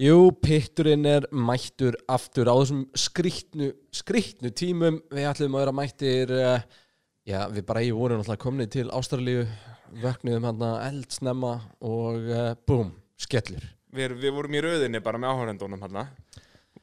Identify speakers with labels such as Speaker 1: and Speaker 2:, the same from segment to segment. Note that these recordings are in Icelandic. Speaker 1: Jú, pitturinn er mættur aftur á þessum skrýtnu, skrýtnu tímum. Við ætlum að vera mættir, eh, já, við bara í voru náttúrulega komnið til Ástralíu, vöknuðum hérna eldsnemma og uh, búm, skellur.
Speaker 2: við, við vorum í röðinni bara með áhörendunum hérna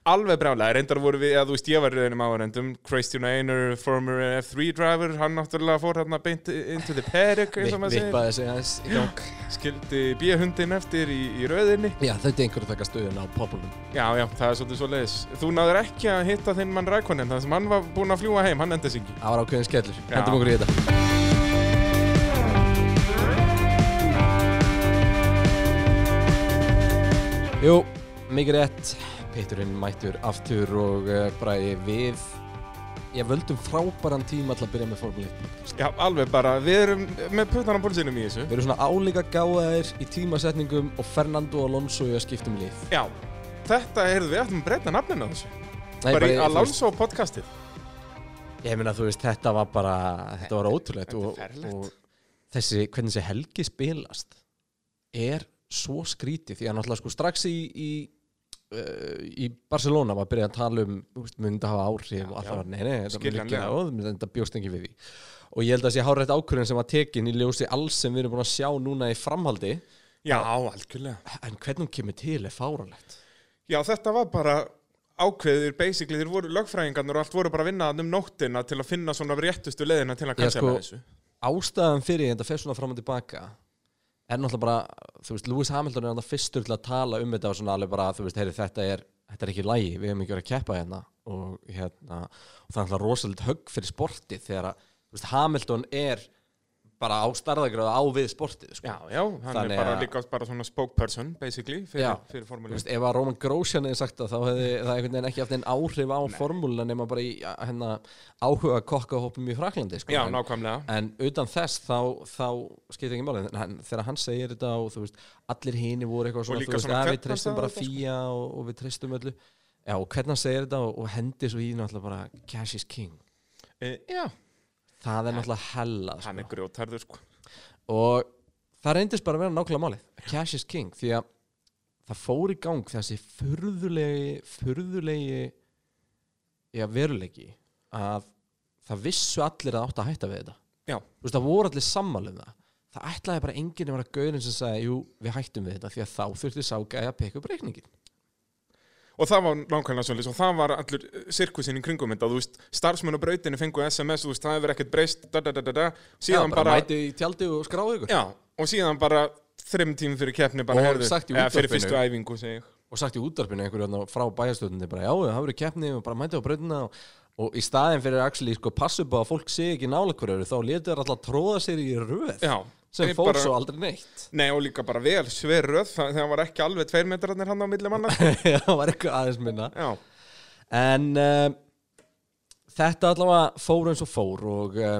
Speaker 2: alveg brjálega, reyndar voru við, eða þú veist ég var í röðinni með áhörendum, Christian Einar former F3 driver, hann náttúrulega fór hérna beint into the paddock eins og maður segir,
Speaker 1: Vippaði sig aðeins í gang.
Speaker 2: skildi bíahundin eftir í, í röðinni,
Speaker 1: Já, þetta er einhverju að taka stöðun á populum.
Speaker 2: já já, það er svolítið svo leiðis, þú náður ekki að hitta þinn mann Rækonen, það sem hann var búinn að fljúa heim, hann endis ekki
Speaker 1: Það var ákveðin skellur.
Speaker 2: Já.
Speaker 1: Hendum okkur í þetta. Jú, mikið rétt. Péturinn mættur aftur og uh, bræði við. Ég völdum frábæran tíma til að byrja með Formule 1.
Speaker 2: Já, alveg bara, við erum með puttan á pólsinum í þessu
Speaker 1: Við erum svona álíka gáðaðir í tímasetningum og Fernando Alonso í að skipta um lið.
Speaker 2: Já, þetta er, við ætlum að breyta nafninu á þessu
Speaker 1: Nei,
Speaker 2: Bara í
Speaker 1: þú veist,
Speaker 2: Alonso podcastið
Speaker 1: Ég meina, þú veist, þetta var bara, þetta var ótrúlegt.
Speaker 2: Þetta er
Speaker 1: og-
Speaker 2: ferlegt.
Speaker 1: og Þessi, hvernig þessi helgi spilast er svo skrítið. Því að náttúrulega sko strax í, í, uh, í Barcelona var að byrja að tala um, þú veist, myndi hafa áhrif og
Speaker 2: já.
Speaker 1: alltaf var, nei, nei, þetta var
Speaker 2: Skiljanlega.
Speaker 1: mikið áð, þetta bjóst ekki við því. Og ég held að þessi hárætt ákvörðin sem var tekin í ljósi alls sem við erum búin að sjá núna í framhaldi,
Speaker 2: Já, algjörlega
Speaker 1: en hvernig hún kemur til er fáralegt.
Speaker 2: Já, þetta var bara ákveðir, basically, þeir voru lögfræðingarnir og allt voru bara að vinna þarna um nóttina til að finna svona réttustu leiðina til að
Speaker 1: Já,
Speaker 2: kansella
Speaker 1: sko,
Speaker 2: þessu.
Speaker 1: ástæðan fyrir þetta fer svona fram og tilbaka er náttúrulega bara, þú veist, Lewis Hamilton er náttúrulega fyrstur til að tala um þetta og svona alveg bara, þú veist, heyri, þetta er þetta er ekki lægi, við hefum ekki verið að keppa hérna og hérna, og það er náttúrulega rosalit högg fyrir sportið þegar að, þú veist, Hamilton er bara á starðagráða á við sportið, sko
Speaker 2: Já, já, hann
Speaker 1: Þannig
Speaker 2: er bara
Speaker 1: að-
Speaker 2: líka bara svona spokeperson, basically, fyrir,
Speaker 1: Já.
Speaker 2: fyrir
Speaker 1: Þú
Speaker 2: formúlinu.
Speaker 1: veist, ef að Roman Grosjean hefði sagt það þá hefði það einhvern veginn ekki haft einn áhrif á formúluna nema bara í að, hérna, áhuga kokkahópum í Fraklandi sko.
Speaker 2: Já,
Speaker 1: En-
Speaker 2: nákvæmlega.
Speaker 1: En utan þess þá, þá skiptir ekki máli En hann, þegar hann segir þetta og þú veist allir hini voru eitthvað svona,
Speaker 2: líka
Speaker 1: þú veist,
Speaker 2: svona
Speaker 1: að við
Speaker 2: hvernig
Speaker 1: treystum
Speaker 2: hann
Speaker 1: bara
Speaker 2: sagði þetta, sko."
Speaker 1: fíja og, og við treystum öllu Já, og hvernig hann segir þetta og, og hendi svo í náttúrulega bara cash is king
Speaker 2: E, já,
Speaker 1: Það er náttúrulega hella
Speaker 2: hann
Speaker 1: sko.
Speaker 2: er grjótarður, sko.
Speaker 1: og það reyndist bara að vera nákvæmlega málið cash is king því að það fór í gang þessi furðulegi furðulegi já, veruleiki að það vissu allir að átt að hætta við þetta
Speaker 2: Já,
Speaker 1: þú veist, það voru allir sammála um það það ætlaði bara enginn að vera gaurinn sem sagði jú, við hættum við þetta því að þá þurfti sá gæja að peka upp reikningin
Speaker 2: og það var nákvæmlega svolítið, og það var allur eh, sirkusinn í kringum þetta, þú veist, starfsmenn og brautinni fengu SMS, þú veist, það hefur ekkert breyst, da da da da da, síðan
Speaker 1: bara
Speaker 2: bara,
Speaker 1: mæti í tjaldi og skráði ykkur
Speaker 2: já, og síðan bara þrim tímum fyrir keppni bara
Speaker 1: Og
Speaker 2: heyrðu,
Speaker 1: sagt í
Speaker 2: eða fyrir
Speaker 1: útvarpinu.
Speaker 2: fyrstu æfingu, segi ég.
Speaker 1: og sagt í útdarpinu einhverju þarna frá bæjarstöðunni bara já, það verið keppni og bara mæti á brautina og, og í staðin fyrir actually sko passu upp á að fólk sé ekki nála hverju þá letur þær alltaf tróða sér í röð
Speaker 2: Já,
Speaker 1: sem
Speaker 2: ég
Speaker 1: fór
Speaker 2: bara-
Speaker 1: svo aldrei neitt
Speaker 2: Nei, og líka bara vel sverröð það, þegar var ekki alveg tveir metrarnir hann á milli manna sko.
Speaker 1: það var eitthvað aðeins minna
Speaker 2: Já,
Speaker 1: En uh, þetta allavega fór eins og fór og uh,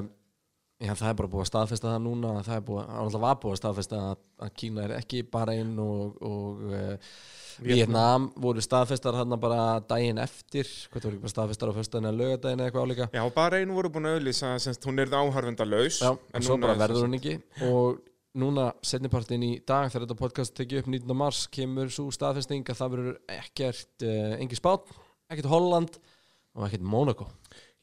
Speaker 1: já, það er bara búið að staðfesta það núna það er búið, allavega var búið að staðfesta að, að Kína er ekki bara inn og, og uh, Vietnam voru staðfestar hann bara daginn eftir hvað það voru ekki bara staðfestar á föstudaginn eða lögadaginn eða eitthvað álíka
Speaker 2: já bara einu voru búin að auðlýsa semst, hún er það áharfenda laus
Speaker 1: Já, en svo bara
Speaker 2: er-
Speaker 1: verður hún ekki og núna setnipartin í dag þegar þetta podcast tekið upp 19. mars kemur svo staðfesting að það verður ekkert uh, engin spán, ekkert Holland og ekkert Monaco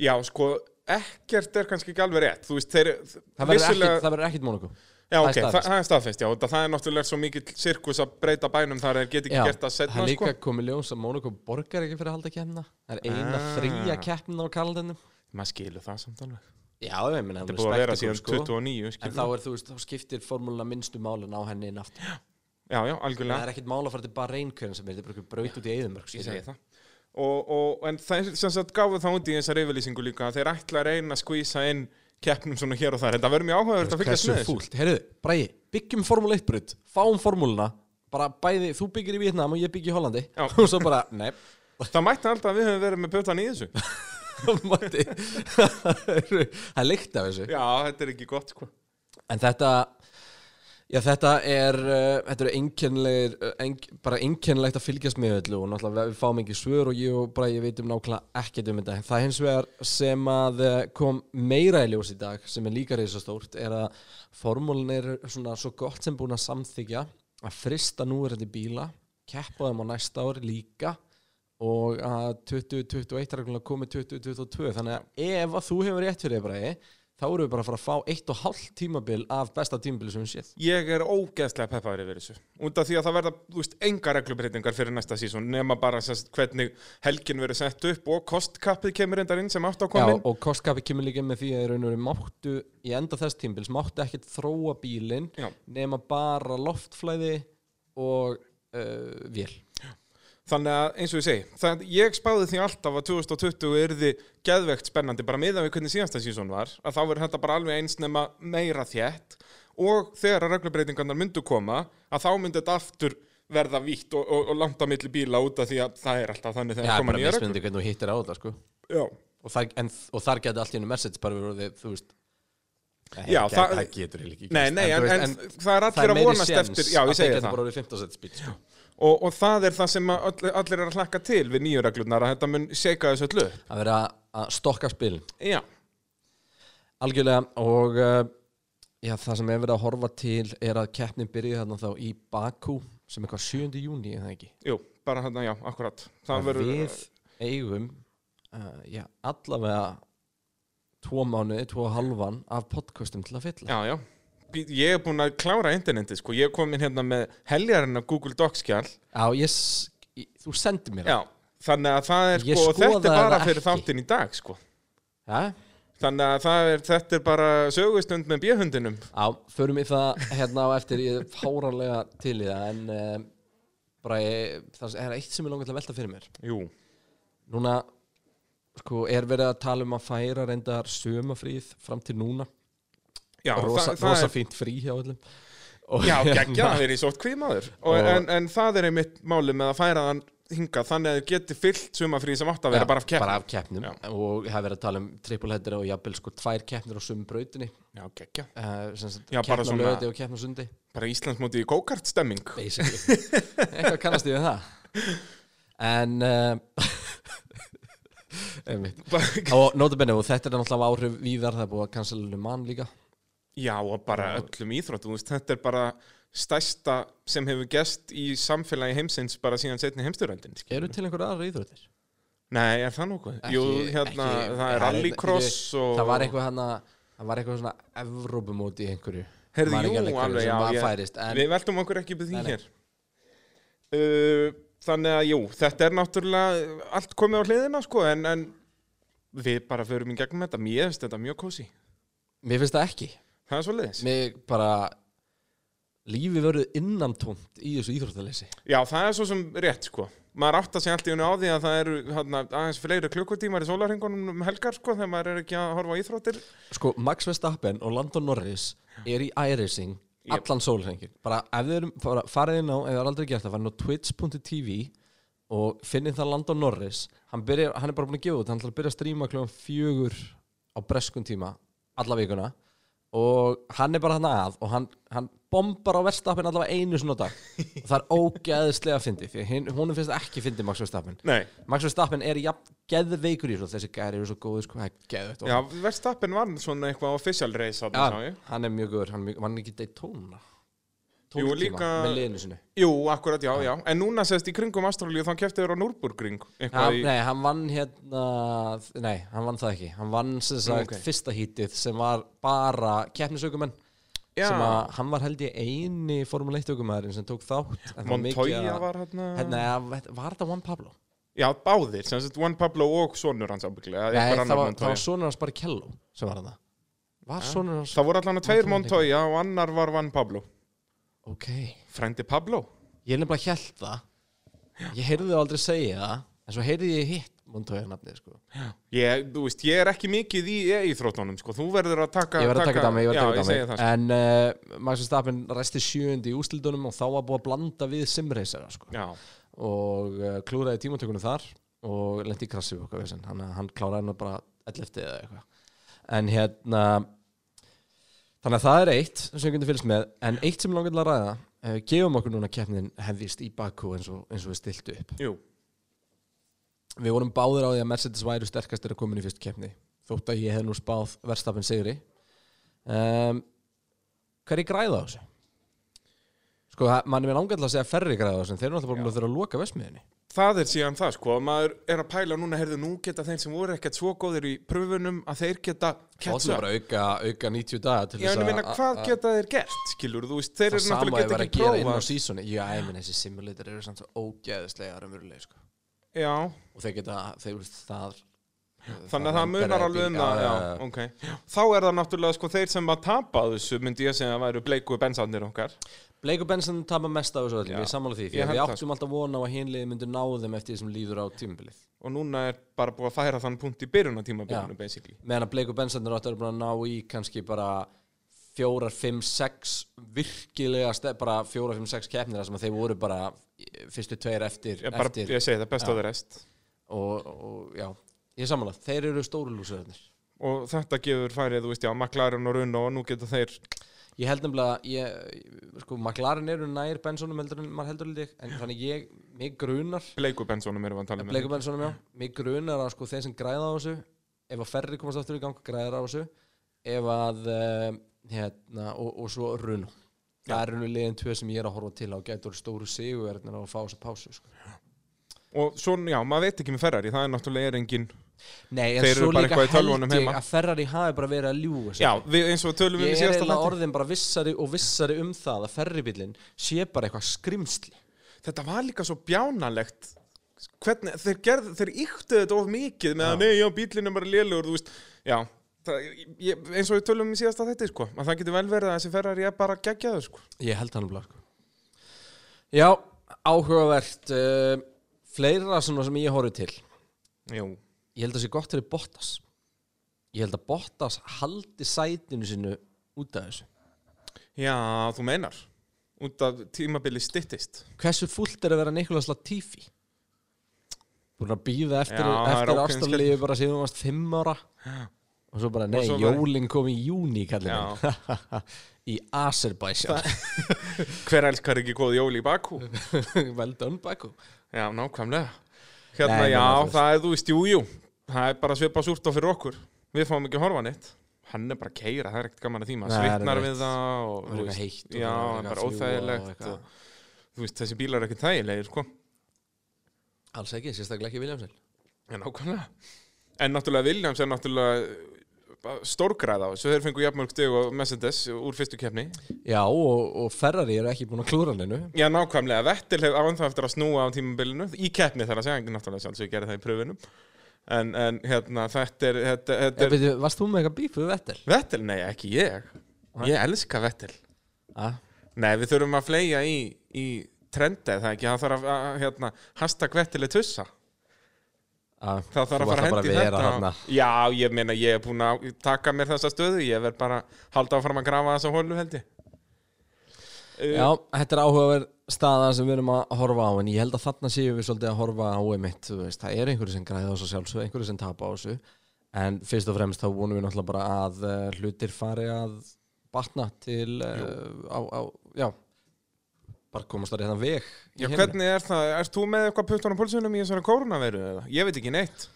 Speaker 2: Já, sko, ekkert er kannski ekki alveg rétt Þú veist, þeir
Speaker 1: Það verður ekkert, það verður ekkert Monaco
Speaker 2: Já,
Speaker 1: það er
Speaker 2: ok, það,
Speaker 1: staðfest.
Speaker 2: það er staðfest, já, það, það er náttúrulega svo mikill sirkus að breyta bænum þar þeir get ekki gert það setna,
Speaker 1: er líka
Speaker 2: sko
Speaker 1: komið ljós að Monaco borgar ekki fyrir að halda keppna Það er eina
Speaker 2: Ah.
Speaker 1: fría keppna á kalendinu
Speaker 2: Maður skilur það samt alveg
Speaker 1: Já, ég meina
Speaker 2: Það
Speaker 1: hún
Speaker 2: er búið að vera
Speaker 1: spektakúl,
Speaker 2: síðan 29,
Speaker 1: sko. En
Speaker 2: skilur
Speaker 1: þá er þú veist, þá skiptir formúluna minnstu málin á henni inn aftur
Speaker 2: Já, já,
Speaker 1: Það
Speaker 2: algjörlega
Speaker 1: er ekkert mál að fara til bara reynkjörn sem er, þetta er bara einhver braut út í Eðumörg
Speaker 2: ég segi það og, og, en þeir sem sagt gáðu það út í þessar yfirlýsingu líka að þeir ætla að reyna að skvísa inn keppnum svona hér og þar en það verður mjög áhugavert að fylgjast
Speaker 1: Hversu
Speaker 2: með þessu
Speaker 1: fúlt, heyrðu, Bræði, byggjum formúl 1 braut Fáum formúluna, bara bæði, þú byggir í Vietnam og ég byggi í Hollandi
Speaker 2: Já.
Speaker 1: Og svo bara, nei,
Speaker 2: það mætti alltaf að við höfum verið með pötan í þessu
Speaker 1: mætti. það er lykt af þessu
Speaker 2: já, þetta er ekki gott sko
Speaker 1: En þetta Já, þetta er, uh, þetta er einkennleir, uh, enk, bara einkennlegt að fylgjast með öllu og náttúrulega við fáum ekki svör og ég og bara ég veitum nákvæmlega ekkert um þetta. Það hins vegar sem að eh, kom meira í ljós í dag sem er líka reisastórt er að formúlin er svona svo gott sem búin að samþykja að frista núverandi bíla keppa á þeim á næsta ári líka og að 2021 er reglulega komið 2022 þannig að ef að þú hefur rétt fyrir þér bara þá erum við bara að fara að fá eitt og hálft tímabil af besta tímabil sem við séð
Speaker 2: Ég er ógeðslega peppaður yfir þessu Út af því að það verða, þú veist, enga reglubreitingar fyrir næsta sísón nema bara sérst, hvernig helgin verður sett upp og kostkappið kemur endar inn sem átt á
Speaker 1: Já,
Speaker 2: komin
Speaker 1: og kostkapi kemur líka með því að þeir raunveru máttu í enda þess tímbils, máttu ekkert þróa bílinn
Speaker 2: Já.
Speaker 1: nema bara loftflæði og uh, vél
Speaker 2: Þannig að eins og ég segi, það, ég spáði því alltaf að 2020 yrði geðvegt spennandi bara miðan við hvernig síðasta sísón var að þá verður þetta bara alveg eins nema meira þétt og þegar að reglubreitingarnar myndu koma að þá myndi þetta aftur verða vítt og, og, og langt á milli bíla út af því að það er alltaf þannig þegar
Speaker 1: Já,
Speaker 2: koma
Speaker 1: bara
Speaker 2: nýja reglur
Speaker 1: mismunandi hvernig þú hittir á þetta sko.
Speaker 2: Já,
Speaker 1: og, þar, en, og þar geti allt í hennu message bara verið orðið, þú veist það,
Speaker 2: Já,
Speaker 1: hefur-
Speaker 2: það-
Speaker 1: það getur eiginlega ekki
Speaker 2: Nei,
Speaker 1: gerst,
Speaker 2: nei,
Speaker 1: þú
Speaker 2: en,
Speaker 1: veist,
Speaker 2: en, það er
Speaker 1: það
Speaker 2: allir
Speaker 1: er
Speaker 2: að
Speaker 1: meiri
Speaker 2: vonast
Speaker 1: séns
Speaker 2: eftir Já,
Speaker 1: að
Speaker 2: ég segi
Speaker 1: getur
Speaker 2: það
Speaker 1: bara orðið 15 set spýt sko.
Speaker 2: og, og það er það sem að öll, allir er að hlakka til við nýju reglurnar að þetta mun seika þessu öllu upp.
Speaker 1: að vera að stokka spilin
Speaker 2: Já,
Speaker 1: Algjörlega og uh, já, það sem er verið að horfa til er að keppnin byrja þarna þá í Bakú sem er hvað 7. júni er það ekki
Speaker 2: jú, bara hérna, já, akkurat
Speaker 1: Og
Speaker 2: Það verður,
Speaker 1: Við eigum uh, já, allavega tvo mánuði, tvo og halvan af podcastum til að fylla
Speaker 2: já, já Bí- Ég er búinn að klára interneti, sko Ég kom inn hérna með heljarinn af Google Docs-kjall
Speaker 1: Já, ég, s- ég, þú sendir mér
Speaker 2: Já, þannig að það er,
Speaker 1: Ég
Speaker 2: sko, og þetta er
Speaker 1: skoðaði
Speaker 2: bara
Speaker 1: það
Speaker 2: fyrir
Speaker 1: ekki.
Speaker 2: þáttinn í dag, sko
Speaker 1: það. Já,
Speaker 2: Þannig að það er, þetta er bara sögustund með bjöhundinum
Speaker 1: Já, förum við það hérna á eftir ég er fáranlega til í það en um, bara ég, það er eitt sem ég langar til að velta fyrir mér
Speaker 2: Jú,
Speaker 1: Núna sko, er verið að tala um að færa reyndar sömafríð fram til núna
Speaker 2: já,
Speaker 1: rosa,
Speaker 2: það, það
Speaker 1: rosa
Speaker 2: er
Speaker 1: fínt frí hjá öllum og, hérna-
Speaker 2: Já, geggja, það er í sótt kvímaður og,
Speaker 1: Og-
Speaker 2: en, en það er einmitt máli með að færa þann hingað þannig að þið geti fyllt sumafrí sem átt að vera bara af kepp
Speaker 1: bara af keppnum
Speaker 2: Já.
Speaker 1: og það er verið að tala um trippulhettir og jafnvel sko tvær keppnir á sömu brautinni
Speaker 2: Já, geggja
Speaker 1: uh, sem sagt,
Speaker 2: Já, bara
Speaker 1: keppna
Speaker 2: svona-
Speaker 1: löði og keppna sundi
Speaker 2: Bara Íslandsmóti í kókart stemming
Speaker 1: basically eitthvað kannast ég við það en uh, einmitt og notabenni og þetta er náttúrulega áhrif víðar það er búið að kansla mann líka
Speaker 2: Já, og bara öllum íþróttum þú veist, Þetta er bara stærsta sem hefur gest í samfélagi heimsins bara síðan setni heimsturöndin
Speaker 1: eru til einhverja aðra íþróttir
Speaker 2: Nei, er það nokkuð?
Speaker 1: Ekki-
Speaker 2: Jú, hérna,
Speaker 1: ekki-
Speaker 2: það er
Speaker 1: það er-
Speaker 2: rallycross og...
Speaker 1: það var eitthvað hann það var eitthvað svona Evrópumóti í einhverju
Speaker 2: Heyrðu,
Speaker 1: Man er ekki
Speaker 2: jú,
Speaker 1: alveg hverju
Speaker 2: alveg,
Speaker 1: sem
Speaker 2: já,
Speaker 1: var
Speaker 2: ég-
Speaker 1: færist, en-
Speaker 2: Við veltum okkur ekki upp í því
Speaker 1: Nei, nei.
Speaker 2: hér uh, Þannig að jú, þetta er náttúrulega allt komið á hliðina sko en, en við bara förum í gegnum þetta Mér finnst þetta mjög kósi
Speaker 1: mér finnst það ekki
Speaker 2: Það er svo leiðis
Speaker 1: mér bara lífi verið innantómt í þessu íþróttaleysi
Speaker 2: Já, það er svo sem rétt sko Maður átt að segja allt í unni á því að það eru hana, aðeins fleiri klukkutímar í sólarhingunum um helgar sko þegar maður er ekki að horfa á íþróttir
Speaker 1: sko Max Verstappen og Landon Norris er í iRacing allan sólhengin bara ef þið erum bara farið inn á ef þið er aldrei gert það, farið inn á twitch.tv og finnið það Landon Norris hann, byrja, hann er bara búin að gefa út hann ætlar að byrja að stríma kljóðan fjögur á breskun tíma alla vikuna og hann er bara hann að og hann, hann bombar á Verstappen allavega einu svona dag og það er ógeðslega fyndið því að hin- honum finnst það ekki fyndið Max Verstappen
Speaker 2: Nei
Speaker 1: Max Verstappen er jafn geðveikur í þessu þessi gæri eru svo góði sko, það er geðveikt og
Speaker 2: Já, Verstappen var svona eitthvað official race þarna, sá
Speaker 1: Já,
Speaker 2: ég.
Speaker 1: hann er mjög góður, hann er mjög, var hann ekki Daytona
Speaker 2: Jú,
Speaker 1: Tólf
Speaker 2: líka-
Speaker 1: tíma, með liðinu sinu
Speaker 2: Jú, akkurat, já, já En núna sést í kringum Astralíu þá kefti þér á Núrburgring
Speaker 1: hann,
Speaker 2: eitthvað í-
Speaker 1: Nei, hann vann hérna Nei, hann vann það ekki Hann vann sem sagt
Speaker 2: ok.
Speaker 1: fyrsta hítið sem var bara keppnisaukumenn
Speaker 2: Já.
Speaker 1: sem að hann var held ég eini Formule 1 aukumæðurinn sem tók þátt en það var mikið
Speaker 2: Montoya
Speaker 1: að-
Speaker 2: var hérna
Speaker 1: hérna, ja, Var þetta Juan Pablo?
Speaker 2: Já, báðir, sem sagt Juan Pablo og sonur hans ábygglega
Speaker 1: Nei, það var, það var sonur hans Barrichello sem var hann Var sonur hans
Speaker 2: það voru allan að tveir
Speaker 1: Montoya
Speaker 2: Montoya og annar var Juan Pablo
Speaker 1: Ok,
Speaker 2: Frendi Pablo
Speaker 1: ég er nefnilega hjælt það Ég heyrði það aldrei segja það en svo heyrði ég hitt Montoya nafnið sko
Speaker 2: Ég, þú veist, ég er ekki mikið í íþróttunum sko. Þú verður að taka
Speaker 1: ég verði að taka þetta á mig, ég verði að
Speaker 2: Já,
Speaker 1: taka
Speaker 2: ég segi
Speaker 1: þetta
Speaker 2: það, sko.
Speaker 1: á mig en uh, Max Verstappen resti sjöundi í úslildunum og þá var búið að blanda við simreysara sko.
Speaker 2: sko.
Speaker 1: og uh, klúraði tímatökunum þar og lendi í krassi og okkar veginn hann, eh, hann kláraði hann bara 11 eða eitthvað en hérna þannig að það er eitt sem við getum fylgst með en eitt sem langar til að ræða uh, gefum okkur núna keppnin hefðist í Bakú eins og, eins og við stiltu upp
Speaker 2: Já, jú
Speaker 1: við vorum báðir á því að Mercedes væru sterkastir að komin í fyrstu keppni þótt að ég hef nú spáð Ehm, verstafinn sigri um, hver er græða á þessu? Sko, það- mann er mér langar til að segja ferri græða þessum, þeir eru náttúrulega bara að þurfa að loka vesmiðinni.
Speaker 2: það er síðan það sko, að maður er að pæla núna, heyrðu, nú geta þeir sem voru ekkert svo góðir í pröfunum að þeir geta
Speaker 1: Kjátsu
Speaker 2: ketsa.
Speaker 1: bara auka, auka 90 daga til
Speaker 2: Já, en ég meina, hvað geta þeir gert, skilur, þú veist, þeir
Speaker 1: það
Speaker 2: eru
Speaker 1: sama ég
Speaker 2: náttúrulega
Speaker 1: var að
Speaker 2: geta ekki
Speaker 1: gera inn á
Speaker 2: prófa.
Speaker 1: sísoni. Já, ég meina, þessi simulator eru samt svo ógeðislega raunverulega, sko.
Speaker 2: Já,
Speaker 1: Og þeir geta, þeir vil það...
Speaker 2: þannig að það munar alveg um það, já, ok. Þá er það náttúrulega, sko, þeir sem að tapa á þessu, myndi ég segja að væru bleiku bensarnir okkar.
Speaker 1: Blake og Benson tapa mest af þessu öllum,
Speaker 2: Já.
Speaker 1: ég er sammála því,
Speaker 2: Ég
Speaker 1: því að
Speaker 2: held
Speaker 1: við
Speaker 2: það,
Speaker 1: áttum alltaf vona á að hinliði myndi ná þeim eftir því sem líður á tímabilið.
Speaker 2: Og núna er bara búið að færa þann punkt í byrjun á tímabilinu,
Speaker 1: Já.
Speaker 2: basically.
Speaker 1: meðan að Blake og Benson eru áttu að ná í kannski bara fjórar, fimm, sex virkilega stef, bara fjórar, fimm, sex keppnir þar sem að þeir voru bara fyrstu tveir eftir,
Speaker 2: Ég, bara,
Speaker 1: eftir
Speaker 2: ég segi það, best á það rest.
Speaker 1: og, og já, ég er samanlega þeir eru stóru lúsirarnir
Speaker 2: Og þetta gefur færið, þú veist, já, McLaren og Runo og nú geta þeir,
Speaker 1: ég held nefnilega, ég, sko McLaren eru nær Bensonum heldur en maður heldur lík en þannig ég, mig grunar
Speaker 2: bleiku bensónum erum við að tala um.
Speaker 1: Blake og Bensonum já, mig grunar að sko þeir sem græða á þessu ef að ferri komast aftur í gang græðar á þessu ef að um, hérna, og, og svo runu það eru nú liðin tvö sem ég er að horfa til á gætur stóru sigurverðnir á að fá þessa pásu sko.
Speaker 2: Og svo, já, maður veit ekki með Ferrari, það er náttúrulega er engin
Speaker 1: nei, en
Speaker 2: Þeir eru
Speaker 1: svo
Speaker 2: bara
Speaker 1: líka
Speaker 2: eitthvað í tölvunum
Speaker 1: held ég
Speaker 2: heima.
Speaker 1: að Ferrari hafi bara verið að ljúga þessu.
Speaker 2: Já, við, eins og tölum við
Speaker 1: ég
Speaker 2: í
Speaker 1: er
Speaker 2: síðasta
Speaker 1: eiginlega
Speaker 2: landi
Speaker 1: orðin bara vissari og vissari um það að ferribillin sé bara eitthvað skrimsli
Speaker 2: Þetta var líka svo bjánalegt Hvernig, þeir, gerð, þeir yktu þetta of mikið með að nei, já, bílinn er bara lélugur, þú veist Já, það, ég, eins og við tölum í síðasta þetta, sko að það getur vel verið að þessi Ferrari er bara geggjaður, sko
Speaker 1: Ég held hann blá sko. Já, áhugavert uh, Fleira svona sem ég horfði til
Speaker 2: Jú,
Speaker 1: Ég held að sé gott fyrir Bottas Ég held að Bottas haldi sætinu sinu út af þessu
Speaker 2: já, þú meinar Út af tímabili styttist
Speaker 1: Hversu fullt er að vera Nikolas Latifi? Búin að býða eftir,
Speaker 2: Já, það er
Speaker 1: eftir
Speaker 2: ákveðin
Speaker 1: ástarlífi bara síðan þú varst fimm ára og svo bara, nei,
Speaker 2: svo bara-
Speaker 1: jólin kom í júni kallið minn í Azerbaijan
Speaker 2: Hver elskar ekki góð jóli í Bakú?
Speaker 1: Well done, Baku
Speaker 2: Já, nákvæmlega Hérna,
Speaker 1: Nei, ég
Speaker 2: já,
Speaker 1: meina, þú veist.
Speaker 2: það er, þú veist, jú, jú Það er bara svipa súrt á fyrir okkur Við fáum ekki að horfa neitt Hann er bara að keira, það er ekkert gaman að því
Speaker 1: Nei,
Speaker 2: maður
Speaker 1: það er
Speaker 2: Svitnar
Speaker 1: rétt.
Speaker 2: við það
Speaker 1: Það
Speaker 2: og,
Speaker 1: er eitthvað heitt og það er eitthvað
Speaker 2: þú veist, Já, það er bara
Speaker 1: að fljúga og
Speaker 2: óþægilegt
Speaker 1: eitthvað.
Speaker 2: og, Þú veist, þessi bílar er ekki þægilegir, sko
Speaker 1: Alls ekki, sérstaklega ekki Williamson
Speaker 2: Já, nákvæmlega En náttúrulega Williams er náttúrulega uh, bara stórgræð á þessu Þeir fengu jafnmörg stig og Mercedes úr fyrstu keppni
Speaker 1: Já, og, og Ferrari eru ekki búin að klúra hann einu
Speaker 2: Já, nákvæmlega, Vettel hef ánþá eftir að snúa á tímabilinu í keppni þar að segja, en náttúrulega sjálfsög gerði það í pröfunum en, en hérna, þetta er, þetta, þetta
Speaker 1: Þeir...
Speaker 2: er
Speaker 1: Eh, Byrju, varst þú með eitthvað bíf við Vettel?
Speaker 2: Vettel, nei, ekki ég Ég elska Vettel
Speaker 1: A?
Speaker 2: Nei, við þurfum að fleja í, í trendi eða ekki, það þarf að, að hérna, hashtag Vettel er tussa
Speaker 1: A,
Speaker 2: Það þarf að fara að hendi
Speaker 1: vera
Speaker 2: þetta
Speaker 1: þarna
Speaker 2: Já, ég meina, ég er búin að taka mér þessa stöðu ég verð bara að halda áfram að grafa þessa hólu held ég
Speaker 1: Já, þetta er áhugaverð staða sem við erum að horfa á en ég held að þarna séum við svolítið að horfa á einmitt, þú veist, það er einhverju sem græða á þessu sjálfsög, einhverju sem tapa á þessu en fyrst og fremst þá vonum við náttúrulega bara að uh, hlutir fari að batna til uh, á, á, já bara komast að reyna veg í
Speaker 2: Já,
Speaker 1: heiminum.
Speaker 2: hvernig er það? Ert þú með eitthvað puttan á pulsunum í þessari kórnaveru eða? Ég veit ekki neitt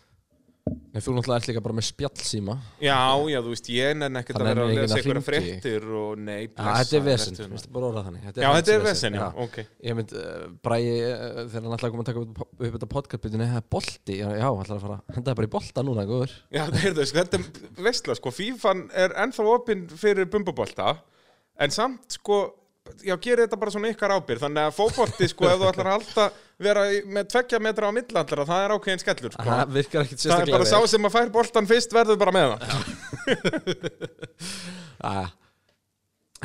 Speaker 1: Nei, Þú náttúrulega ert líka bara með spjallsíma
Speaker 2: Já, já, þú veist, ég nenn ekkert
Speaker 1: Það
Speaker 2: að
Speaker 1: nennir
Speaker 2: vera að
Speaker 1: enginn
Speaker 2: lesa
Speaker 1: að
Speaker 2: einhverja
Speaker 1: hringi.
Speaker 2: fréttir og nei,
Speaker 1: Já, Ah, þetta er
Speaker 2: blessaður
Speaker 1: vesen,
Speaker 2: vertu nú.
Speaker 1: minnst bara orða þannig
Speaker 2: Já, þetta er
Speaker 1: hans
Speaker 2: vesen, já, ok
Speaker 1: Ég mynd, uh, Bræði, uh, þegar hann ætlaði að koma að taka upp, upp þetta podcastbytinu, það er bolti, já, já, hann ætlaði að fara, henda það bara í bolta núna, góður.
Speaker 2: Já, heyrðu, sko, þetta er veistla, sko, FIFAn er ennþá opinn fyrir bumbubolta, en samt, sko, já, gerir þetta bara svona ykkar ábyrð, þannig að fótbolti, sko, ef þú ætlar að halda vera í- með tvekja metra á millandara, það er ákveðin skellur, sko.
Speaker 1: Það virkar ekkit
Speaker 2: Það er
Speaker 1: sérstaklega
Speaker 2: bara sá sem að fær boltan fyrst verður bara með það.
Speaker 1: Ah.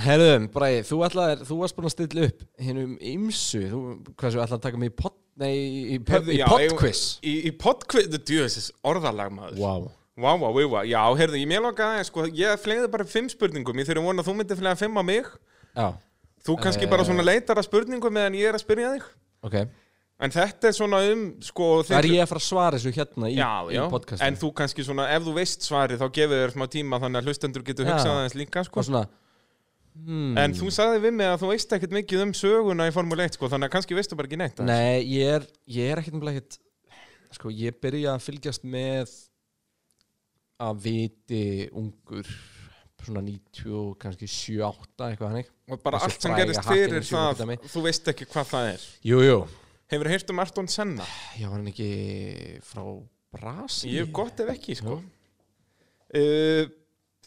Speaker 1: Herðum, Bræði, þú ætlaðir, þú varst búin að stilla upp hinnum ymsu, þú, hversu ætlaði að taka mig í pod, nei, í, í,
Speaker 2: Heyrðu,
Speaker 1: í
Speaker 2: já,
Speaker 1: podquiz.
Speaker 2: Í, í podquiz, þú djöðis, orðalag maður.
Speaker 1: Wow.
Speaker 2: Vá, vá, vá, vá, já, heyrðu, ég mér langaði, sko, ég flegði bara fimm spurningum, ég þurfum vona að þú myndir flega fimm á mig,
Speaker 1: Já,
Speaker 2: þú kannski bara
Speaker 1: Eh.
Speaker 2: svona leitar að spurningum meðan ég er að spyrja þig.
Speaker 1: ok.
Speaker 2: En þetta er svona um, sko,
Speaker 1: Það er ég að fara að svara þessu hérna í,
Speaker 2: já, já,
Speaker 1: í podcastinu.
Speaker 2: en þú kannski svona, ef þú veist svarið, þá gefur þér smá tíma þannig að hlustendur getur
Speaker 1: Já.
Speaker 2: hugsað aðeins líka, sko.
Speaker 1: Og svona, hmm,
Speaker 2: En þú sagði við mig að þú veist ekkert mikið um söguna í Formule 1, sko, þannig að kannski veistu bara ekki neitt. aðeins.
Speaker 1: Nei, ég er, ég er ekkert nefnilega ekkert Sko, ég byrja að fylgjast með að viti ungur svona 90, kannski 7-8 eitthvað hannig
Speaker 2: og bara
Speaker 1: Þessi
Speaker 2: allt sem
Speaker 1: fræga
Speaker 2: gerist
Speaker 1: hakinn í
Speaker 2: fyrir það
Speaker 1: sjúkradæmi.
Speaker 2: þú veist ekki hvað það er
Speaker 1: Jú, jú,
Speaker 2: hefur heyrt um Arton Senna
Speaker 1: ég var hann ekki frá Brasi
Speaker 2: ég hef gott ef ekki sko. uh,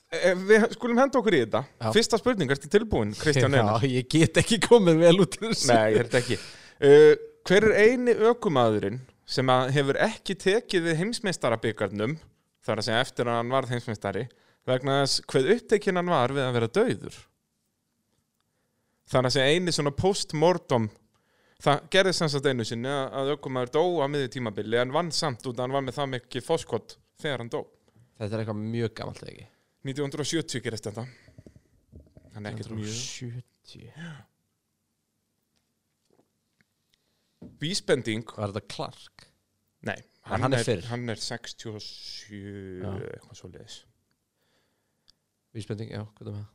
Speaker 2: ef við skulum henda okkur í þetta
Speaker 1: Já.
Speaker 2: fyrsta spurning, ertu tilbúin Kristján Einar?
Speaker 1: Já, ég get ekki komið vel út úr þessu
Speaker 2: nei, ég er þetta ekki uh, hver er eini ökumadurinn sem að hefur ekki tekið við heimsmeistarabikarnum þar að segja eftir að hann varð heimsmeistari vegna þess hvað upptekinn hann var við að vera dauður þar að segja eini svona postmortem það gerði sem sagt einu sinni að- að ökumadur dó á miðju tímabili en vann samt út að hann var með það mikið foskott þegar hann dó
Speaker 1: Þetta er eitthvað mjög gamalt eða ekki
Speaker 2: 1970 gerist þetta hann er ekkert mjög
Speaker 1: 70
Speaker 2: vísbending
Speaker 1: Hvað er þetta Clark?
Speaker 2: nei,
Speaker 1: Hann er fyrr.
Speaker 2: hann er 67 eitthvað svo leiðis
Speaker 1: Vísbending, já, hvað er með það?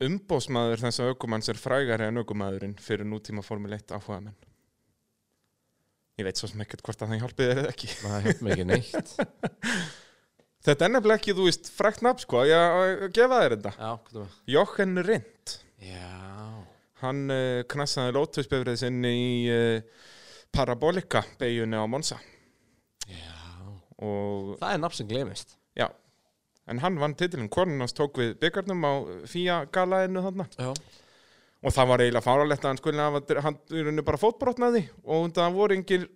Speaker 2: umbósmaður þessa aukumanns er frægari en aukumaðurinn fyrir nútíma Formule 1 áhugamenn ég veit svo sem ekkert hvort að það hjálpið er eða ekki
Speaker 1: Það hefði mig ekki neitt
Speaker 2: þetta er nefnilega ekki, þú veist, frækt nafn sko ég að gefa þér þetta
Speaker 1: Já, hvað er með það?
Speaker 2: Jochen Rindt
Speaker 1: Já,
Speaker 2: hann uh, knassaði lótusbefrið sinni í uh, Parabolika beigunni á Monza
Speaker 1: já
Speaker 2: og
Speaker 1: Það er nafn sem glemist
Speaker 2: Já, en hann vann titilin Konun hans tók við byggarnum á Fía galaðinu þarna
Speaker 1: Já
Speaker 2: Og það var eiginlega fáralegt að hann skulle hafa Hann í rauninni bara fótbrotnaði Og það voru engir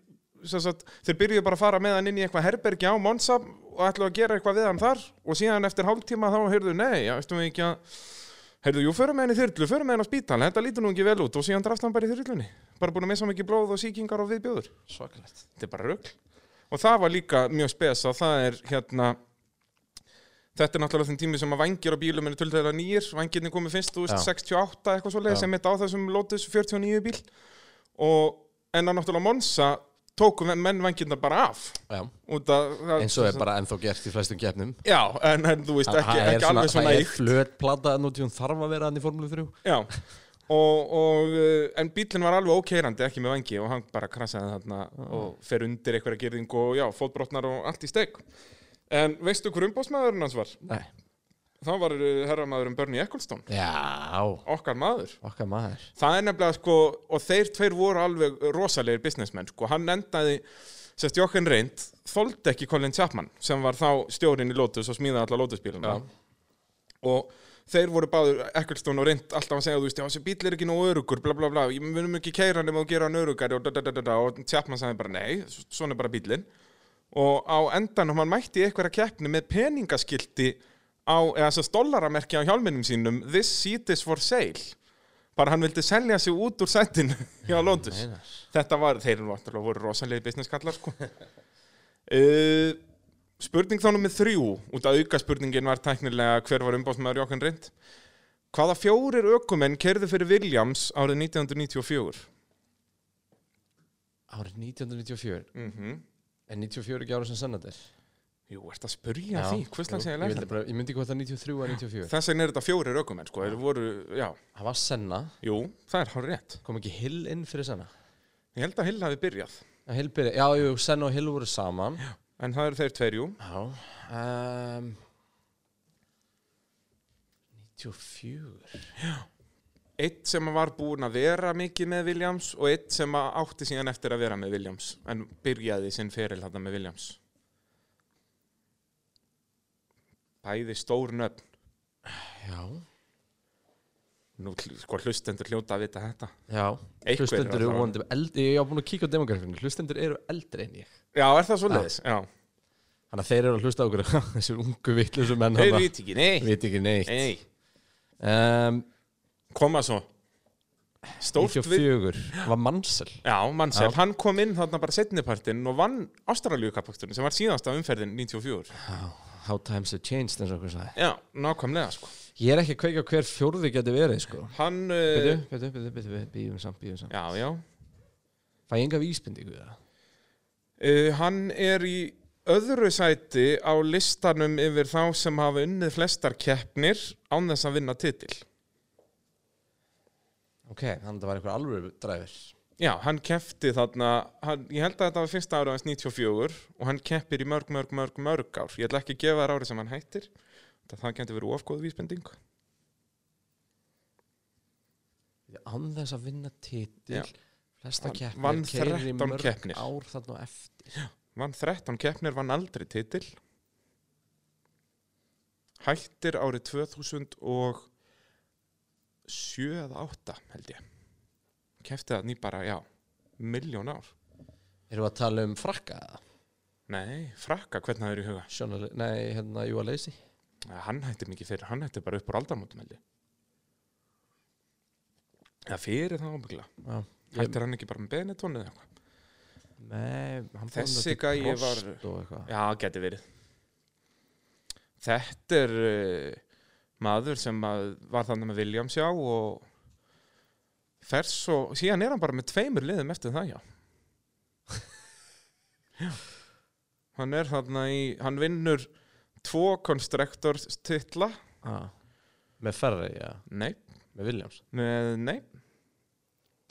Speaker 2: sem sagt, Þeir byrjuðu bara að fara með hann inn í eitthvað herbergi á Monsa Og ætlaðu að gera eitthvað við hann þar Og síðan eftir hálftíma þá heyrðu Nei, já, veistu mig ekki að Heyrðu, jú, förum með henni í þyrlu, förum með henni á spítal Þetta lítur nú ekki vel út og síðan drafst hann bara í þyrlunni Bara búin að missa mikið blóð og sýkingar og viðbjóður
Speaker 1: Svakalegt
Speaker 2: þetta er bara rugl og það var líka mjög spes að það er hérna þetta er náttúrulega þinn tími sem að vangir á bílum er tölvlega nýjir, vangirni komið fyrst þú veist,
Speaker 1: Já.
Speaker 2: 68 eitthvað svo
Speaker 1: Já.
Speaker 2: leið sem mitt á þessum Lotus 49 bíl og en að náttúrulega Monsa tóku men- menn vangirna bara af
Speaker 1: Já,
Speaker 2: út að það-
Speaker 1: eins og er bara ennþá gert í flestum gefnum
Speaker 2: já, en, en þú veist ekki,
Speaker 1: Það er
Speaker 2: ekki alveg svona
Speaker 1: Það
Speaker 2: í
Speaker 1: er flöt plata nú til hún þarf að vera hann í Formule 3
Speaker 2: Já, og, og uh, en bílinn var alveg ókeirandi, ekki með vangi og hann bara krasaði þarna og fer undir einhverja gerðing og já, fótbrotnar og allt í steg. En veistu hver umbóðsmaðurinn hans var?
Speaker 1: Nei
Speaker 2: Það var uh, herramaðurinn Bernie Ecclestone,
Speaker 1: Já,
Speaker 2: okkar maður.
Speaker 1: okkar maður
Speaker 2: Það er nefnilega sko, og þeir tveir voru alveg rosalegir businessmenn sko, hann endaði, sérst Jochen Reynd, þóldi ekki Colin Chapman sem var þá stjórinn í Lotus og smíðaði alla Lotusbíluna. Og þeir voru báður, Ecclestone og Reynd, alltaf að segja, þú veist, já, þessi bíl er ekki nógu örugur, bla bla bla, ég munum ekki keira hann ef þú gera hann örugari og da da da da da, og Chapman sagði bara nei, s- svona er bara bílinn. Og á endanum hann mætti í einhverja keppni með peningaskilti á, eða þess að dollaramerki á hjálminum sínum, this seat is for sale bara hann vildi selja sig út úr sættinu hjá Lóndus
Speaker 1: Einar.
Speaker 2: þetta var, þeir eru náttúrulega voru rosalegi businesskallar sko. uh, spurning þá nummið þrjú út að auka spurningin var tæknilega hver var umbásmaður Jókan Rind hvaða fjórir ökumenn kerðu fyrir Williams árið 1994
Speaker 1: Árið 1994
Speaker 2: mm
Speaker 1: En 94 ekki árið sem sennatir
Speaker 2: jú, ert að spurja því, hvað slags
Speaker 1: Jú,
Speaker 2: ég
Speaker 1: ég, vildi
Speaker 2: lærði
Speaker 1: bara, ég myndi hvað það 93 að 94
Speaker 2: þess vegna er þetta fjórir ökumenn sko. þeir voru, já,
Speaker 1: Það var senna,
Speaker 2: jú, það er hár rétt
Speaker 1: kom ekki Hill inn fyrir senna
Speaker 2: ég held að Hill hafi byrjað
Speaker 1: Já, Hill byrja, já, jú, senna og Hill voru saman
Speaker 2: en það eru þeir tverjú
Speaker 1: Já um, 94
Speaker 2: Eitt sem var búinn að vera mikið með Williams og eitt sem að átti síðan eftir að vera með Williams en byrjaði sinn feril þarna með Williams. Bæði stór nöfn.
Speaker 1: Já,
Speaker 2: Nú, hl- sko, hlustendur hljóta að vita þetta.
Speaker 1: já
Speaker 2: Einhver
Speaker 1: Hlustendur eru
Speaker 2: allavega.
Speaker 1: vonandi eldri Ég á búin að kíka á demografinu Hlustendur eru eldri en ég
Speaker 2: Já, er það svo leiðis? Já.
Speaker 1: Þannig að þeir eru að hlusta á okkur Þessir ungu vitlusum menn
Speaker 2: Þeir
Speaker 1: þarna.
Speaker 2: viti ekki, nei.
Speaker 1: Viti ekki neitt
Speaker 2: Nei.
Speaker 1: um,
Speaker 2: Koma svo. Stórt við...
Speaker 1: 94 Var Mansell
Speaker 2: Já, Mansell, hann kom inn þarna bara setnipartinn og vann Ástralíukapaksturinn sem var síðast af umferðin 94.
Speaker 1: How times have changed eins og okkur sagði
Speaker 2: Já, nákvæmlega, sko.
Speaker 1: Ég er ekki að kveika hver fjórði geti verið sko
Speaker 2: Hann... Uh,
Speaker 1: Býðu, býðu, býðu, býðu, býðu samt, býðu samt
Speaker 2: já, já.
Speaker 1: Fæ ég enga vísbendingu í það?
Speaker 2: Uh, hann er í öðru sæti á listanum yfir þá sem hafa unnið flestar keppnir án þess að vinna titil.
Speaker 1: Ok, þannig að það var einhver alvöru dræfir
Speaker 2: Já, hann kefti þarna, hann, ég held að þetta var fyrsta ára hans 94 og hann keppir í mörg, mörg, mörg, mörg ár. Ég ætla ekki að gefa þér árið sem hann hættir Það, það gæti verið ofgóð vísbending
Speaker 1: án þess að vinna titil
Speaker 2: Já.
Speaker 1: flesta
Speaker 2: Hann vann
Speaker 1: keppnir keyrir í
Speaker 2: 13
Speaker 1: mörg
Speaker 2: keppnir.
Speaker 1: ár þarna á eftir
Speaker 2: Vann 13 keppnir, vann aldrei titil Hættir árið 2007 eða 8 held ég Kefti það ný bara, já, miljón ár
Speaker 1: erum við að tala um frakka eða?
Speaker 2: Nei, frakka, hvernig það er í huga
Speaker 1: Sjónal, nei, hérna, Júa Leysi
Speaker 2: Nei, Hann hætti mikið fyrir, hann hætti bara upp úr aldarmótum held ég Það fyrir það ábyggla
Speaker 1: nei,
Speaker 2: Hættir hann ekki bara með Benetton eða eitthvað
Speaker 1: hann fór
Speaker 2: Þessi
Speaker 1: nú til
Speaker 2: gæi
Speaker 1: Prost og
Speaker 2: var-
Speaker 1: eitthvað.
Speaker 2: Já, geti verið Þetta er uh, maður sem að var þannig með Williams já og fer svo, síðan er hann bara með tveimur liðum eftir það já Já Hann er þarna í, hann vinnur tvo konstruktors titla
Speaker 1: Já. með Ferri, já,
Speaker 2: Nei
Speaker 1: með Williams
Speaker 2: Með, nei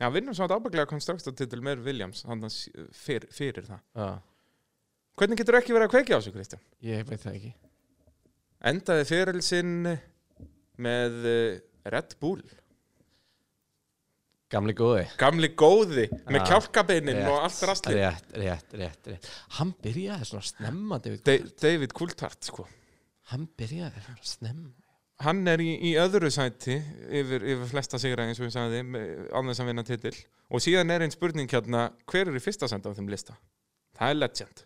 Speaker 2: Já, vinnum samt ábygglega konstruktortitil með Williams hann fyrir, fyrir það
Speaker 1: já.
Speaker 2: Hvernig getur ekki verið að kveikja á sig, Kristján?
Speaker 1: ég veit það ekki
Speaker 2: Endaði fyrir sinn með eh, Red Bull
Speaker 1: gamli góði
Speaker 2: Gamli góði með
Speaker 1: Ah,
Speaker 2: kjálkabeinin
Speaker 1: rétt,
Speaker 2: og allt rastli
Speaker 1: rétt, rétt, rétt, rétt hann byrjaði svona snemma David
Speaker 2: De
Speaker 1: Coulthard.
Speaker 2: David Coulthard, sko
Speaker 1: hann byrjaði svona snemma
Speaker 2: Hann er í, í öðru sæti yfir, yfir flesta sigra eins og við sagði án þess að vinna titil og síðan er einn spurning hérna hver er í fyrsta sæti á þeim lista? Það er legend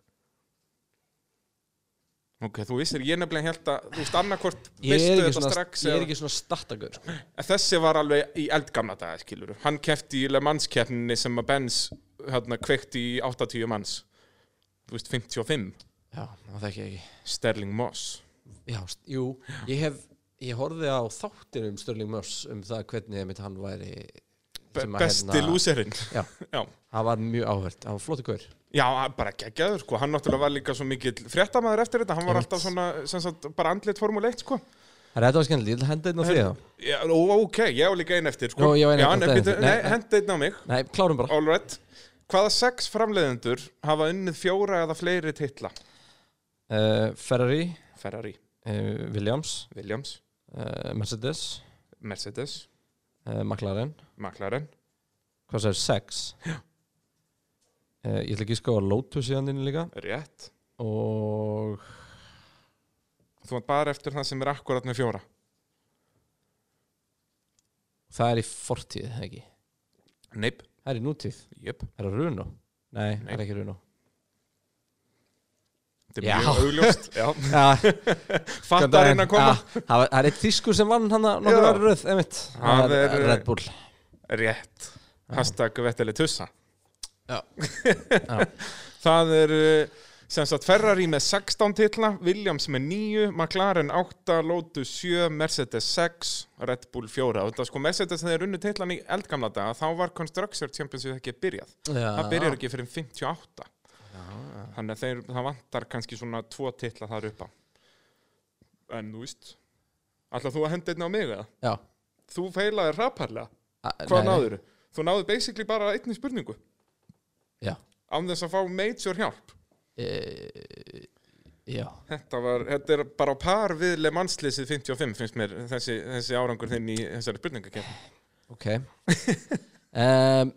Speaker 2: Ok, þú vissir, ég nefnilega held að þú veist annarkvort
Speaker 1: ég er
Speaker 2: veistu
Speaker 1: ekki
Speaker 2: þetta
Speaker 1: svona,
Speaker 2: strax
Speaker 1: ég
Speaker 2: eða-
Speaker 1: er ekki svona startagur sko.
Speaker 2: En Þessi var alveg í eldgamla daga, skilur Hann kefti í Le Mans keppninni sem að Benz hérna, kveikti í 80 manns Þú veist, 55
Speaker 1: já, það þekki ég ekki
Speaker 2: Sterling Moss
Speaker 1: Já, st- jú, ég hef ég horfði á þáttir um Stirling Moss um það hvernig einmitt hann væri
Speaker 2: Be
Speaker 1: sem að
Speaker 2: Besti
Speaker 1: hérna-
Speaker 2: lúserinn
Speaker 1: Já.
Speaker 2: Já.
Speaker 1: Það var mjög áhört, það var flottu gaur
Speaker 2: Já, hann bara geggjaður, sko Hann náttúrulega var líka svo mikill fréttamaður eftir þetta Hann var
Speaker 1: Einmitt.
Speaker 2: alltaf svona, sem sagt, bara andlit formule 1, sko
Speaker 1: Það er þetta var skemmtilegt, ég ætla að henda einn á því þá
Speaker 2: Já, ó, ok, ég á líka einn eftir, sko
Speaker 1: Nú, ég á eina
Speaker 2: Já,
Speaker 1: eftir,
Speaker 2: nei,
Speaker 1: eina
Speaker 2: býttu-
Speaker 1: eftir.
Speaker 2: nei,
Speaker 1: Nei,
Speaker 2: hendi einn á mig
Speaker 1: Nei, klárum bara
Speaker 2: All right Hvaða sex framleiðendur hafa unnið fjóra eða fleiri titla?
Speaker 1: uh, Ferrari,
Speaker 2: Ferrari,
Speaker 1: uh, Williams,
Speaker 2: Williams,
Speaker 1: uh, Mercedes,
Speaker 2: Mercedes,
Speaker 1: uh, McLaren
Speaker 2: McLaren
Speaker 1: Hvað sér, sex Já Ég ætla ekki að skoða Lotus í handinni líka
Speaker 2: Rétt
Speaker 1: og
Speaker 2: Þú var bara eftir það sem er akkurat með fjóra
Speaker 1: það er í fortíð, það ekki
Speaker 2: Neip
Speaker 1: Það er í nútíð,
Speaker 2: Jöp
Speaker 1: það er á Runo Nei,
Speaker 2: Nei.
Speaker 1: það er ekki Runo
Speaker 2: Þetta
Speaker 1: Já.
Speaker 2: er mjög augljóst Já
Speaker 1: Já, hérna
Speaker 2: Fattarinn að koma
Speaker 1: Já, Ah, það var- það er eitt þýskur sem vann hann að nokkur
Speaker 2: Já.
Speaker 1: var röð, einmitt
Speaker 2: Hann
Speaker 1: Það er eh,
Speaker 2: er,
Speaker 1: Red Bull
Speaker 2: Rétt Hashtag vetteli tussa
Speaker 1: Já.
Speaker 2: Það er uh, sem sagt Ferrari með 16 titla Williams með 9 McLaren 8 Lotus 7 Mercedes 6 Red Bull 4 og þetta sko Mercedes þegar runnu titlan í eldgamla daga þá var Constructor Championship ekki byrjað
Speaker 1: Já.
Speaker 2: það byrjar ekki fyrir 58
Speaker 1: Já, já.
Speaker 2: Þannig að þeir, það vantar kannski svona tvo titla þar upp á. En þú veist, ætlaðu þú að henda einn á mig eða?
Speaker 1: Já
Speaker 2: Þú feilaði raparlega.
Speaker 1: A-
Speaker 2: Hvað
Speaker 1: Ah, nei,
Speaker 2: náður? Þú náður basically bara einni spurningu.
Speaker 1: Já
Speaker 2: Án þess að fá major hjálp.
Speaker 1: e, Já
Speaker 2: Þetta, var, þetta er bara á par við Le Manslýsið 55, finnst mér, þessi, þessi árangur þinn í þessari spurningakefni.
Speaker 1: Ok um,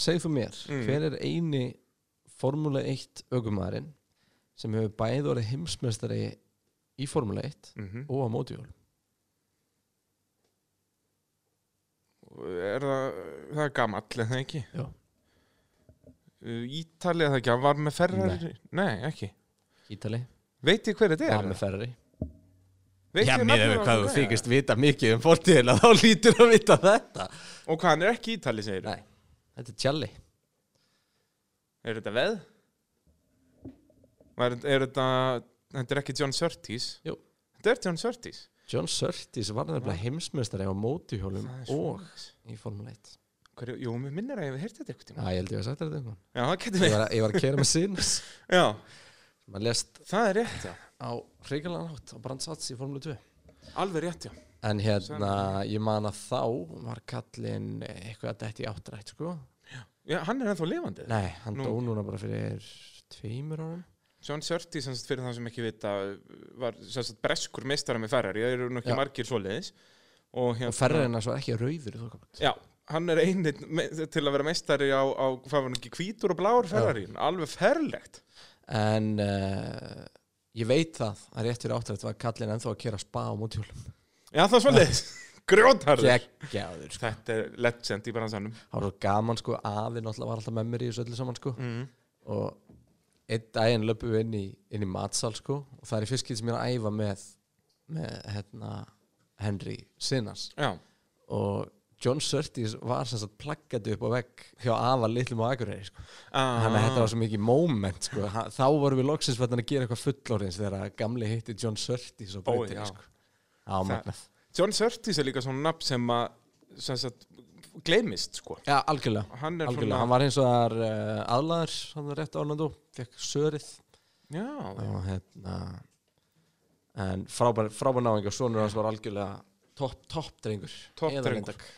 Speaker 1: Segðu þú mér
Speaker 2: Mm.
Speaker 1: Hver er eini Formule 1 ögumæðurinn sem hefur bæði orðið heimsmeistari í Formule 1
Speaker 2: Mm
Speaker 1: og á mótihjól
Speaker 2: Er það, það er gamall, er það ekki?
Speaker 1: Já.
Speaker 2: Ítalið það ekki, hann var með ferrar... Nei, ekki.
Speaker 1: Ítali,
Speaker 2: Veit ég hver þetta er?
Speaker 1: það með Ferrari
Speaker 2: Veit ég nafnið á honum? Nei.
Speaker 1: vita mikið um fortíðina þá lítur að vita þetta
Speaker 2: Og hvað, hann er ekki ítali, segir
Speaker 1: Nei, þetta er Tjalli
Speaker 2: Er þetta veð? Er, er þetta, þetta er ekki John Surtees?
Speaker 1: Jú.
Speaker 2: Þetta er John Surtees.
Speaker 1: John Surtees var nefnilega heimsmeistari á mótihjólum
Speaker 2: Það er
Speaker 1: og
Speaker 2: svoleiðis.
Speaker 1: í Formule 1
Speaker 2: Hverju, jú, mér minnir að ég hef heyrt þetta eitthvað tíma.
Speaker 1: Já, ég held ég að sagt þér þetta einhvern
Speaker 2: Já, það getur
Speaker 1: Ég
Speaker 2: við.
Speaker 1: var að, ég var að kera með sinns
Speaker 2: Já,
Speaker 1: Maður lest
Speaker 2: það er rétt, já.
Speaker 1: á hrigalega nátt á brandsats í Formule 2
Speaker 2: Alveg rétt, já.
Speaker 1: En hérna, ég man að þá var kallinn eitthvað að detti áttrætt, sko
Speaker 2: já hann er ennþá lifandi.
Speaker 1: Nei, hann
Speaker 2: Nú.
Speaker 1: dó núna bara fyrir tveimur árum
Speaker 2: John Surti, sem sagt, fyrir það sem ekki vita var sem sagt, breskur meistara með Ferrari það eru nú ekki
Speaker 1: Já.
Speaker 2: margir svoleiðis og, hérna,
Speaker 1: og ferðin er svo ekki rauður í þokkabönd
Speaker 2: já, hann er eini til að vera meistari á, á hvað var hann ekki, hvítur og blár Ferrari alveg ferlegt
Speaker 1: en uh, ég veit það að rétt fyrir áttrætt var kallin ennþá að kera spa á mótjólum
Speaker 2: já, það er svoleiðis, grjótarður
Speaker 1: geggjaður sko.
Speaker 2: þetta er legend í bransanum
Speaker 1: það var svo gaman sko afi náttúrulega var alltaf með mér í þessu öllu saman sko
Speaker 2: mm.
Speaker 1: og einn daginn löpum við inn í, inn í matsal sko og það er fyrst skil sem ég er að æfa með með hérna Henry Sinnars
Speaker 2: já,
Speaker 1: og John Surtees var sem sagt plaggandi upp á vegg hjá afa litlum á Akureyri sko. þannig að
Speaker 2: Ah.
Speaker 1: þetta var svo mikið moment sko. Ha- þá vorum við loksins verðan að gera eitthvað fullorins þegar að gamli hitti John Surtees og
Speaker 2: Ó,
Speaker 1: breytir
Speaker 2: já.
Speaker 1: sko. á magnað
Speaker 2: Ah, John Surtis er líka svona nafn sem að sem sagt, gleymist sko
Speaker 1: Já, algjörlega,
Speaker 2: hann er
Speaker 1: algjörlega. hann var eins og þar uh, aðlaður, hann var rétt ánandu fekk sörið
Speaker 2: svona já,
Speaker 1: og hérna en frábær, frábær náðing og sonur hans var algjörlega topp top drengur
Speaker 2: Topp
Speaker 1: Eða
Speaker 2: drengur.
Speaker 1: reyndar.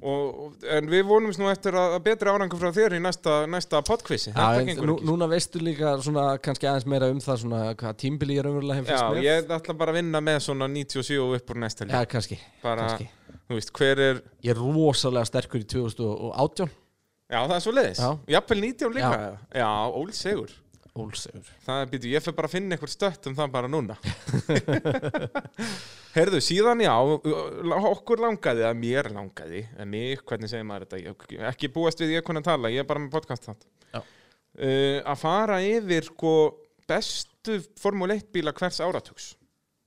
Speaker 2: og, og- en við vonumst nú eftir að að betri árangur frá þér í næsta, næsta podquizi
Speaker 1: Já,
Speaker 2: þetta
Speaker 1: en
Speaker 2: gengur
Speaker 1: nú,
Speaker 2: ekki sko.
Speaker 1: núna veistu líka svona kannski aðeins meira um það svona hvað tímbili ég raunverulega hef
Speaker 2: já,
Speaker 1: fyrst með
Speaker 2: ég ætla bara að vinna með svona 97 og upp úr næsta
Speaker 1: Já,
Speaker 2: líf
Speaker 1: kannski,
Speaker 2: bara,
Speaker 1: kannski
Speaker 2: þú veist, hver er
Speaker 1: Ég er rosalega sterkur í 2018
Speaker 2: já, það er svo leiðis,
Speaker 1: Já.
Speaker 2: jafnvel 90 líka
Speaker 1: Já.
Speaker 2: já, ólsegur
Speaker 1: Ólsegur
Speaker 2: Það er býtu, ég fer bara að finna eitthvað stött um það bara núna. Herðu, síðan já, okkur langaði, eða mér langaði, eða mig, hvernig segir maður þetta, ég, ekki búast við ég kunna tala, ég er bara með podcast þátt.
Speaker 1: Já.
Speaker 2: Uh, að fara yfir sko, bestu Formule 1 bíla hvers áratugs,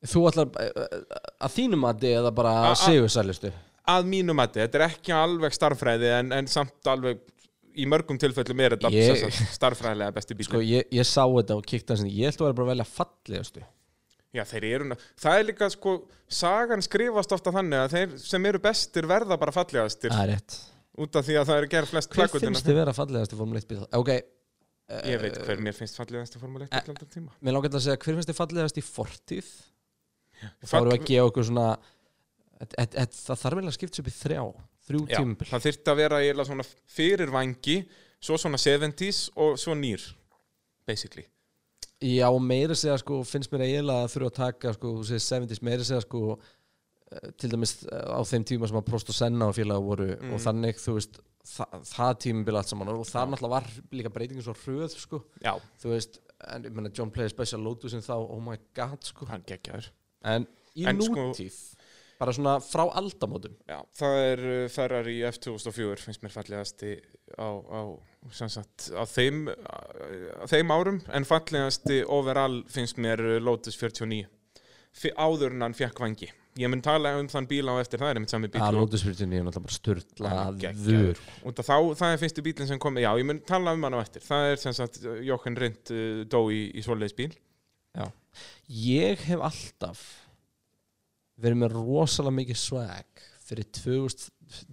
Speaker 1: Þú ætlar eh, eh, að þínum að þið eða bara
Speaker 2: A- a-
Speaker 1: sigursælustu
Speaker 2: að mínu mati, þetta er ekki alveg starffræði en, en samt alveg í mörgum tilfellum er þetta
Speaker 1: Ég-
Speaker 2: sem sagt starffræðilega besti bíl.
Speaker 1: Sko, ég, ég sá þetta og kíkti hans inn. Ég ætla að vera bara að velja fallegastu
Speaker 2: Já, þeir eru, ná- það er líka sko, sagan skrifast ofta þannig að þeir sem eru bestir verða bara fallegastir
Speaker 1: Það er rétt
Speaker 2: út af því að það eru gerð flest
Speaker 1: Hver
Speaker 2: klakkutina.
Speaker 1: finnst þið vera fallegastu Formule 1 bíl? Ok,
Speaker 2: Ég veit hver mér finnst fallegasti formuleitt
Speaker 1: Eh,
Speaker 2: til alltaf tíma.
Speaker 1: mér langar til að segja hver finnst þið fallegast í fortíð? Og þá
Speaker 2: Fall-
Speaker 1: erum við að gefa okkur svona et, et, et, Það þarf eiginlega að skipta sér upp í þrjá Þrjú
Speaker 2: Já,
Speaker 1: tímabil
Speaker 2: það þyrfti að vera eiginlega svona fyrir vangi, svo svona 70s og svo nýr, basically.
Speaker 1: Já, og meira segja sko, finnst mér eiginlega að þurfa að taka sko, þú segir 70s, meira segja sko eh, til dæmis eh, á þeim tíma sem að Prost og Senna og félaga voru
Speaker 2: Mm.
Speaker 1: og þannig, þú veist, það, það tímabil allt saman og það náttúrulega var líka breytingin svo hröð, sko,
Speaker 2: Já,
Speaker 1: þú veist en ég meina John Player Special Lotusin þá, oh my god, sko
Speaker 2: hann geggjaður.
Speaker 1: en í
Speaker 2: En sko-
Speaker 1: nútíð bara svona frá aldamótum
Speaker 2: Já, það er uh, Ferrari F2004 finnst mér fallegasti á, á, sem sagt, á þeim, á þeim árum en fallegasti overall finnst mér uh, Lotus 49 F áður en hann fekk vangi ég mun tala um þann bíl á eftir það er mitt sami bíl
Speaker 1: að
Speaker 2: og,
Speaker 1: Lotusfyrtinni er náttúrulega bara
Speaker 2: Hann er geggjaður.
Speaker 1: styrlaður
Speaker 2: og þá, það er fyrstu bílinn sem kom já, ég mun tala um hann á eftir það er sem sagt uh, Jochen Rindt uh, dó í, í svoleiðis bíl
Speaker 1: ég hef alltaf verið með rosalega mikið swag fyrir 2000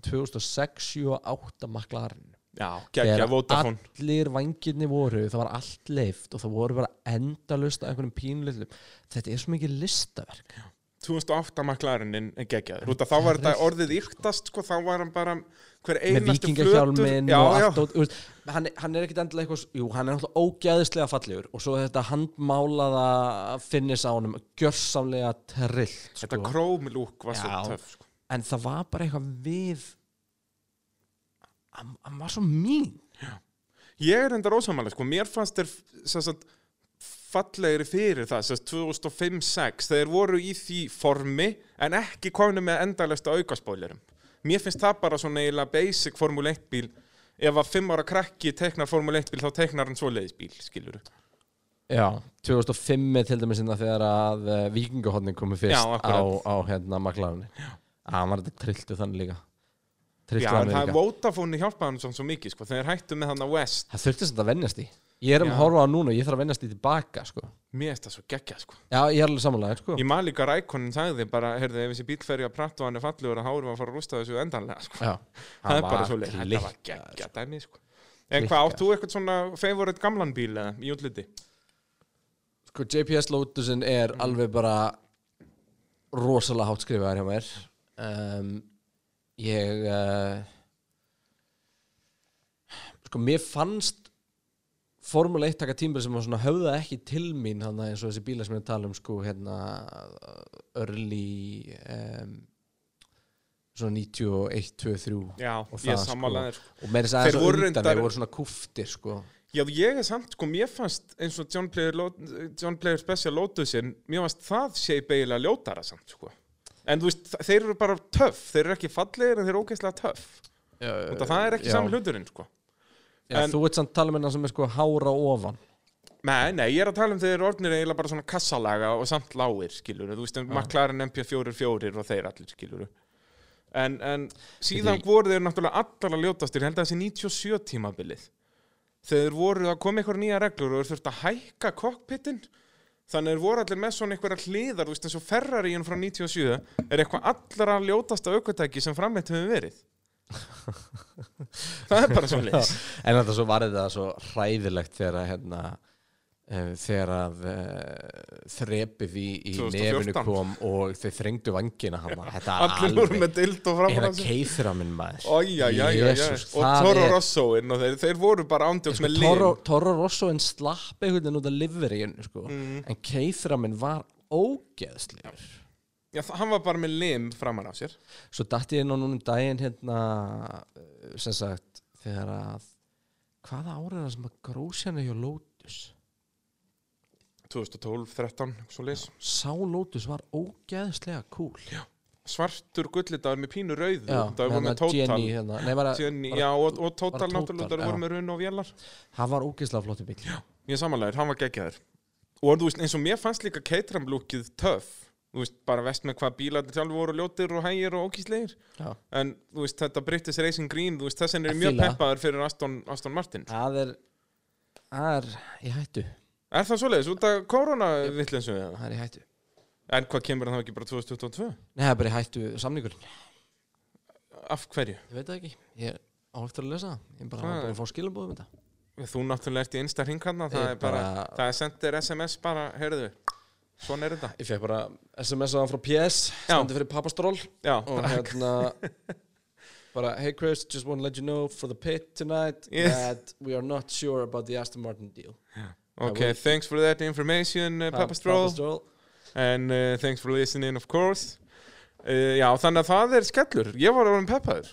Speaker 1: 2006, 7 og 8 maklarinn
Speaker 2: já, geggja, Vodafone
Speaker 1: allir vangirni voru það var allt leift og það voru bara endalust af einhvernum pínlillum þetta er svo mikið listaverk
Speaker 2: 2008 maklarinn geggjaður út að þá var þetta orðið yktast sko, þá var hann bara hver
Speaker 1: með
Speaker 2: einasti
Speaker 1: vikingahjálminn
Speaker 2: já,
Speaker 1: og
Speaker 2: já,
Speaker 1: allt og, þú veist, hann, hann er ekkit endilega eitthvað s- jú, hann er náttúrulega ógæðislega fallegur og svo þetta handmálaða finnis á honum gjörsamlega trillt
Speaker 2: þetta
Speaker 1: sko.
Speaker 2: krómlúk var svo
Speaker 1: Já.
Speaker 2: töff sko.
Speaker 1: en það var bara eitthvað við hann, hann var svo mín
Speaker 2: ég er enda rósamalega, sko, mér fannst þér sem sagt, fallegri fyrir það sem sagt, 2005-06, þeir voru í því formi en ekki komni með endalesta aukaspóilerum mér finnst það bara svona eiginlega basic Formule 1 bíl ef að 5 ára krakki teknar Formule 1 bíl þá teknar hann svoleiðis bíl, skilur
Speaker 1: já, 2005 er til dæmis sinna þegar að uh, vikingahotning komið
Speaker 2: Já,
Speaker 1: fyrst á,
Speaker 2: akkurat.
Speaker 1: á hérna maklarinn hann var þetta trilltu þannig líka
Speaker 2: Já,
Speaker 1: trilltu
Speaker 2: en
Speaker 1: hann
Speaker 2: það
Speaker 1: líka
Speaker 2: er Vodafone hjálpaði hann svona svo mikið, sko, þegar hættu með hann West
Speaker 1: það þurfti sem þetta að vennjast í ég er um
Speaker 2: Já.
Speaker 1: að horfa á núna og ég þarf að vennjast í tilbaka sko.
Speaker 2: Mér finnst það svo geggjað sko
Speaker 1: já, ég er alveg samanlega sko.
Speaker 2: Ég maður líka rækonin sagði bara, heyrðu, ef þessi bíl fer í að pratta og hann er fallegur að hárum að fara að rústa þessu endanlega sko.
Speaker 1: Já,
Speaker 2: Það er bara svo leið, þetta var geggjað dæmi sko En hvað, átt þú eitthvað svona favorite gamlan bíl eða í útliti?
Speaker 1: Sko, JPS Lotusin er
Speaker 2: Mhm.
Speaker 1: alveg bara rosalega hátt skrifaðar hjá mér um, Ég eh, uh, Sko, mér fannst Formule 1 taka tímbil sem var svona höfða ekki til mín hann eins og þessi bíla sem ég er að tala um sko hérna early um, svona 91, 23
Speaker 2: Já,
Speaker 1: og
Speaker 2: ég
Speaker 1: það,
Speaker 2: sammála þér, sko.
Speaker 1: og meira þess að
Speaker 2: Þeir
Speaker 1: þess að
Speaker 2: voru
Speaker 1: undan
Speaker 2: reyndar-
Speaker 1: þeir voru svona kúftir sko
Speaker 2: Já, ég er samt, sko, mér fannst eins og John Player, Lot- John Player Special Lotusin, mér fannst það sé eiginlega ljótara samt, sko. En þú veist, þa- þeir eru bara töff, þeir eru ekki fallegir en þeir eru ógeðslega töff. Og það er ekki
Speaker 1: Já.
Speaker 2: saman hluturinn, sko.
Speaker 1: Já,
Speaker 2: En-
Speaker 1: þú ert samt tala með hann sem er sko hára ofan
Speaker 2: Nei, nei, ég er að tala um þeir eru orðnir eiginlega bara svona kassalaga og samt lágir, skilur. Þú veist, um McLaren MP44 og þeir allir, skilur. En, en síðan
Speaker 1: Þetta
Speaker 2: voru þeir náttúrulega allar að ljótastir, ég held að þessi 97 tímabilið. Þegar þeir voru að koma eitthvað nýja reglur og þeir þurfti að hækka kokpittin, þannig þeir voru allir með svona einhverja hliðar, þú veist, eins og Ferraríin frá 97 er eitthvað allara ljótasta aukvöldæki sem framleitt hefur verið. það er bara svona leys.
Speaker 1: en þetta svo var þetta svo hræðilegt þegar að hérna eh, þegar að uh, þrepið í, í
Speaker 2: 2014.
Speaker 1: nefinu kom og þeir þrengdu vangina hann þetta er
Speaker 2: Allir voru
Speaker 1: alveg
Speaker 2: með dild og framar
Speaker 1: eða keithra minn maður
Speaker 2: Æjæjæjæjæ,
Speaker 1: Jesus,
Speaker 2: og
Speaker 1: það
Speaker 2: Toro sko,
Speaker 1: er-
Speaker 2: Rossoinn og þeir, þeir voru bara ándjóks
Speaker 1: sko,
Speaker 2: með lin
Speaker 1: Toro, Toro Rosso en slapp einhvern veginn út af liveríun sko.
Speaker 2: Mm.
Speaker 1: en keithra minn var ógeðslegur
Speaker 2: Já, þa- hann var bara með lim framar á sér
Speaker 1: svo datt ég inn á núna um daginn hérna eh, sem sagt þegar að hvaða ára er það sem að grósjan er hjá Lotus
Speaker 2: 2012, 13, svo leys
Speaker 1: sá Lotus var ógeðslega cool já
Speaker 2: Svartur gullidagur með pínu rauðu
Speaker 1: Já,
Speaker 2: Það voru
Speaker 1: hérna,
Speaker 2: með Total
Speaker 1: Jenny, hérna. Nei, bara,
Speaker 2: Jenny,
Speaker 1: bara,
Speaker 2: Já, og, og Total
Speaker 1: bara Total,
Speaker 2: náttúrulega það
Speaker 1: já.
Speaker 2: voru með runn og vélar
Speaker 1: hann var ógeðslega flottu bíl já.
Speaker 2: Ég samanlegaður, hann var geggjaður Og þú veist, eins og mér fannst líka Caterham lúkið töff Þú veist, bara vest með hvað bílarnir sjálf voru ljótir og hægir og ókíslegir En þú veist, þetta British Racing Green, þú veist, þessin er
Speaker 1: Að
Speaker 2: ég mjög
Speaker 1: fíla.
Speaker 2: peppaður fyrir Aston, Aston Martin
Speaker 1: það er það er í hættu
Speaker 2: Er það svoleiðis? Út af koronavillensum eða?
Speaker 1: það er í hættu
Speaker 2: En hvað kemur hann þá ekki bara 2022?
Speaker 1: nei, það er bara í hættu samningurinn
Speaker 2: Af hverju?
Speaker 1: ég veit það ekki ég á eftir að lesa það ég er bara
Speaker 2: Það
Speaker 1: hann
Speaker 2: er-
Speaker 1: búin að fá skilabóðum þetta
Speaker 2: Þú náttúrulega ert í einsta hringarna, það
Speaker 1: Ég
Speaker 2: er bara,
Speaker 1: bara-
Speaker 2: það er sendir SMS bara, heyrðu, svona er þetta.
Speaker 1: ég fekk bara SMS aðan frá PS
Speaker 2: stendur
Speaker 1: fyrir pappastról
Speaker 2: Já,
Speaker 1: og hérna bara hey Chris, just want to let you know for the pit tonight
Speaker 2: Yes.
Speaker 1: that we are not sure about the Aston Martin deal
Speaker 2: ok,
Speaker 1: will-
Speaker 2: thanks for that information, uh, Papa Stroll, and uh, thanks for listening, of course. Uh, já, þannig að það er skellur, ég var orðin peppaður.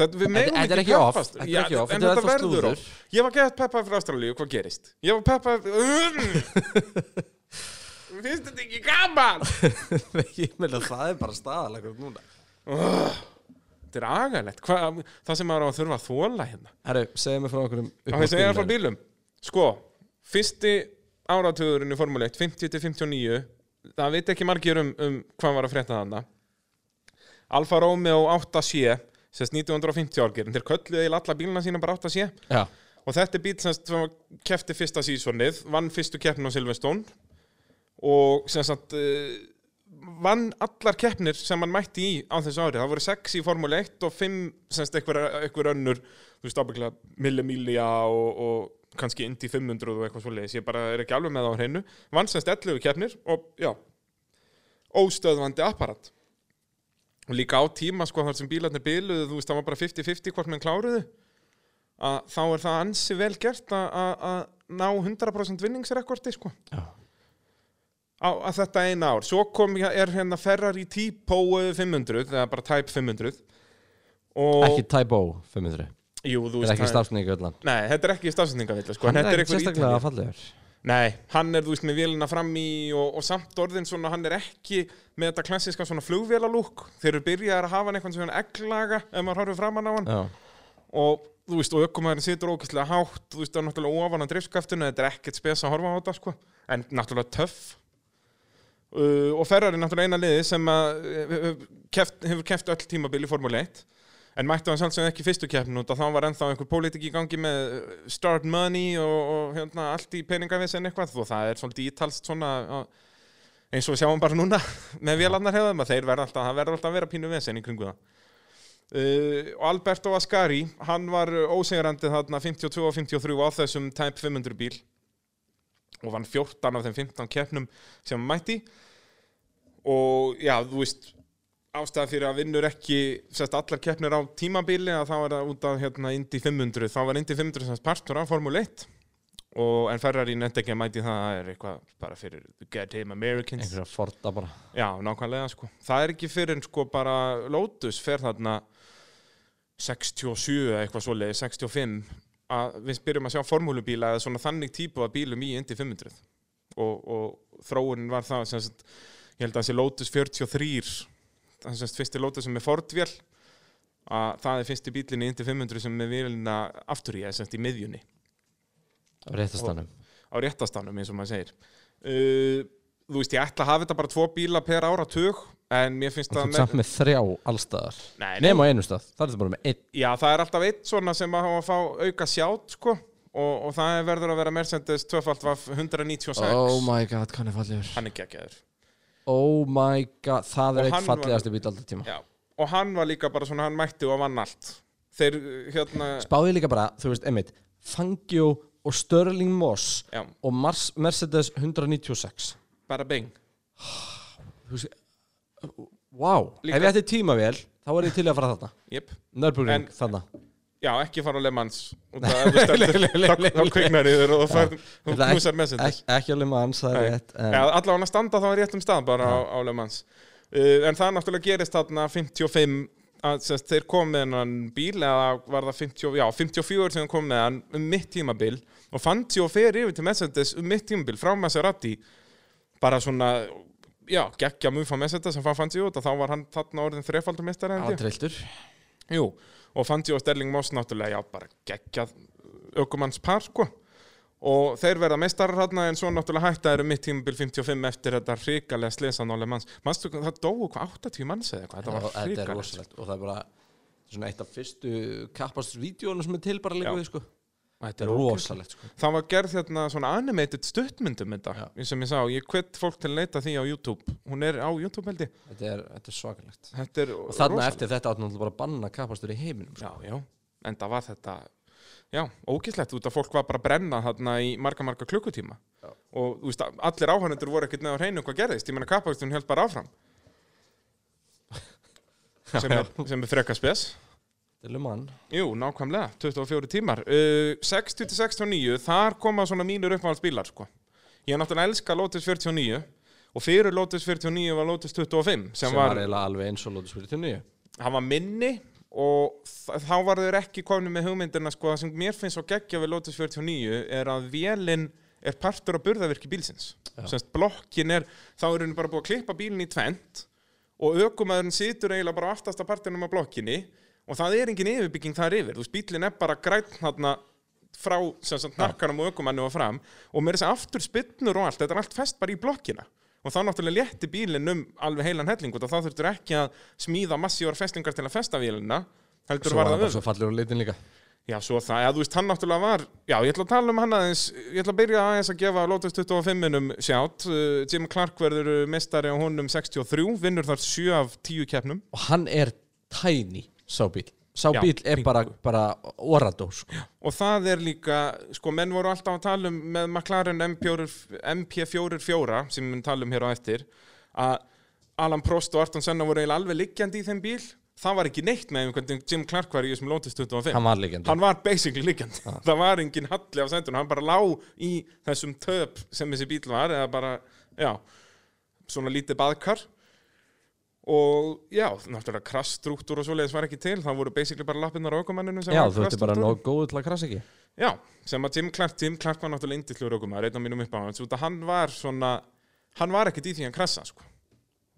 Speaker 2: Þetta, við
Speaker 1: Þetta
Speaker 2: megum
Speaker 1: þetta er
Speaker 2: ekki
Speaker 1: ekki off,
Speaker 2: peppast.
Speaker 1: þetta
Speaker 2: Já,
Speaker 1: er ekki off,
Speaker 2: en
Speaker 1: þetta er
Speaker 2: þetta
Speaker 1: það
Speaker 2: verður
Speaker 1: slúður
Speaker 2: off. Ég var gett peppað fyrir Ástralíu, hvað gerist? Ég var peppað... Mm. Finnst þetta ekki gaman?
Speaker 1: Nei, ég meina það er bara staðalegur núna
Speaker 2: Þetta er agalegt, Hva, það sem maður á að þurfa að þóla hérna.
Speaker 1: Herru, segðu mig frá okkur um
Speaker 2: Á ég segja frá bílum. Sko, fyrsti áratugurinn í Formule 1, 50-59, það veit ekki margir um, um hvað var að frétta þarna. Alfa Romeo 8C, sérst 1950 árgerinn, þeir kölluðu í alla bíluna sína bara 8C
Speaker 1: Já,
Speaker 2: og þetta er bíl sem sagt sem kefti fyrsta sísonið, vann fyrstu keppnin á Silveston og sem sagt uh, vann allar keppnir sem hann mætti í á þessu ári, það voru sex í Formule 1 og fimm sem sagt einhver, einhver önnur þú veist ábygglega Millemilia og, og kannski Indy 500 og eitthvað svoleiðis, ég bara er ekki alveg með það á hreinu vann sem sagt 11 keppnir og já óstöðvandi apparat og líka á tíma sko þar sem bílarnir biluðu, þú veist það var bara 50-50 hvort menn kláruðu að þá er það ansi vel gert að- að að ná 100% vinningsrekordi sko.
Speaker 1: Já.
Speaker 2: á, að þetta eina ár svo kom ég er hérna Ferrari Tipo 500 eða bara Type 500 og
Speaker 1: ekki Tybo 500
Speaker 2: jú, þú
Speaker 1: Er
Speaker 2: veist
Speaker 1: ekki
Speaker 2: það-
Speaker 1: stafsningu öllan
Speaker 2: Nei, þetta er ekki stafsendingavill sko, en þetta er eitthvað
Speaker 1: sérstaklega
Speaker 2: ítalið
Speaker 1: fallegur
Speaker 2: Nei, hann er, þú veist, með vélina fram í og, og samt orðin svona, hann er ekki með þetta klassiska svona flugvélalúk þeir eru byrjaðar að hafa hann eitthvað svona egglaga ef maður horfir framan á hann
Speaker 1: Já,
Speaker 2: og þú veist, og ökkumæðurinn situr ókvæslega hátt þú veist, það er náttúrulega ofan á driftskaftinu þetta er ekkert spes að horfa á þetta, sko en náttúrulega töff uh, og Ferrari er náttúrulega eina liði sem að, uh, keft, hefur keft öll tímabil í Formule 1 en mættu hann sjálfsögum ekki í fyrstu keppnum út að þá var ennþá einhver pólitik í gangi með uh, start money og, og hérna, allt í peningavisen eitthvað og það er svolítið ítalst svona uh, eins og við sjáum bara núna með vélarnar hefðum að þeir verða alltaf, það verður alltaf að vera pínu vesen í kringu það Uh, og Alberto Ascari, hann var ósegrandi þarna 52 og 53 á þessum Type 500 bíl og vann 14 af þeim 15 keppnum sem hann mætti og já, þú veist ástæða fyrir að vinnur ekki sérst, allar keppnir á tímabili að þá er það út af hérna, Indy 500, þá var Indy 500 sem sagt partur af Formule 1 og en Ferrari nefndi ekki að mæti það það er eitthvað bara fyrir the goddamn Americans
Speaker 1: einhverja forda bara
Speaker 2: já, nákvæmlega sko það er ekki fyrir en sko bara Lotus fer þarna 67 eða eitthvað svoleiði 65 að við byrjum að sjá formúlubíla eða svona þannig típu af bílum í Indy 500 og, og þróunin var það sem sagt, ég held að þessi Lotus 43 það sem sagt, fyrsti Lotus sem er Ford-vél að það er fyrsti bílinn í Indy 500 sem er vélina aftur í, eða sem sagt í miðjunni
Speaker 1: á réttastanum
Speaker 2: á réttastanum eins og maður segir uh, þú veist ég ætla að hafa þetta bara tvo bíla per ára tug en mér finnst
Speaker 1: og þú
Speaker 2: það
Speaker 1: ert samt með þrjá allstaðar
Speaker 2: Nei, nei.
Speaker 1: nema á einu stað, það er þetta bara með einn
Speaker 2: já það er alltaf eitt svona sem að hafa að fá auka sjátt sko og, og það er verður að vera Mercedes 2.196
Speaker 1: oh my god, hvað hann er fallegur
Speaker 2: hann er geggjaður
Speaker 1: oh my god, það
Speaker 2: Og
Speaker 1: er eitt
Speaker 2: hann var-
Speaker 1: fallegasti bíl alltaf tíma
Speaker 2: já. og hann var líka bara svona hann mætti og vann allt þeir uh, hérna
Speaker 1: spáði líka bara, þú veist, einmitt Fangio og Sterling Moss
Speaker 2: já,
Speaker 1: og Mars Mercedes 196
Speaker 2: bara bing
Speaker 1: wow,
Speaker 2: Líka-
Speaker 1: ef ég ætti tíma vel þá er ég til í að fara þarna
Speaker 2: yep. En-
Speaker 1: Nörbjörgring, þarna
Speaker 2: já ekki fara á Le Mans út af ef þú stendur- þá þá kviknar yfir og þú fær- þú
Speaker 1: Ætla
Speaker 2: knúsar Mercedes
Speaker 1: ekki, ekki alveg maður hans, það er
Speaker 2: Nei.
Speaker 1: rétt en,
Speaker 2: Já, allavega að standa þá í réttum stað bara á, á Le Mans uh, En það náttúrulega gerist þarna 55 að sérst, þeir kom með hennan bíl eða var það 50, já, 54 sem kom með hann um mitt tímabil og Fantio fer yfir til Mercedes um mitt tímabil frá Maserati bara svona, já, geggja mjög frá Mercedes sem fann Fantio út og þá var hann þarna orðin þrefaldumistari
Speaker 1: hann trilltur
Speaker 2: Jú, og Fantio og Sterling Moss náttúrulega, já, bara geggjað aukumannspar, sko. Og þeir verða meistarar hérna, en svo náttúrulega hætta eru mitt tímabil 55 eftir þetta hrikalega slesan álega manns. Manstu, hvað, það dóu hvað 80 manns eða eitthvað, þetta
Speaker 1: og
Speaker 2: var
Speaker 1: þetta er
Speaker 2: hrikalegt.
Speaker 1: rosalegt og það er bara svona eitt af fyrstu kappastusvídjónu sem er til bara líka
Speaker 2: Já.
Speaker 1: við sko
Speaker 2: Þetta
Speaker 1: þetta er rosalegt sko
Speaker 2: Það var gerð hérna svona animated stuttmyndum þetta, sem ég sá. Ég hvet fólk til að leita því á YouTube. Hún er á YouTube, held ég.
Speaker 1: þetta er, þetta er svakalegt
Speaker 2: Þetta er
Speaker 1: og þarna eftir þetta áttu náttúrulega bara að banna kappastur í heiminum sko.
Speaker 2: Já, já, en það var þetta Já, ógæslegt út að fólk var bara að brenna þarna í marga, marga klukkutíma
Speaker 1: Já.
Speaker 2: og þú veist, allir áhörnendur voru ekkert neða á hreinu hvað gerðist, ég meina kappakstun held bara áfram sem er, sem er freka spes
Speaker 1: þetta er lumann
Speaker 2: Jú, nákvæmlega, 24 tímar uh, 60 til 69, þar koma svona mínur uppáhaldsbílar sko. Ég náttúrulega elska Lotus 49 og fyrir Lotus 49 var Lotus 25 sem,
Speaker 1: sem var eiginlega alveg eins og Lotus 49
Speaker 2: hann var minni og þ- þá var þeir ekki komin með hugmyndina sko, það sem mér finnst svo geggja við Lotus 49 er að vélinn er partur af burðavirki bílsins semst blokkin er, þá er henni bara búið að klippa bílinn í tvent og ökumæðurinn situr eiginlega bara á aftasta partinum af blokkinni og það er engin yfirbygging þar yfir, þú veist bílinn er bara græn þarna frá sem sagt nakkanum og ökumæðinu og fram og með þess að aftur spinnur og allt, þetta er allt fest bara í blokkina og þá náttúrulega létti bílinn um alveg heilan helling og þá þurftur ekki að smíða massívar festingar til að festa vélina heldur
Speaker 1: svo var það
Speaker 2: var það
Speaker 1: bara
Speaker 2: öfugt.
Speaker 1: svo fallegur og litin líka
Speaker 2: Já, svo það, já, þú veist, hann náttúrulega var Já, ég ætla að tala um hann aðeins Ég ætla að byrja aðeins að gefa Lotus 25-inum sjátt Uh, Jim Clark verður uh, meistari á honum 63 Vinnur þar 7 af 10 keppnum
Speaker 1: og hann er tiny sá bíl sá
Speaker 2: Já,
Speaker 1: bíl er bara, bara oradó sko.
Speaker 2: Og það er líka, sko, menn voru alltaf að tala um með McLaren M4, MP44 sem við mun tala um hér á eftir að Alan Prost og Arton Senna voru eiginlega alveg liggjandi í þeim bíl það var ekki neitt með einhvern Jim Clark var í þessum Lotus 25
Speaker 1: hann var líkjandi
Speaker 2: hann var basically liggjandi það var engin halli af sendunum, hann bara lá í þessum töp sem þessi bíl var eða bara, já svona lítið baðkar og já, náttúrulega krassstrúktúr og svoleiðis var ekki til, það voru basically bara lappinnar á aukumenninu sem
Speaker 1: já
Speaker 2: var
Speaker 1: þú ertu bara
Speaker 2: krassstrúktúr.
Speaker 1: nóg góð til að krasa ekki
Speaker 2: Já, sem að Jim Clark, Jim Clark var náttúrulega indislur okkur maður, einn af mínum uppáhalds, út að hann var svona, hann var ekkert í því hann krassa, sko.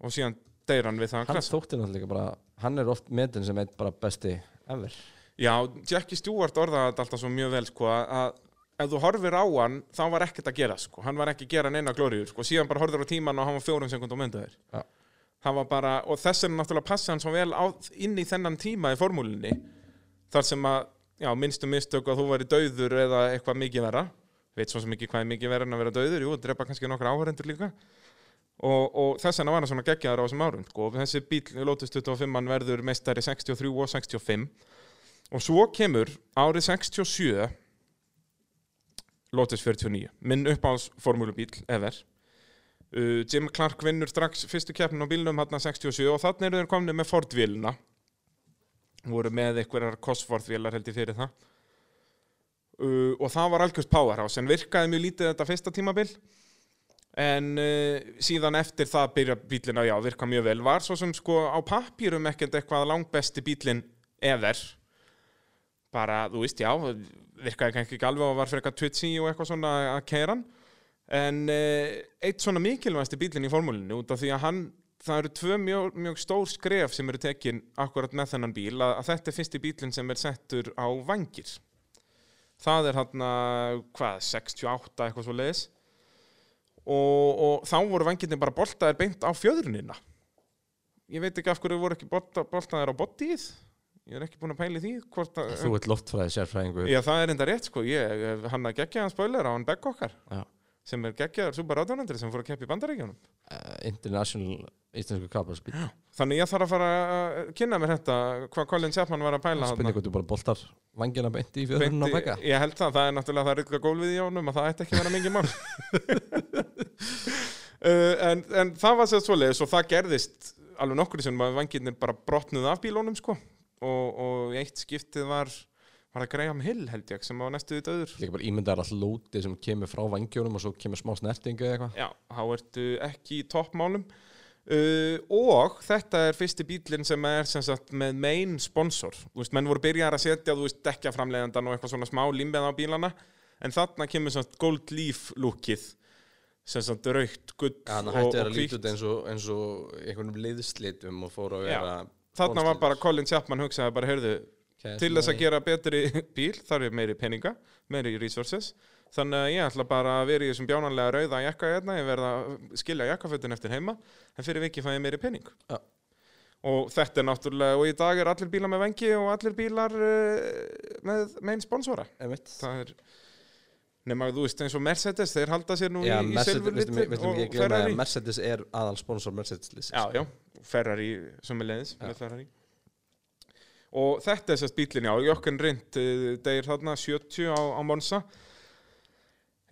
Speaker 2: Og síðan deyr hann við það hann
Speaker 1: hann
Speaker 2: krassa.
Speaker 1: þótti náttúrulega bara hann er oft metin sem eitt bara besti ever
Speaker 2: Já, Jackie Stewart orðaði þetta alltaf svo mjög vel, sko, að- að ef þú horfir á hann, þá var ekkert að gera, sko. Hann var ekki að gera neina glóriður, sko. Síðan bara horfir á tíman og hann var fjórum sekund og myndaður.
Speaker 1: Já.
Speaker 2: Hann var bara, og þess vegna náttúrulega passi hann svo vel á, inn í þennan tíma í formúlinni, þar sem að, já, minnstu mistök að þú væri dauður eða eitthvað mikið vera veit svo sem ekki hvað er mikið vera en að vera dauður jú, drepa kannski nokkra áhörendur líka og, og þess vegna var hann svona geggjaður á þessum árum sko. og þessi bíl, Lotus 25 hann verður meistari 63 og 65 og svo kemur árið 67 Lotus 49 minn uppáhalds formúlubíl ever uh, Jim Clark vinnur strax fyrstu keppnin á bílnum hann 67 og þannig eru þeir komni með Ford-vélina voru með einhverjar Cosworth-vélar held ég fyrir það uh, og það var algjörst powerhouse en virkaði mjög lítið þetta fyrsta tímabil en uh, síðan eftir það byrja bílinn að já, virka mjög vel var svo sem sko á pappýrum ekkert eitthvað langbesti bílinn ever bara, þú veist, já virkaði kannski ekki alveg og var fyrir eitthvað tutsi og eitthvað svona að keira hann en uh, eitt svona mikilvægasti bílinn í formúlinu út af því að hann það eru tvö mjög, mjög stór skref sem eru tekin akkurat með þennan bíl að, að þetta er fyrsti bílinn sem er settur á vangir það er hann hvað, 68 eitthvað svo leiðis og, og þá voru vangirni bara boltaðir beint á fjöðrunina ég veit ekki af hverju voru ekki bolta, boltaðir á boddíð ég er ekki búin að pæli því hvort að
Speaker 1: Þú ert loftfræði sérfræðingur
Speaker 2: Já, það er enda rétt sko, ég, hann að geggja hann spoiler á hann begg okkar
Speaker 1: Já.
Speaker 2: sem er geggjaður Super 800 sem fór að keppa í bandaríkjunum
Speaker 1: Eh, International Íslensku kapparspíl
Speaker 2: Þannig ég þarf að fara að kynna mér þetta hvað Colin Chapman var að pæla þarna.
Speaker 1: Spurning hvort þú bara boltar vangina beint í
Speaker 2: Beint
Speaker 1: fjöðurinn á
Speaker 2: í-
Speaker 1: bekka
Speaker 2: Ég held það, það er náttúrulega það rýtka gólfið í honum að það ætti ekki að vera mingi mál uh, en, en það var sér svoleiðis og það gerðist alveg nokkur sem að vangirnir bara brotnuð af bílónum sko og, og í eitt skiptið var var það Graham Hill held ég sem var næstu því döður
Speaker 1: Ég bara ímynda er alltaf lótið sem kemur frá vangjónum og svo kemur smá snertingu eða eitthvað
Speaker 2: Já, þá ertu ekki í toppmálum uh, og þetta er fyrsti bílinn sem er sem sagt, með main sponsor þú veist, menn voru byrjar að setja þú veist, dekja framleiðandan og eitthvað svona smá límbeð á bílana en þarna kemur sem sagt, gold leaf lúkið sem sagt raukt gull
Speaker 3: Þannig
Speaker 2: og,
Speaker 3: hætti að
Speaker 2: og
Speaker 3: líta út
Speaker 2: hvítt
Speaker 3: eins og, eins og einhvern liðslitum og fór að
Speaker 2: Já.
Speaker 3: vera
Speaker 2: þarna var bara Colin Chapman hugsaði bara, heyrðu,
Speaker 3: Kæs-
Speaker 2: til þess að gera betri bíl þarf ég meiri peninga, meiri resources þannig að ég ætla bara að vera í þessum bjánanlega rauða jakka hérna, ég verða að skilja jakkafötin eftir heima, en fyrir vikið fæ ég meiri pening
Speaker 1: Já.
Speaker 2: og þetta er náttúrulega, og í dag er allir bílar með vengi og allir bílar uh, með main sponsora
Speaker 1: Einmitt.
Speaker 2: það er nema þú veist eins og Mercedes, þeir halda sér nú
Speaker 1: Já,
Speaker 2: í, í
Speaker 1: Mercedes, við
Speaker 2: silfurlitin
Speaker 1: ætlum ekki um
Speaker 2: og
Speaker 1: að glemma að
Speaker 2: Ferrari
Speaker 1: Mercedes er aðal sponsor Mercedes lýsins
Speaker 2: já, já, Ferrari sem er leiðis með Ferrari og þetta er sérst bílinn, já, Jökun Rind degir þarna 70 á, á Monsa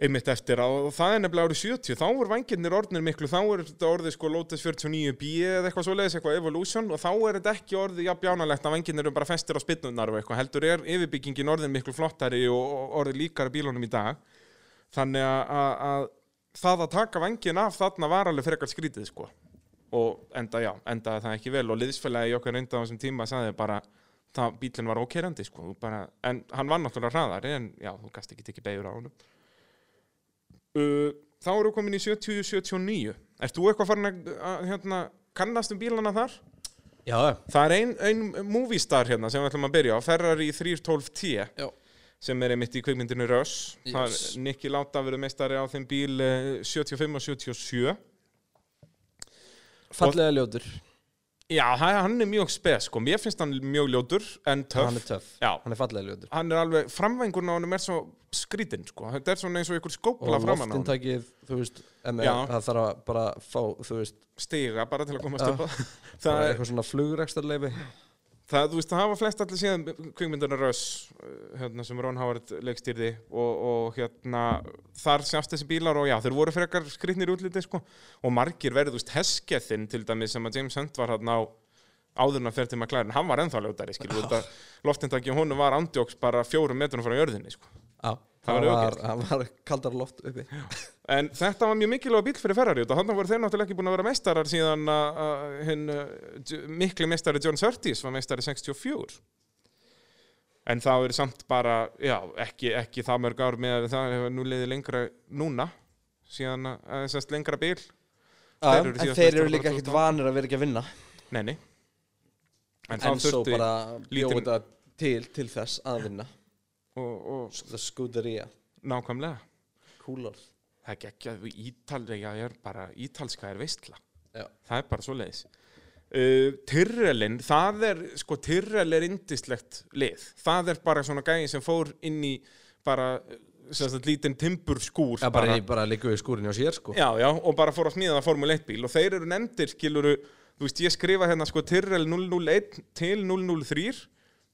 Speaker 2: einmitt eftir á, og það er nefnilega árið 70 þá voru vangirnir orðnir miklu, þá er þetta orðið sko Lotus 49B eða eitthvað svoleiðis eitthvað Evolution og þá er þetta ekki orðið jafn bjánalegt að vangirnir eru bara festir á spinnunar og eitthvað, heldur er yfirbyggingin orðin miklu flottari og og orðið líkara bílunum í dag þannig að- að að það að taka vangin af þarna var alveg frekar skrítið sko og enda já, enda það ekki vel og liðsfélagi í okkar reynda á þessum tíma sagði bara það bílinn var ókerandi sko þú bara, en hann var náttúrulega hraðari en já, þú gast ekki tekið beigur á honum uh, þá eru komin í 70-79 Ert þú eitthvað farin að, að hérna, kannast um bílana þar?
Speaker 1: já, já.
Speaker 2: Það er ein, ein movie star hérna sem við ætlum að byrja á Ferrari 312T
Speaker 1: Já.
Speaker 2: sem er einmitt í kvikmyndinu Rush það
Speaker 1: Yes.
Speaker 2: er Nicky Láta verið meistari á þeim bíl eh, 75 og 77
Speaker 1: fallega ljótur,
Speaker 2: Já, það- hann er mjög spes sko, mér finnst hann mjög ljótur en
Speaker 1: hann er
Speaker 2: töff
Speaker 1: töff
Speaker 2: Já,
Speaker 1: hann er fallega ljótur
Speaker 2: hann er alveg, framvængurinn á hann er svo skrítinn sko, þetta er svona eins og einhver skópla
Speaker 1: og
Speaker 2: framan á hann,
Speaker 1: loftintakið, þú veist em,
Speaker 2: Já.
Speaker 1: það þarf að bara fá, þú veist
Speaker 2: stiga bara til að komast
Speaker 1: Já.
Speaker 2: upp að
Speaker 1: bara
Speaker 2: það,
Speaker 1: eitthvað svona flugrekstarleifi
Speaker 2: það, þú veist, það hafa flest allir síðan kvikmyndana Russ, eh, hérna, sem Ron Howard leikstýrði og, og hérna þar sjást þessi bílar og já, þeir voru frekar skrýtnir í útliti, sko, og margir verið, þú veist, heskeðin til dæmis sem að James Hunt var hérna á áðurna fer til McLaren, hann var ennþá ljótari, skilur, út að loftindaki á honum var ándjóks bara fjórum metrunum frá jörðinni, sko.
Speaker 1: Já,
Speaker 2: Það
Speaker 1: það
Speaker 2: var
Speaker 1: var, það var kaldar loft uppi
Speaker 2: En þetta var mjög mikilvæg bíl fyrir Ferrari og þannig voru þeir náttúrulega ekki búin að vera meistarar síðan að að hinn uh, J- mikli meistari John Surtees var meistari 64 en það er samt bara já, ekki, ekki það mörg ár með að það hefur nú liðið lengra núna síðan að- að sérst lengra bíl Þeir eru
Speaker 1: en
Speaker 2: síðast
Speaker 1: þeir
Speaker 2: meistarar
Speaker 1: eru líka
Speaker 2: bara
Speaker 1: ekkit
Speaker 2: 2018.
Speaker 1: vanir að vera ekki að vinna
Speaker 2: nei, nei en,
Speaker 1: en,
Speaker 2: þá
Speaker 1: svo
Speaker 2: þurfti
Speaker 1: bara bjóða
Speaker 2: lítinn-
Speaker 1: þetta til, til þess að vinna
Speaker 2: og, og
Speaker 1: the scuderia,
Speaker 2: nákvæmlega
Speaker 1: kúlar
Speaker 2: það er ekki að ítalja er bara ítalska er veistla
Speaker 1: Já.
Speaker 2: það er bara svo leiðis uh, Tyrrelin, það er sko Tyrrel er indislegt lið það er bara svona gæði sem fór inn í bara uh, sem sagt lítinn timbur skúr
Speaker 1: Já, bara, bara, bara líka við skúrinni á sér sko
Speaker 2: já, já, og bara fór að smíða Formule 1 bíl og þeir eru nefndir skiluru, þú veist ég skrifa hérna sko Tyrrel 001 til 003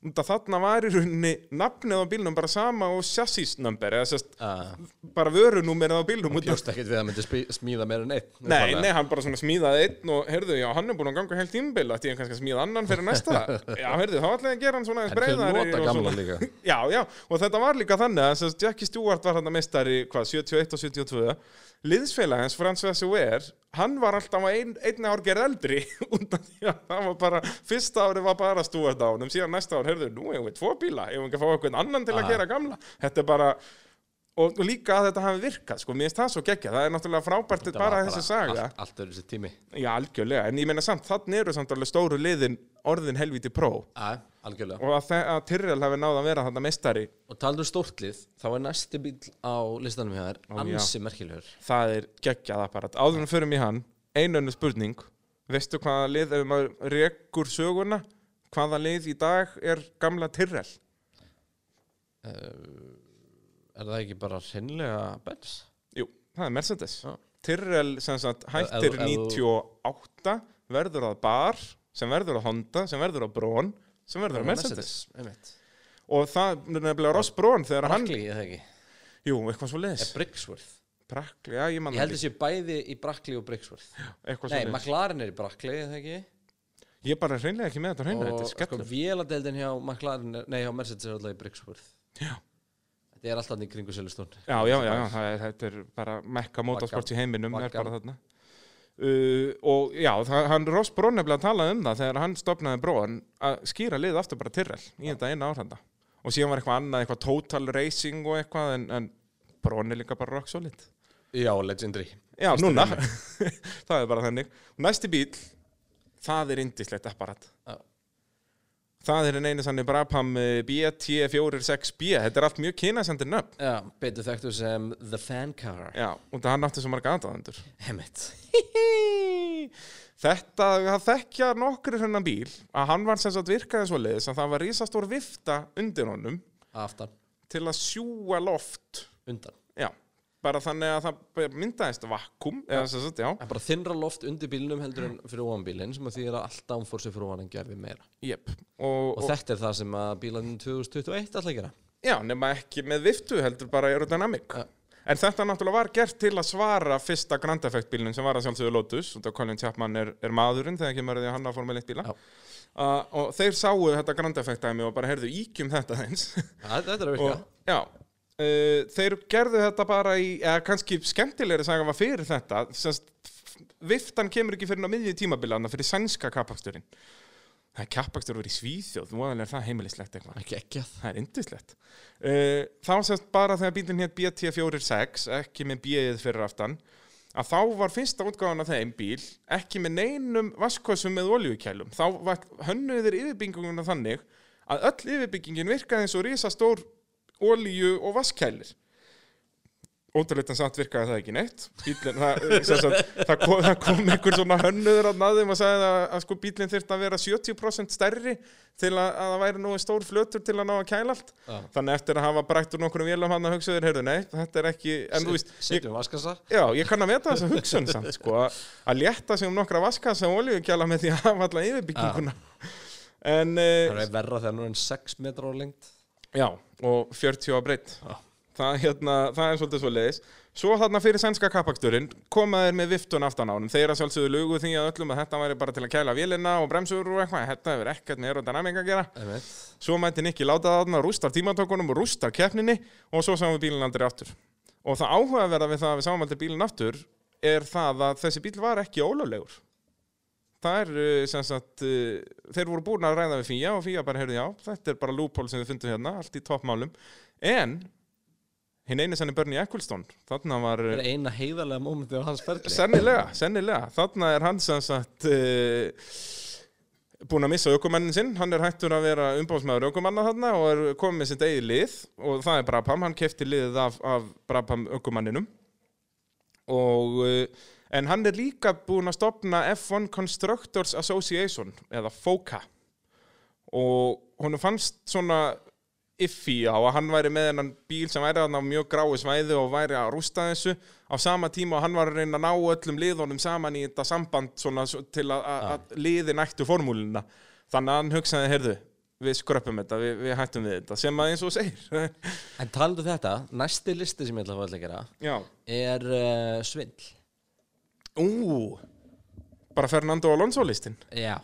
Speaker 2: Unda, þarna var í rauninni nafnið á bílnum bara sama og chassis number eða sérst,
Speaker 3: Ah.
Speaker 2: bara vörunúmerið á bílnum út af-
Speaker 3: Bjóst ekkert við að myndi spi- smíða meira en einn
Speaker 2: Nei,
Speaker 3: upphaflega.
Speaker 2: nei, hann bara svona smíðaði einn og heyrðu, já, hann er búin að ganga heilt tímbil ætti ég kannski að smíða annan fyrir næsta Já, heyrðu, þá ætlaði ég að gera hann svona
Speaker 1: En
Speaker 2: aðeins
Speaker 1: þau
Speaker 2: breiðari
Speaker 1: nota
Speaker 2: og
Speaker 1: gamla
Speaker 2: svona.
Speaker 1: líka.
Speaker 2: Já, já, og þetta var líka þannig að sem sagt, Jackie Stewart var hann að meistari, hvað, 71 og 72 Liðsfélag hans, François Weir hann var alltaf ein, einn ár gerð eldri undan því að það var bara fyrsta árið var bara Stewart á honum síðan næsta ár, heyrðu, nú hefum við tvo bíla ef við ekki að fá okkur annan til að
Speaker 1: Ah.
Speaker 2: gera gamla þetta er bara Og og líka að þetta hafi virkað, sko, mér finnst það svo geggja, það er náttúrulega frábært
Speaker 3: Þetta var
Speaker 2: bara þessi saga.
Speaker 3: Allt, allt öðru sér tími
Speaker 2: Já, algjörlega, en ég meina samt, þannig eru samt alveg stóru liðin orðin helviti pró
Speaker 3: Já, algjörlega
Speaker 2: og að, þe- að Tyrrell hafi náð að vera þarna meistari,
Speaker 1: Og taldur stórtlið, þá er næsti bíl á listanum hjá þér ansi merkilegur.
Speaker 2: það er geggjað apparat. Áður en við förum í hann, einunni spurning, veistu hvaða lið, ef maður rekur söguna, hvaða lið í dag er gamla Tyrrell?
Speaker 1: Eh, Er það ekki bara hreinlega bens?
Speaker 2: Jú, það er Mercedes.
Speaker 1: Já.
Speaker 2: Tyrrell sem sagt hættir
Speaker 1: Ef- ef þú-
Speaker 2: 98, verður að Bar, sem verður að Honda, sem verður að Brón, sem verður að Mercedes.
Speaker 1: Einmitt.
Speaker 2: Og það er nefnilega Ross Brón þegar hann,
Speaker 1: Brakley, eða ekki?
Speaker 2: jú, eitthvað svo
Speaker 1: Er Brixworth?
Speaker 2: Brakli, já ég manna
Speaker 1: Ég heldur séu bæði í Brakley og Brixworth.
Speaker 2: eitthvað
Speaker 1: Nei,
Speaker 2: svona
Speaker 1: McLaren er í Brakley, eða ekki?
Speaker 2: Ég er bara hreinlega ekki með þetta hreina, þetta
Speaker 1: Og
Speaker 2: er
Speaker 1: sko,
Speaker 2: skellur
Speaker 1: véladeildin hjá McLaren, er- nei, hjá Mercedes er alltaf í Brixworth.
Speaker 2: Já.
Speaker 1: Þetta er alltaf þarna í kringu Silveston.
Speaker 2: Já, já, já, já það er, þetta er bara mekka motorsport í heiminum, er
Speaker 1: Vaggan.
Speaker 2: bara þarna uh, Og já, það, hann Ross Brón nefnilega talaði um það þegar hann stopnaði Brón að skýra lið aftur bara Tyrrell í þetta eina áhranda Og síðan var eitthvað annað, eitthvað total racing og eitthvað en, en Brón er líka bara rock solid
Speaker 3: Já, legendary
Speaker 2: Já, núna, það er bara þannig Næsti bíl, það er indislegt apparat
Speaker 1: Já.
Speaker 2: Það er en einu sannig Brabham eh, BT46B Þetta er allt mjög kynasendir nöfn
Speaker 1: Já, betur þekktu sem The Fan Car.
Speaker 2: Já, og það hann átti svo marga aðdáðendur
Speaker 1: Heimitt.
Speaker 2: Þetta, það þekkja nokkri hennan bíl að hann var sem sagt virkaði svo leiðis að það var risastór vifta undir honum
Speaker 1: Aftan,
Speaker 2: til að sjúga loft
Speaker 1: undan.
Speaker 2: Já, bara þannig að það myndaðist vakkum eða sem sagt, já
Speaker 1: Það er bara þinnra loft undir bílnum heldur en fyrir ofan bílinn sem að því er að allt downforce fyrir ofan en gerði meira.
Speaker 2: Jep, og,
Speaker 1: Og þetta er það sem að bílarnir 2021 alltaf gera.
Speaker 2: Já, nema ekki með viftu heldur bara aerodynamic.
Speaker 1: Ja.
Speaker 2: En þetta náttúrulega var gert til að svara fyrsta Grand Effect bílnum sem var að sjálfsögðu Lotus og það Colin Chapman er, er maðurinn þegar kemur að því að hann að formule 1 bíla.
Speaker 1: Já.
Speaker 2: Uh, og þeir sáu þetta Grand Effect dæmi og bara heyrðu íkjum þetta eins.
Speaker 1: Ja, þetta er að virka.
Speaker 2: og, já, uh, þeir gerðu þetta bara í, eða kannski skemmtilegri saga var fyrir þetta. Sest, viftan kemur ekki fyrir á miðju tímabilana fyrir sænska kappaksturinn. Það er kappakstur verið í Svíþjóð, voðalega er það heimilislegt eitthvað.
Speaker 1: Ekki ekki að.
Speaker 2: Það er yndislegt. Uh, þá semst bara þegar bílinn hétt BT46, ekki með B-ið fyrir aftan, að þá var fyrsta útgáðan af þeim bíl ekki með neinum vaskosum með oljukælum. Þá var hönnuðir yfirbygginguna þannig að öll yfirbyggingin virkaði eins og risastór olju og vaskælir. Ótrúleitt en samt virkaði það ekki neitt. Bílinn, það, sem sagt, það, kom, það kom einhver svona hönnuður að naðum og sagði að, að sko bílinn þyrfti að vera 70% stærri til að, að það væri nógu stór flötur til að ná að kæla allt.
Speaker 1: Já.
Speaker 2: Þannig eftir að hafa brætt úr nokkrum vélum hann að hugsa þér, heyrðu, nei, þetta er ekki, en þú veist, ég,
Speaker 1: Setjum vaskasa.
Speaker 2: já, ég kann að veta þessa hugsun samt, sko, að- að létta sig um nokkra vaskasa og olíukjala með því að hafa alla yfirbygginguna. En, eh,
Speaker 1: Það er verra þegar nú er hann 6 metra á lengt.
Speaker 2: Já, og 40 á breytt
Speaker 1: Já.
Speaker 2: það, hérna, það er svolítið svo leiðis Svo þarna fyrir sænska kappaksturinn komaðir með viftun aftan á honum Þeir að sjálfsögðu lugu því að öllum að þetta væri bara til að kæla vélina og bremsur og eitthvað Þetta hefur ekkert með aerodynamika að gera
Speaker 1: Einmitt.
Speaker 2: Svo mætti Nikki láta það þarna, rústar tímatökunum og rústar keppninni og svo sáum við bílinn aldrei aftur Og það áhugaverða við það að við sáum aldrei bílinn aftur er það að þessi bíl var ekki ólöflegur Það er uh, sem sagt, uh, þeir voru búin að ræða við Fía og Fía bara heyrði já, þetta er bara lúpól sem við fundum hérna, allt í toppmálum. En, hinn einu senni Bernie Ecclestone, þarna var,
Speaker 1: Það
Speaker 2: uh,
Speaker 1: er eina heiðarlega mómentið á hans ferli.
Speaker 2: sennilega, sennilega, þarna er hann sem sagt uh, búin að missa aukumennin sinn, hann er hættur að vera umbóðsmaður aukumanna þarna og er komið með sitt eigið lið og það er Brabham, hann kefti liðið af, af Brabham aukumanninum og uh, en hann er líka búinn að stopna F1 Constructors Association eða FOCA og honum fannst svona iffi á að hann væri með hennan bíl sem væri hann á mjög gráu svæði og væri að rústa þessu á sama tíma og hann var að reyna að ná öllum liðunum saman í þetta samband svona s- til að, að, að liðin ættu formúluna þannig að hann hugsaði, heyrðu við skröppum þetta, við, við hættum við þetta sem að eins og þú segir
Speaker 1: En talandu um þetta, næsti listi sem ég ætla að fá að gera
Speaker 2: Já,
Speaker 1: er uh, svindl
Speaker 2: ú bara Fernando Alonso listin
Speaker 1: Já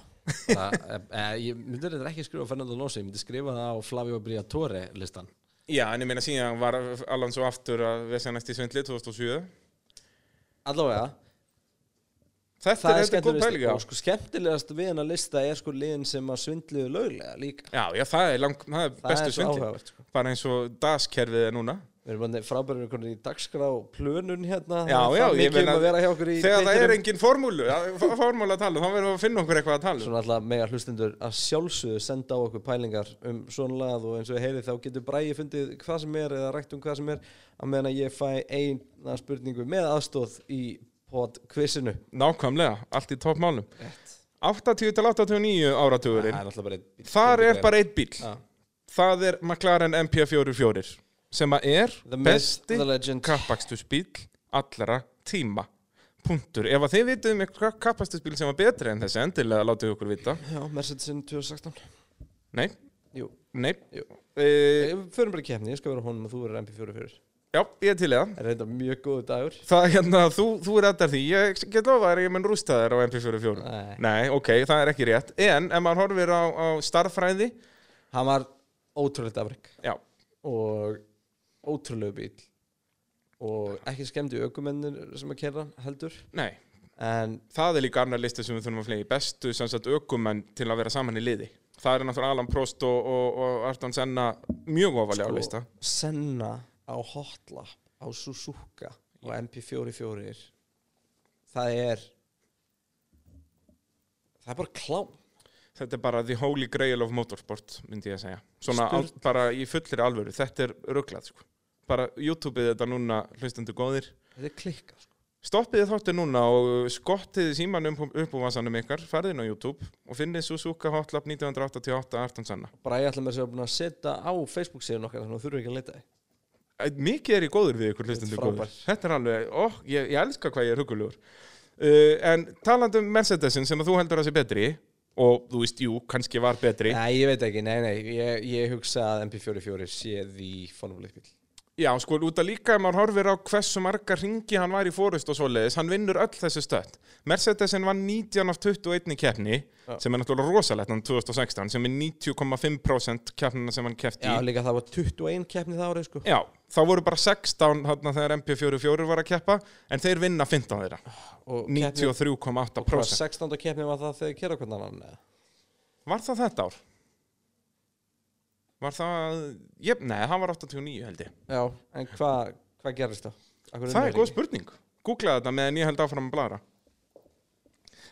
Speaker 1: það, eh, Ég myndi þetta ekki skrifa Fernando Alonso, ég myndi skrifa það á Flavio Briatore listan
Speaker 2: Já, en ég meina síðan var Alonso aftur að vesja næst í svindli 2007
Speaker 1: Allavega,
Speaker 2: Þetta
Speaker 1: það
Speaker 2: er,
Speaker 1: er
Speaker 2: þetta er
Speaker 1: skemmtilegast
Speaker 2: góð pæling já.
Speaker 1: og sko skemmtilegast við hennar lista er sko liðin sem að svindluðu löglega líka
Speaker 2: Já, já, það er, lang, það er
Speaker 1: Það
Speaker 2: bestu
Speaker 1: er svo
Speaker 2: svindli
Speaker 1: áhugavert sko.
Speaker 2: bara eins og DAS-kerfið er núna
Speaker 1: Við erum bara frábærið einhvern í dagskrá plönun hérna það
Speaker 2: Já,
Speaker 1: er
Speaker 2: já,
Speaker 1: það
Speaker 2: ég
Speaker 1: mikið um
Speaker 2: meina-
Speaker 1: að vera hjá okkur í
Speaker 2: Þegar það er
Speaker 1: þættinum.
Speaker 2: engin formúlu, já, f- formúla að tala um, þá verðum við að finna okkur eitthvað að tala um
Speaker 1: Svona alltaf mega hlustendur að sjálfsögðu senda á okkur pælingar um svona lað og eins og ég heyri þá getur bræði fundið hvað sem er eða rækt um hvað sem er að meðan að ég fæ eina spurningu með aðstóð í podquizinu.
Speaker 2: Nákvæmlega, allt í toppmálum 80 til 89
Speaker 1: Það er
Speaker 2: áratugurinn
Speaker 1: alltaf bara einn.
Speaker 2: Þar er bara einn bíl
Speaker 1: Já.
Speaker 2: Það er McLaren MP44 sem að er
Speaker 1: The myth,
Speaker 2: besti
Speaker 1: the legend.
Speaker 2: kappakstusbíl allra tíma Puntur, ef að þið vitið um eitthvað kappakstusbíl sem var betri en þessi endilega látið okkur vita
Speaker 1: Já, Mercedesin 2016.
Speaker 2: Nei,
Speaker 1: Jú.
Speaker 2: nei
Speaker 1: Jú.
Speaker 2: e,
Speaker 1: Ég förum bara í kefni, ég skal vera honum og þú verður MP44.
Speaker 2: Já, ég er til í það
Speaker 1: Það er reynda mjög góðu dagur.
Speaker 2: Það er hérna, þú, þú er þetta því Ég get lofa þér að ég mun rústa þér á MP44
Speaker 1: Nei.
Speaker 2: Nei, ok, það er ekki rétt En ef maður horfir á, á starffræði
Speaker 1: Hann var ótrúlega afreg
Speaker 2: Já,
Speaker 1: og ótrúlega bíl og ekki skemmdi aukumennir sem að kera heldur
Speaker 2: nei
Speaker 1: en
Speaker 2: Það er líka annar listi sem við þurfum að flega í bestu sem sagt aukumenn til að vera saman í liði Það er náttúrulega Alan Prost og, og, og Artan Senna mjög ofalega á lista
Speaker 1: Senna á hotla á Suzuka og MP44 það er það er bara klám
Speaker 2: Þetta er bara the holy grail of motorsport myndi ég að segja Svona á,
Speaker 1: Sturl.
Speaker 2: bara í fullri alvöru, þetta er rugglað sko. Bara YouTubeið þetta núna hlustandi góðir
Speaker 1: þetta er klikka sko.
Speaker 2: Stoppið þáttu núna og skottið símanum upp á vasanum ykkar, farðin á YouTube og finnið Suzuka Hotlap 1988 Artan Senna.
Speaker 1: sko. bara ég ætla mér sem að búin að setja á Facebook síðan okkar þannig að þú þurfum ekki að leita þig
Speaker 2: Æ, Mikið er ég góður við ykkur hlustendur
Speaker 1: Þetta er
Speaker 2: góður.
Speaker 1: frábært.
Speaker 2: Þetta er alveg, ó, ég, ég elska hvað ég er hugulugur. Uh, en talandi um Mercedesin sem að þú heldur að sé betri og þú veist, jú, kannski var betri.
Speaker 1: nei ég veit ekki, nei nei, ég, ég hugsa að MP44 sé því fónuleik bíl
Speaker 2: Já, sko, út að líka ef maður horfir á hversu marga ringi hann var í fórust og svoleiðis, hann vinnur öll þessi stödd. Mercedesin vann 19 af 21 keppni,
Speaker 1: Já.
Speaker 2: sem er náttúrulega rosalegt hann 2016, sem er 90,5% keppnina sem hann keppti
Speaker 1: já
Speaker 2: í.
Speaker 1: líka það var 21 keppni það árið sko
Speaker 2: Já, þá voru bara 16 þarna þegar MP44 var að keppa, en þeir vinna 15 þeirra,
Speaker 1: og keppni- og hvað,
Speaker 2: 93,8%.
Speaker 1: 16. keppni var það þegar kera hvernig annan eða?
Speaker 2: Var það þetta ár? Var það, jöp, nei, hann var 89 held ég.
Speaker 1: já, en hvað hva gerist þá? Af hverju
Speaker 2: Það er
Speaker 1: unnu
Speaker 2: góð
Speaker 1: þeir ekki?
Speaker 2: spurning Googlaði þetta meðan ég held áfram að blara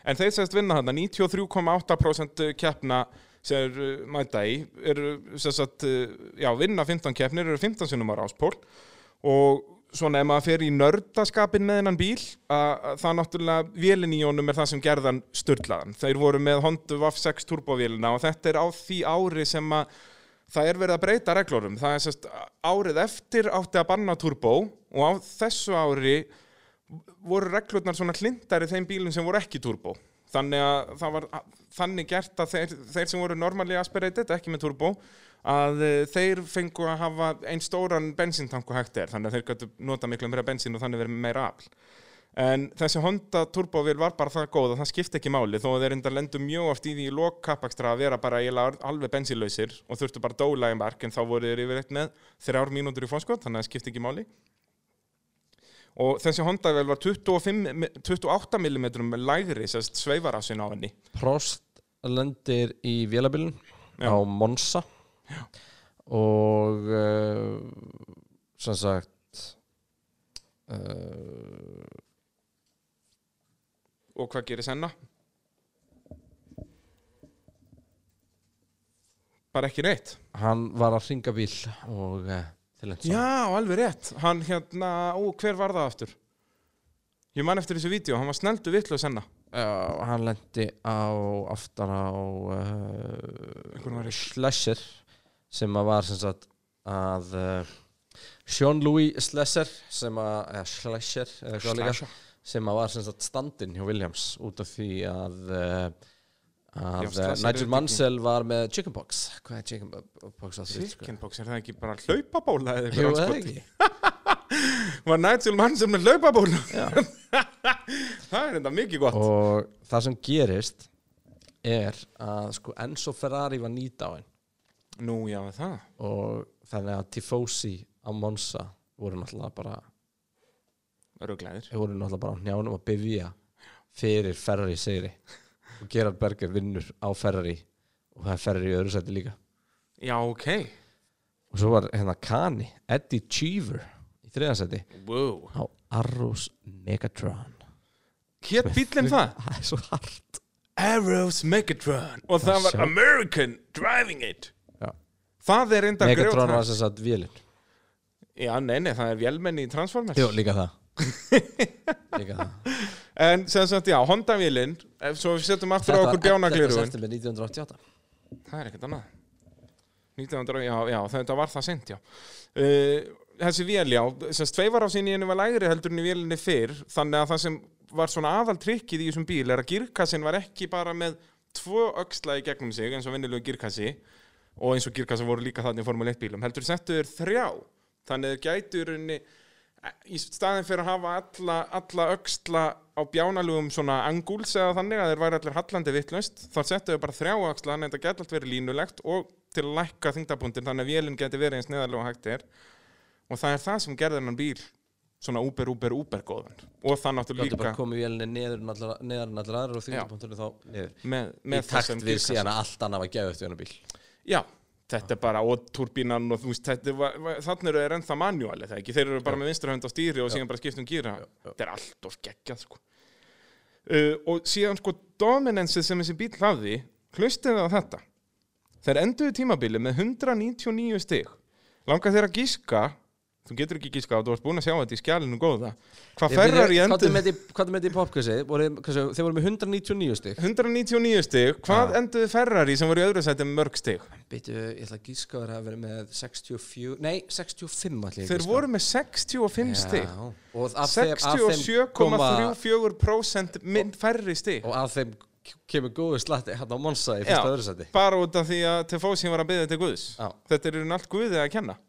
Speaker 2: En þeir sérst vinna þarna 93,8% eh, keppna sem er uh, mæta í eru eh, sérst að, uh, já, vinna 15 keppnir eru 15 sinnum á ráspól og svona ef maður fer í nördaskapin með hennan bíl að að það náttúrulega vélin í honum er það sem gerðan styrlaðan. Þeir voru með Honda Vaf 6 turbovélina og þetta er á því ári sem að það er verið að breyta reglorum það er sérst árið eftir átti að banna turbo og á þessu ári voru reglurnar svona hlindari þeim bílum sem voru ekki turbo þannig að það var þannig gert að þeir, þeir sem voru normally aspirated ekki með turbo að eh, þeir fengu að hafa einn stóran bensintanku hægt er þannig að þeir gætu nota miklu meira bensin og þannig verið með meira afl en þessi Honda turbovél var bara það góð að það skipti ekki máli þó að þeir enda lendu mjög oft í því í lok kappakstra að vera bara eiginlega alveg bensinlausir og þurftu bara að dóla í mark en þá voru þeir yfirleitt með þrjár mínútur í fórskot þannig að það skipti ekki máli og þessi Honda vel var 25, mi- 28 mm lægri sérst sveifarásin á henni
Speaker 1: Prost lendir í vélabilun
Speaker 2: Já.
Speaker 1: á Monsa og uh, sem sagt uh,
Speaker 2: og hvað gerir senna? bara ekki neitt
Speaker 1: hann var að hringa bíl og uh, til enn
Speaker 2: Já, alveg rétt Hann hérna, ó, hver var það aftur? Ég man eftir þessu vídeo, hann var sneldu vitlu að senna
Speaker 1: uh, hann lendi á aftan á eh, uh,
Speaker 2: Einhverjum var í-
Speaker 1: Schlesser sem að var sem sagt að uh, Sean-Louis Schlesser sem að, eða Schlesser eða eitthvað líka, sem að var sem sagt standinn hjá Williams út af því að uh, að
Speaker 2: Ég var
Speaker 1: eh,
Speaker 2: stressaður
Speaker 1: Nigel
Speaker 2: yfir
Speaker 1: Mansell var með chickenpox hvað er chickenpox á því? sko?
Speaker 2: Chickenpox, er það ekki bara hlaupabóla
Speaker 1: Jú,
Speaker 2: eða eitthvað
Speaker 1: eða
Speaker 2: anskot?
Speaker 1: ekki
Speaker 2: Var Nigel Mansell með hlaupabóla? það er enda mikið gott
Speaker 1: og það sem gerist er að sko Enzo Ferrari var nýt á henn
Speaker 2: Nú, já, var það
Speaker 1: og þannig að Tifosi á Monza voru náttúrulega bara
Speaker 2: Öruglæðir
Speaker 1: voru náttúrulega bara á njánum að bifja fyrir Ferrari segri og Gerard Berger vinnur á Ferrari og það er Ferrari í öðru sæti líka
Speaker 2: Já, ok
Speaker 1: og svo var hérna Kani, Eddie Cheever í þriða sæti
Speaker 2: Wow
Speaker 1: á Arrows Megatron
Speaker 2: Hér bílinn það
Speaker 1: það er svo hart
Speaker 2: Arrows Megatron Og það var
Speaker 1: sjá.
Speaker 2: American Driving It
Speaker 1: Já.
Speaker 2: Það er enda
Speaker 1: Megatron var sem sagt vélinn
Speaker 2: Já, nei, nei, það er vélmenni í Transformers
Speaker 1: Jú, líka það líka það
Speaker 2: En sem sagt, já, Honda-vélinn ef- Svo við setjum aftur á okkur
Speaker 1: Þetta
Speaker 2: bjánaglirugun
Speaker 1: september 1988
Speaker 2: Það er ekkert annað 1900, já, já, þetta var það sent, já uh, Þessi vél, já sem stveifar á sinni henni var lægri heldur en í vélinni fyrr þannig að það sem var svona aðal trikkið í þessum bíl er að girkassin var ekki bara með tvo öxla í gegnum sig eins og vinnilegu girkassi og eins og girkassa voru líka þannig í Formule 1 bílum heldur settu þér þrjá þannig að gætur henni í staðin fyrir að hafa alla, alla öxla á bjánalugum svona anguls eða þannig að þeir væri allir hallandi vittlaust þar settu þau bara þrjá öxla þannig að þetta gæti allt verið línulegt og til að lækka þingdabundin þannig að vélinn geti verið eins neðarlega og hægt er og það er það sem gerði hennan bíl svona úber, úber, úber góðan og það
Speaker 1: Láttu bara
Speaker 2: náttúrulega líka
Speaker 1: komið vélinni neður en allar- neðar en allar aðra og þingdapunktunni þá niður
Speaker 2: með,
Speaker 1: Í
Speaker 2: með
Speaker 1: takt
Speaker 2: þessum
Speaker 1: við
Speaker 2: girkassa.
Speaker 1: síðan að allt annað var gæðið eftir hennar bíl
Speaker 2: Já, þetta er bara og turbínan og þú veist, þetta var, var, þannig eru þeir ennþá manuali það ekki, þeir eru bara með vinstra hönd á stýri og síðan bara skipt um gýra, þetta er allt of geggjað sko. uh, og síðan sko dominansið sem þessi bíl hafði hlustið það á þetta þeir enduðu tímabili með 199 stig langar þeir að gíska þú getur ekki gíska og þú varst búin að sjá þetta í skjælinu góða hvað ferrar í
Speaker 1: Hvað er
Speaker 2: enduðu
Speaker 1: með því- hvað er með því popkvissið? Þeir voru með 199 stygg
Speaker 2: 199 stig, hvað enduðu Ferrari sem voru í öðru sæti með mörg stig?
Speaker 1: Býtu, ég ætla að gíska að það hafa verið með 64 Nei, 65 allir
Speaker 2: Þeir voru með 65 stig
Speaker 1: Og af þeim- af þeim koma-
Speaker 2: 67,34% minn færri stig
Speaker 1: Og af þeim kemur góðu slatti hérna á Monsa í
Speaker 2: Já,
Speaker 1: fyrsta öðru sæti
Speaker 2: bara út af því að Tifosi var að byggja til Guðs
Speaker 1: Já.
Speaker 2: þetta eru nátt Guðið að kenna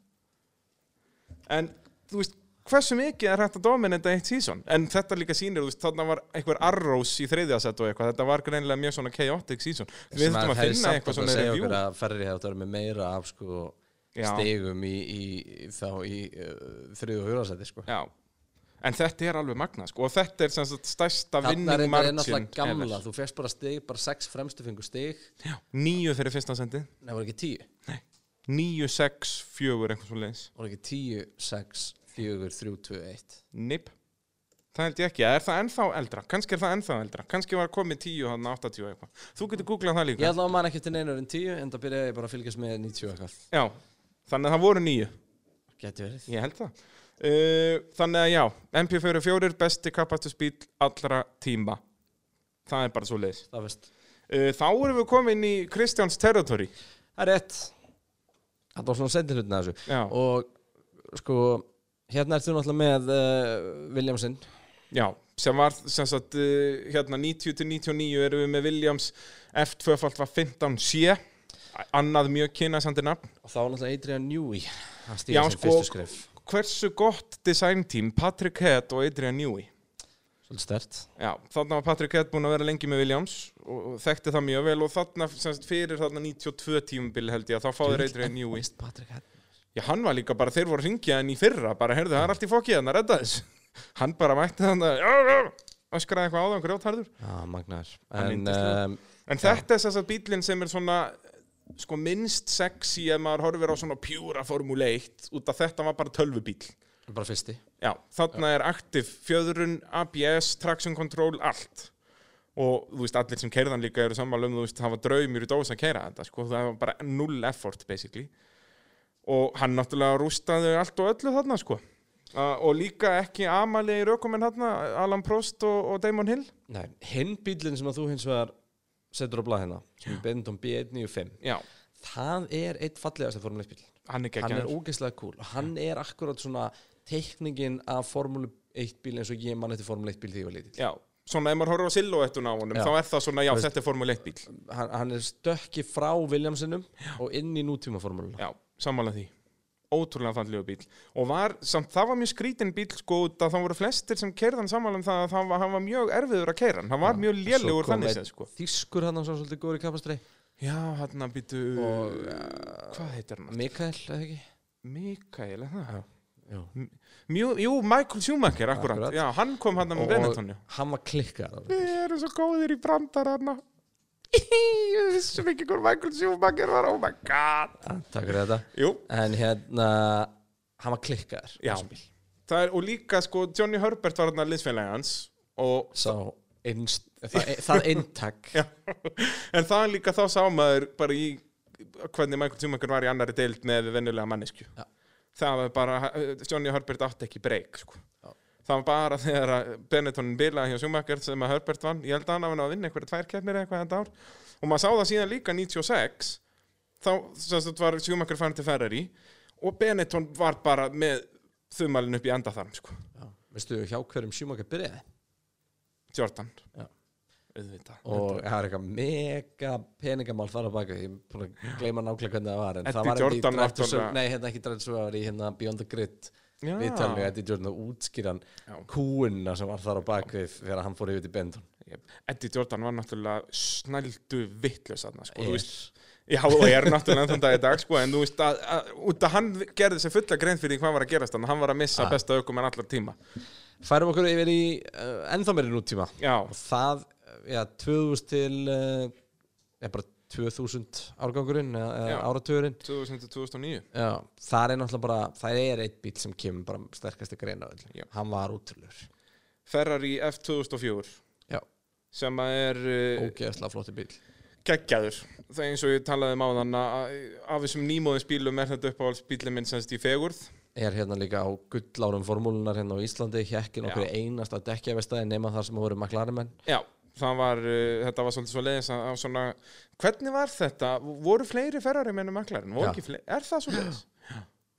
Speaker 2: en þú veist hversu mikið er hægt að dominanta eitt sísón en þetta líka sýnir, þú veist, þarna var einhver arrows í þriðjasett og eitthvað, þetta var greinilega mjög svona chaotic sísón, við
Speaker 1: Sem
Speaker 2: þurfum að
Speaker 1: það er
Speaker 2: finna
Speaker 1: samt
Speaker 2: eitthvað
Speaker 1: að
Speaker 2: svona
Speaker 1: segja okkur
Speaker 2: review
Speaker 1: að ferri hefði verið með meira af sko
Speaker 2: Já.
Speaker 1: stegum í, í, í þá í uh, þriðu og hjóðarsæti sko
Speaker 2: Já. en þetta er alveg magna sko. og þetta er sem sagt stærsta
Speaker 1: Þarna
Speaker 2: vinning
Speaker 1: reyndar er
Speaker 2: margin
Speaker 1: náttúrulega gamla, þú férst bara stig, bara sex fremstu fengur stig
Speaker 2: nýju fyrir fyrsta sendi
Speaker 1: Nei, voru ekki tíu,
Speaker 2: 9, 6, 4, eitthvað svona leins
Speaker 1: voru ekki tíu, sex, fjögur, þrjú, tvö, eitt
Speaker 2: Nip Það held ég ekki, Eða er það ennþá eldra? Kannski er það ennþá eldra, kannski var komið 10 hann 80 eitthvað, þú getur googlað það
Speaker 1: Ég
Speaker 2: líka
Speaker 1: ætla að mann ekki til neynur en tíu, en það byrjaði ég bara að fylgjast með 90 eitthvað
Speaker 2: Já, þannig að það voru nýju
Speaker 1: Geti verið
Speaker 2: Ég held það uh, Þannig að já, MP44 besti kapastusbíl allra tíma Það er bara svo leiðis
Speaker 1: Það veist
Speaker 2: uh, Þá erum við komin í Kristjáns territory
Speaker 1: Það er rétt Það var svona sendir hlutin að þessu
Speaker 2: Já,
Speaker 1: Og sko, hérna ertu náttúrulega með uh, Williamson
Speaker 2: já sem var sem sagt uh, hérna 90-99 erum við með Williams F2 var 15 sé annað mjög kynasandi nafn
Speaker 1: Og þá var náttúrulega Adrian Newey Hann
Speaker 2: Já,
Speaker 1: stíða sem
Speaker 2: sko,
Speaker 1: fyrstu skrif
Speaker 2: hversu gott design team Patrick Head og Adrian Newey
Speaker 1: Svolítið stert
Speaker 2: Já, þarna var Patrick Head búin að vera lengi með Williams og, og þekkti það mjög vel og þarna sem sagt, fyrir þarna 92 tímubil held ég að þá fáður Adrian Newey
Speaker 1: Veist Patrick Head
Speaker 2: Já, hann var líka bara, þeir voru hringja henni í fyrra bara, heyrðu, það er allt í fokkið hann að redda þess hann bara mætti þannig að öskraði eitthvað á það, grjótharður
Speaker 1: Já, magnar
Speaker 2: Hann
Speaker 1: En
Speaker 2: yndislegur.
Speaker 1: um,
Speaker 2: En þetta er þess að bílinn sem er svona sko minnst sexy ef maður horfir á svona pjúra formule 1 út af þetta var bara tölvubíl
Speaker 1: bara fyrsti
Speaker 2: Já, þarna er aktiv fjöðrun, ABS, traction control, allt og þú veist, allir sem keirðan líka eru sammála um, þú veist, hafa draumir í dós að keira þetta, sko, það var bara null effort, basically og hann náttúrulega rústaði allt og öllu þarna, sko Uh, og líka ekki amalega í rökum en þarna Alan Prost og, og Damon Hill
Speaker 1: Nei, hinn bílinn sem að þú hins vegar setur á blað hérna, sem er Benton B195
Speaker 2: Já,
Speaker 1: það er eitt fallegast af Formule 1 bíl
Speaker 2: hann er
Speaker 1: hann er
Speaker 2: geggjaður
Speaker 1: ógeðslega cool og hann er akkurat svona teikningin af Formule 1 bíl eins og ég mann eftir Formule 1 bíl því ég var lítill
Speaker 2: Já, svona ef maður horfir á silhouettuna á honum
Speaker 1: Já.
Speaker 2: þá er það svona, já, þetta er Formule 1 bíl
Speaker 1: hann, hann er stökki frá Williamsinum og inn í nútímaformúluna
Speaker 2: Já, sammála því Ótrúlega fallegu bíl Og var, samt, það var mjög skrítin bíl sko út að það voru flestir sem keirðan sammála um það að það var, hann var mjög erfiður að keira hann Hann var mjög lélugur þannig séð sko
Speaker 1: Þískur hann svo svolítið góður í kapastrei
Speaker 2: Já, hann að býtu
Speaker 1: Og,
Speaker 2: Hvað heitir hann?
Speaker 1: Mikael, eða ekki?
Speaker 2: Mikael, er það?
Speaker 1: Já.
Speaker 2: Mjú, jú, Michael Schumacher, akkurat,
Speaker 1: Akkurat.
Speaker 2: Já, hann kom hann með Benetton já.
Speaker 1: hann var klikkað
Speaker 2: Við erum svo góðir í brandar hann Við vissum ekki hvort Michael Schumacher var, oh my god
Speaker 1: Takk fyrir þetta
Speaker 2: Jú,
Speaker 1: En hérna, hann var klikkaður
Speaker 2: Já.
Speaker 1: þessum bíl.
Speaker 2: það er, og líka sko Johnny Herbert var hann að liðsfélagi hans og
Speaker 1: Sá einst, það, það eintak
Speaker 2: Já, en það er líka þá sá maður bara í hvernig Michael Schumacher var í annari deild með vennulega mannesku
Speaker 1: Já.
Speaker 2: það var bara, eh, Johnny Herbert átti ekki breyk sko.
Speaker 1: Já.
Speaker 2: það var bara þegar að Benettonin bilaði hjá Schumacher sem að Herbert vann, ég held að hann hafi náð að vinna einhverja tvær keppnir eða eitthvað þetta ár og maður sá það síðan líka 96 þá sérstætt var Schumacher fann til Ferrari og Benetton var bara með þumalinn upp í endatharm sko.
Speaker 1: Veistu hjá hverjum sjúmaka byrjaði?
Speaker 2: Jordan
Speaker 1: Já.
Speaker 2: auðvitað
Speaker 1: Og það er eitthvað mega peningamál þar á baka Ég er búin að gleyma nákvæmlega hvernig það var En
Speaker 2: Eddie
Speaker 1: það var Drive
Speaker 2: Jordan
Speaker 1: to
Speaker 2: náttúrulega-
Speaker 1: Sur- Nei, hérna ekki drætt svo Það var í hérna Beyond the Grid
Speaker 2: Já.
Speaker 1: Viðtalið við Eddie Jordan og útskýran
Speaker 2: Já.
Speaker 1: Kúuna sem var þar á bakvið Þegar hann fór yfir til Benton
Speaker 2: Jep. Eddie Jordan var náttúrulega snældu vittlaus þarna sko, þú
Speaker 1: Er.
Speaker 2: veist, já og er náttúrulega þann dag í dag sko, en þú veist að, að, út að hann gerði sér fulla grein fyrir því hvað var að gerast þannig, hann var að missa besta aukum en allar tíma
Speaker 1: Færum okkur yfir í uh, ennþá meiri nútíma
Speaker 2: já,
Speaker 1: og það, eh, já, 2000 til uh, er bara 2000 árgangurinn eða
Speaker 2: Já.
Speaker 1: eða áratugurinn
Speaker 2: 2000-2009
Speaker 1: já, það er náttúrulega bara það er eitt bíl sem kemur bara sterkast í greina á öllu.
Speaker 2: Já.
Speaker 1: hann var útrúlur
Speaker 2: Ferrari F2004
Speaker 1: já,
Speaker 2: sem að er uh,
Speaker 1: ógeðslega flotti bíl
Speaker 2: geggjaður það er eins og ég talaði um áðan að af þessum nýmóðins bílum er þetta uppáhaldsbílum minn semst í fegurð
Speaker 1: er hérna líka á gullárum formúlunar hérna á Íslandi, hekkin okkur einasta dekkjafestæði nema þar sem voru maklarimenn
Speaker 2: Já, það var, uh, þetta var svolítið svo leiðis að, að svona, hvernig var þetta? Voru fleiri ferrari mennum maklarinn?
Speaker 1: Já.
Speaker 2: Voru ekki fleiri? Er það svo leiðis?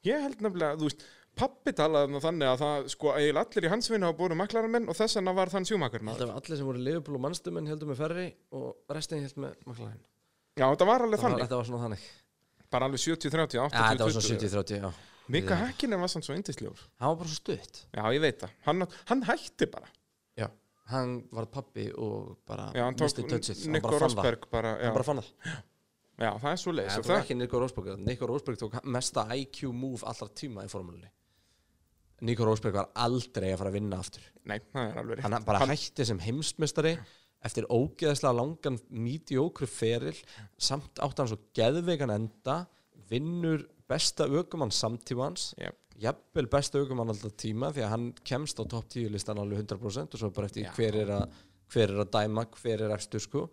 Speaker 2: Ég held nefnilega, þú veist, pappi talaði um þannig að það, sko, eiginlega allir í hans vinna hafa búin maklarinn menn og þess vegna var þann sjúmakar maður.
Speaker 1: þetta var allir sem voru liðbúl og mannstumenn heldur með ferri og restin heldur með maklarimenn
Speaker 2: Já, þetta var alveg þannig.
Speaker 1: þetta var svona þannig
Speaker 2: Bara alveg 70-30,
Speaker 1: já, þetta var
Speaker 2: 80-20.
Speaker 1: svona 70-30, já
Speaker 2: Mika Hakkinen var sann svo yndislegur.
Speaker 1: hann var bara svo stutt
Speaker 2: Já, ég veit það. Hann, hann hætti bara.
Speaker 1: Já, hann var pappi og bara
Speaker 2: Já, hann tók
Speaker 1: misti touchið, hann
Speaker 2: Nico
Speaker 1: bara fann það
Speaker 2: Rosberg bara, já,
Speaker 1: hann bara fann það,
Speaker 2: já, það er svo leiðis.
Speaker 1: hann tók ekki Nico Rosberg Nico Rosberg tók mesta IQ move allra tíma í formúlunni Nico Rosberg var aldrei að fara að vinna aftur
Speaker 2: Nei, það er alveg rétt.
Speaker 1: hann bara hætti sem heimsmestari eftir ógeðslega langan mediocre feril, samt átt hann svo geðveikan enda, vinnur besta aukumann samtímans
Speaker 2: Jep.
Speaker 1: jafnvel besta aukumann alltaf tíma því að hann kemst á topp 10 listan alveg 100% og svo bara eftir hver er, að, hver er að dæma, hver er eftir sko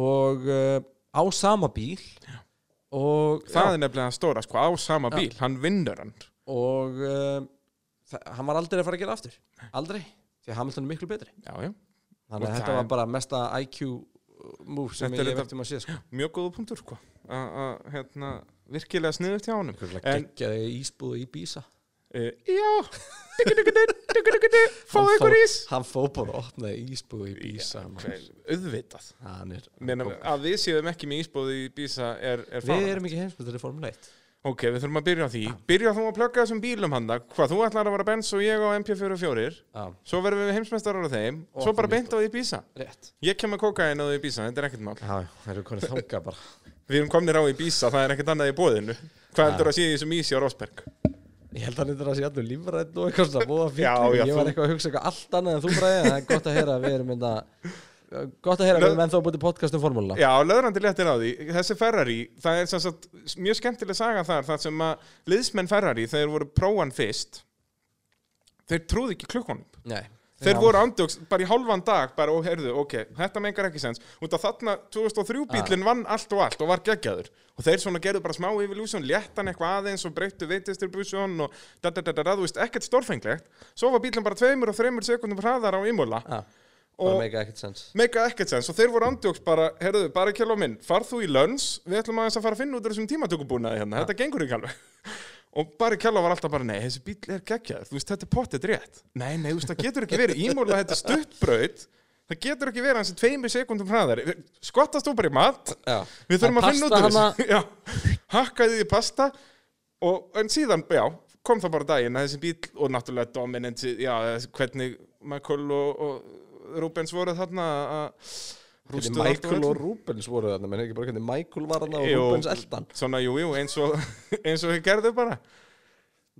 Speaker 1: og uh, á sama bíl og
Speaker 2: Það er nefnilega stóra, sko, á sama bíl. Hann vinnur hann.
Speaker 1: og uh, þa- hann var aldrei að fara að gera aftur aldrei, því að Hamilton er miklu betri
Speaker 2: Já, já.
Speaker 1: þannig
Speaker 2: Og
Speaker 1: að þetta
Speaker 2: það
Speaker 1: var
Speaker 2: er-
Speaker 1: bara mesta IQ move sem
Speaker 2: Þetta
Speaker 1: ég
Speaker 2: er
Speaker 1: hef
Speaker 2: þetta-
Speaker 1: eftir maður séð sko.
Speaker 2: mjög góða punktur sko. að að, hérna, virkilega sniðut hjá honum en
Speaker 1: geggjaði ísbúðu í bísa
Speaker 2: uh, já Dugudugudun, dugudugudu, fáðu ykkur ís
Speaker 1: hann fó bara að opnaði ísbúðu í bísa maður.
Speaker 2: auðvitað
Speaker 1: hann er
Speaker 2: Meina, að við séum ekki með ísbóði í bísa er, er
Speaker 1: við
Speaker 2: fara
Speaker 1: erum ekki heimsmyndir í Formule 1
Speaker 2: ok, við þurfum að byrja á því byrja þú að plugga þessum bílum handa hvað þú ætlar að vera Benz og ég á MP44
Speaker 1: já,
Speaker 2: svo verðum við heimsmeistarar á þeim
Speaker 1: Og
Speaker 2: svo bara
Speaker 1: þú
Speaker 2: beint á því bísa
Speaker 1: rétt
Speaker 2: ég kem að kóka einu á því bísa, þetta er ekkert mál
Speaker 1: já, það eru konið þanga bara
Speaker 2: við erum komnir á því bísa, það er ekkert annað í bóðinu hvað heldur að sé í þessum ísi á Rosberg
Speaker 1: ég held að hann eitthvað að sé allur lífrætt og eitthvað svona búða
Speaker 2: Já,
Speaker 1: fyrir
Speaker 2: já,
Speaker 1: ég var
Speaker 2: þú-
Speaker 1: eitthvað að hugsa eitthvað allt annað en þú bræði en það er gott að heyra að við erum mynda gott að heyra að við erum ennþá búið podcast um formúluna
Speaker 2: Já, löðrandi léttir á því. Þessi Ferrari, það er sem sagt, mjög skemmtileg saga þar, þar sem að liðsmenn Ferrari, þeir voru prófan fyrst, þeir trúðu ekki klukkonum.
Speaker 1: Nei.
Speaker 2: Þeir
Speaker 1: Já.
Speaker 2: voru andjóks bara í hálfan dag, bara og heyrðu, ok, þetta mengar ekki sens. Út af þarna 2003 bílinn vann allt og allt og var geggjaður. Og þeir svona gerðu bara smá yfirlúsun, léttan eitthvað aðeins og breyttu veitistribúsjón og da da da da da, þú veist, ekkert stórfenglegt. Svo var bílinn bara tveimur og þreimur sekundum hraðar á Imola.
Speaker 1: Já,
Speaker 2: Og-
Speaker 1: bara make ekkert sens
Speaker 2: Meika ekkert sens og þeir voru andjóks bara, heyrðu, bara kjálf á minn, far þú í lönns, við ætlum aðeins að fara að finna út úr þessum tímatökubúnaði hérna, þetta gengur ekki alveg. Og bara kjálf var alltaf bara, nei, þessi bíl er geggjaður, þú veist, þetta er pottet rétt. Nei, nei, þú veist, það getur ekki verið, ímúlega þetta er stuttbraut, Það getur ekki verið hans í tveimur sekundum hraðar Skottast þú bara í mat
Speaker 3: Já.
Speaker 2: Við þurfum
Speaker 1: Það
Speaker 2: að finna út
Speaker 1: pasta
Speaker 2: úr þessu Já. Hakkaði því pasta og, En síðan, já, kom það bara á daginn að þessi bíl og náttúrulega dominant Já, þessi- hvernig Michael og, og Rubens voru þarna að
Speaker 3: Hvernig
Speaker 2: rústuðu allt
Speaker 3: Michael
Speaker 2: og
Speaker 3: og Rubens voru þarna, menn ekki bara hvernig Michael var þarna og
Speaker 2: Jú.
Speaker 3: Rubens eldan.
Speaker 2: Svona, jú, jú, eins og eins og þau gerðu bara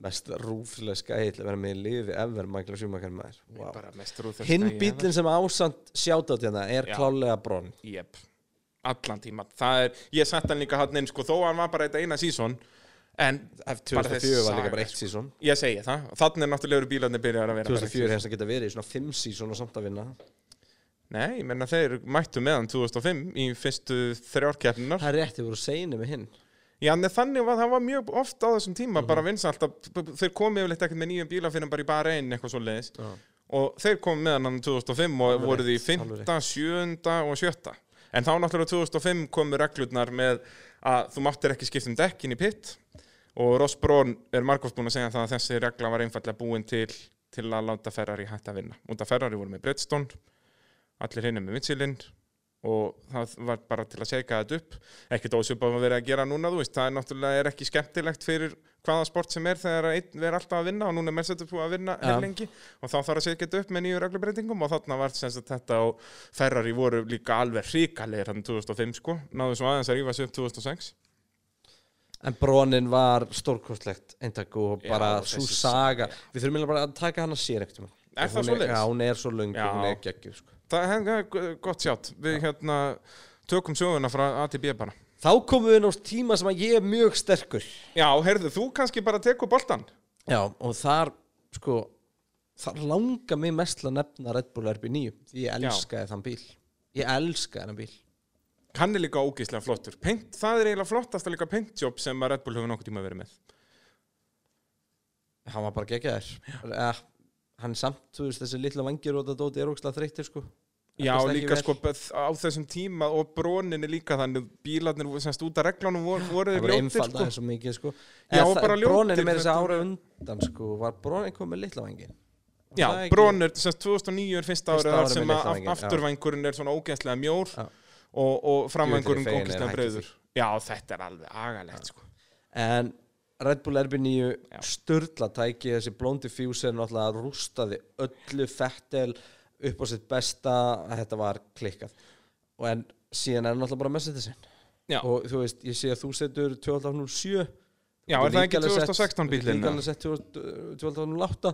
Speaker 3: Mest rúfleska heitlega verið með í liði ever Michael Schumacher maður. Wow.
Speaker 2: Bara mest rúð
Speaker 1: Hinn bílinn sem ásand sjátátt hérna er
Speaker 2: Já.
Speaker 1: klálega bronn.
Speaker 2: Jep, allan tíma það er, ég sett hann líka hann inn sko, þó að hann var bara þetta eina sísón en bara þessi
Speaker 3: 2004 var
Speaker 2: saga,
Speaker 3: líka bara eitt
Speaker 2: sko.
Speaker 3: sísón.
Speaker 2: ég segi það, þannig er náttúrulega eru bílarnir byrjar að vera bara eitt
Speaker 3: 2004 hefst að geta verið í svona 5 sísón og samt að vinna.
Speaker 2: season. nei, ég menna þeir mættu með hann 2005 í fyrstu þrjárkeppninar
Speaker 1: Það er rétt, þið voru seginu með hinn.
Speaker 2: já, en þannig var það var mjög oft á þessum tíma bara vinsa alltaf, þeir komið yfirleitt ekkert með nýjum bílar fyrir en bara í bara einn eitthvað svo leiðis
Speaker 1: Já.
Speaker 2: og þeir komið með hann 2005 og
Speaker 1: Alveg
Speaker 2: voruð í
Speaker 1: rétt,
Speaker 2: 5.,
Speaker 1: alveg
Speaker 2: 7. og 7. En þá náttúrulega 2005 komu reglurnar með að þú máttir ekki skipta um dekkin í pitt og Ross Brón er margóft búin að segja það að þessi regla var einfallega búin til til að láta Ferrari hætt að vinna. Út að Ferrari voru með Bridgestone, allir hinni með Michelin og það var bara til að segja þetta upp. Ekkert ósvipað að vera að gera núna, þú veist, það er náttúrulega er ekki skemmtilegt fyrir hvaða sport sem er þegar einn er alltaf að vinna og núna er Mercedes búið að vinna
Speaker 1: Ja.
Speaker 2: ja. lengi og þá þarf að setja þetta upp með nýju reglubreitingum og þarna var sem sagt þetta og Ferrari voru líka alveg hrikalegir hann 2005 sko, náðu svo aðeins að rífa sig upp 2006
Speaker 1: En brónin var stórkostlegt eintak og
Speaker 2: Já,
Speaker 1: bara
Speaker 2: þessi
Speaker 1: svo saga. Við þurfum eiginlega bara að taka hana sér ekkert um hann.
Speaker 2: Er það svoleiðis?
Speaker 1: Já, hún er svo löng
Speaker 2: Já.
Speaker 1: og hún er geggjuð sko.
Speaker 2: það er- það er gott sjátt, við hérna tökum söguna frá A til B bara
Speaker 1: Þá komum við inn á tíma sem að ég er mjög sterkur.
Speaker 2: Já, heyrðu, þú kannski bara tekur boltan
Speaker 1: Já, og þar, sko, þar langar mig mest til að nefna Red Bull RB9. Því ég elskaði þann bíl. Ég elskaði þann bíl.
Speaker 2: hann er líka ógeðslega flottur Paint, það er eiginlega flottasta líka paintjob sem að Red Bull hefur nokkuð tíma verið með
Speaker 1: Hann var bara geggjaður. Eh, Hann samt, þú veist, þessi litla vangir og þetta dóti er ógslag þreytir, sko.
Speaker 2: Já,
Speaker 1: Endast ekki
Speaker 2: líka
Speaker 1: vel.
Speaker 2: sko beth- á þessum tíma og brónin er líka þannig bílarnir voru- semst út af reglunum voru, voru
Speaker 1: Það
Speaker 2: þeir
Speaker 1: var
Speaker 2: ljótir
Speaker 1: einfalda
Speaker 2: sko.
Speaker 1: eins og mikið, sko.
Speaker 2: Já,
Speaker 1: Eh,
Speaker 2: og
Speaker 1: það-
Speaker 2: bara ljótir,
Speaker 1: Brónin er meira þess að
Speaker 2: þetta-
Speaker 1: ára undan, sko. Var brónin komið litla vangin?
Speaker 2: Já,
Speaker 1: Það er ekki-
Speaker 2: Bronner, sem sagt, 2009 er fyrsta
Speaker 1: Fyrsta
Speaker 2: árið þar
Speaker 1: árið
Speaker 2: sem
Speaker 1: með
Speaker 2: að
Speaker 1: litla vænginn, já.
Speaker 2: afturvængurinn er svona ógeðslega mjór
Speaker 1: Já.
Speaker 2: og, og framvængurinn
Speaker 3: Djöfull er ég feginn
Speaker 2: ógeðslega
Speaker 3: að hætta
Speaker 2: breyður. Já, þetta er alveg agalegt sko.
Speaker 1: En Red Bull RB9
Speaker 2: Já.
Speaker 1: sturla tæki þessi Blond Diffuser náttúrulega rústaði öllu fettel upp á sitt besta þetta var klikkað og en síðan er hann náttúrulega bara Mercedes sinn
Speaker 2: Já.
Speaker 1: og þú veist, ég sé að þú setur 1207
Speaker 2: Já, er það ekki 2016 bílinn?
Speaker 1: Líkanlega sett 1208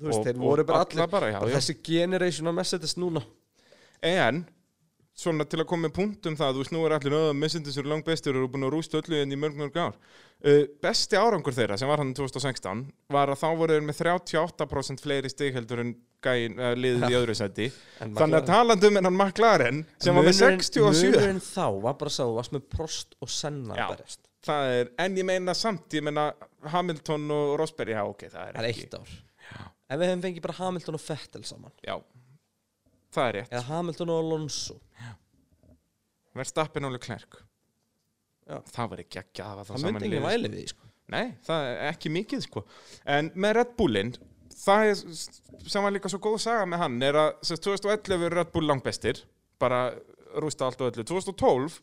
Speaker 1: Þú veist,
Speaker 2: Og-
Speaker 1: þeir
Speaker 2: og
Speaker 1: voru bara
Speaker 2: alla
Speaker 1: allir
Speaker 2: bara, já, já.
Speaker 1: þessi generation á Mercedes núna
Speaker 2: En, svona til að koma með punktum það, þú veist, nú er allir öðum missindis eru langt bestur og eru búin að rústa öllu enn í mörg mörg ár. Uh, besti árangur þeirra sem var hann 2016 var að þá voru þeir með 38% fleiri stig heldur en gæin, uh, liðið í öðru seti.
Speaker 1: En
Speaker 2: Þannig að talandi um hennan McLaren sem var með
Speaker 1: Munurinn-
Speaker 2: 67.
Speaker 1: Munurinn þá var bara sá, þú varst með Prost og Senna
Speaker 2: Já.
Speaker 1: berjast.
Speaker 2: Það er, en ég meina samt, ég meina Hamilton og Rosberg, já ok, það er,
Speaker 1: Það er
Speaker 2: ekki.
Speaker 1: eitt ár Ef við hefum fengið bara Hamilton og Vettel saman
Speaker 2: Já, það er rétt.
Speaker 1: Eða Hamilton og Alonso
Speaker 2: Verstappen og Leclerc.
Speaker 1: Já.
Speaker 2: Það var ekki ekki að hafa það
Speaker 1: Það
Speaker 2: saman
Speaker 1: myndi enginn
Speaker 2: liði.
Speaker 1: væli við því, sko.
Speaker 2: Nei, það er ekki mikið sko. En með Red Bullinn, það er, sem var líka svo góð saga með hann, er að sem sagt, 2011 er Red Bull langbestir, bara rústa allt og öllu. 2012,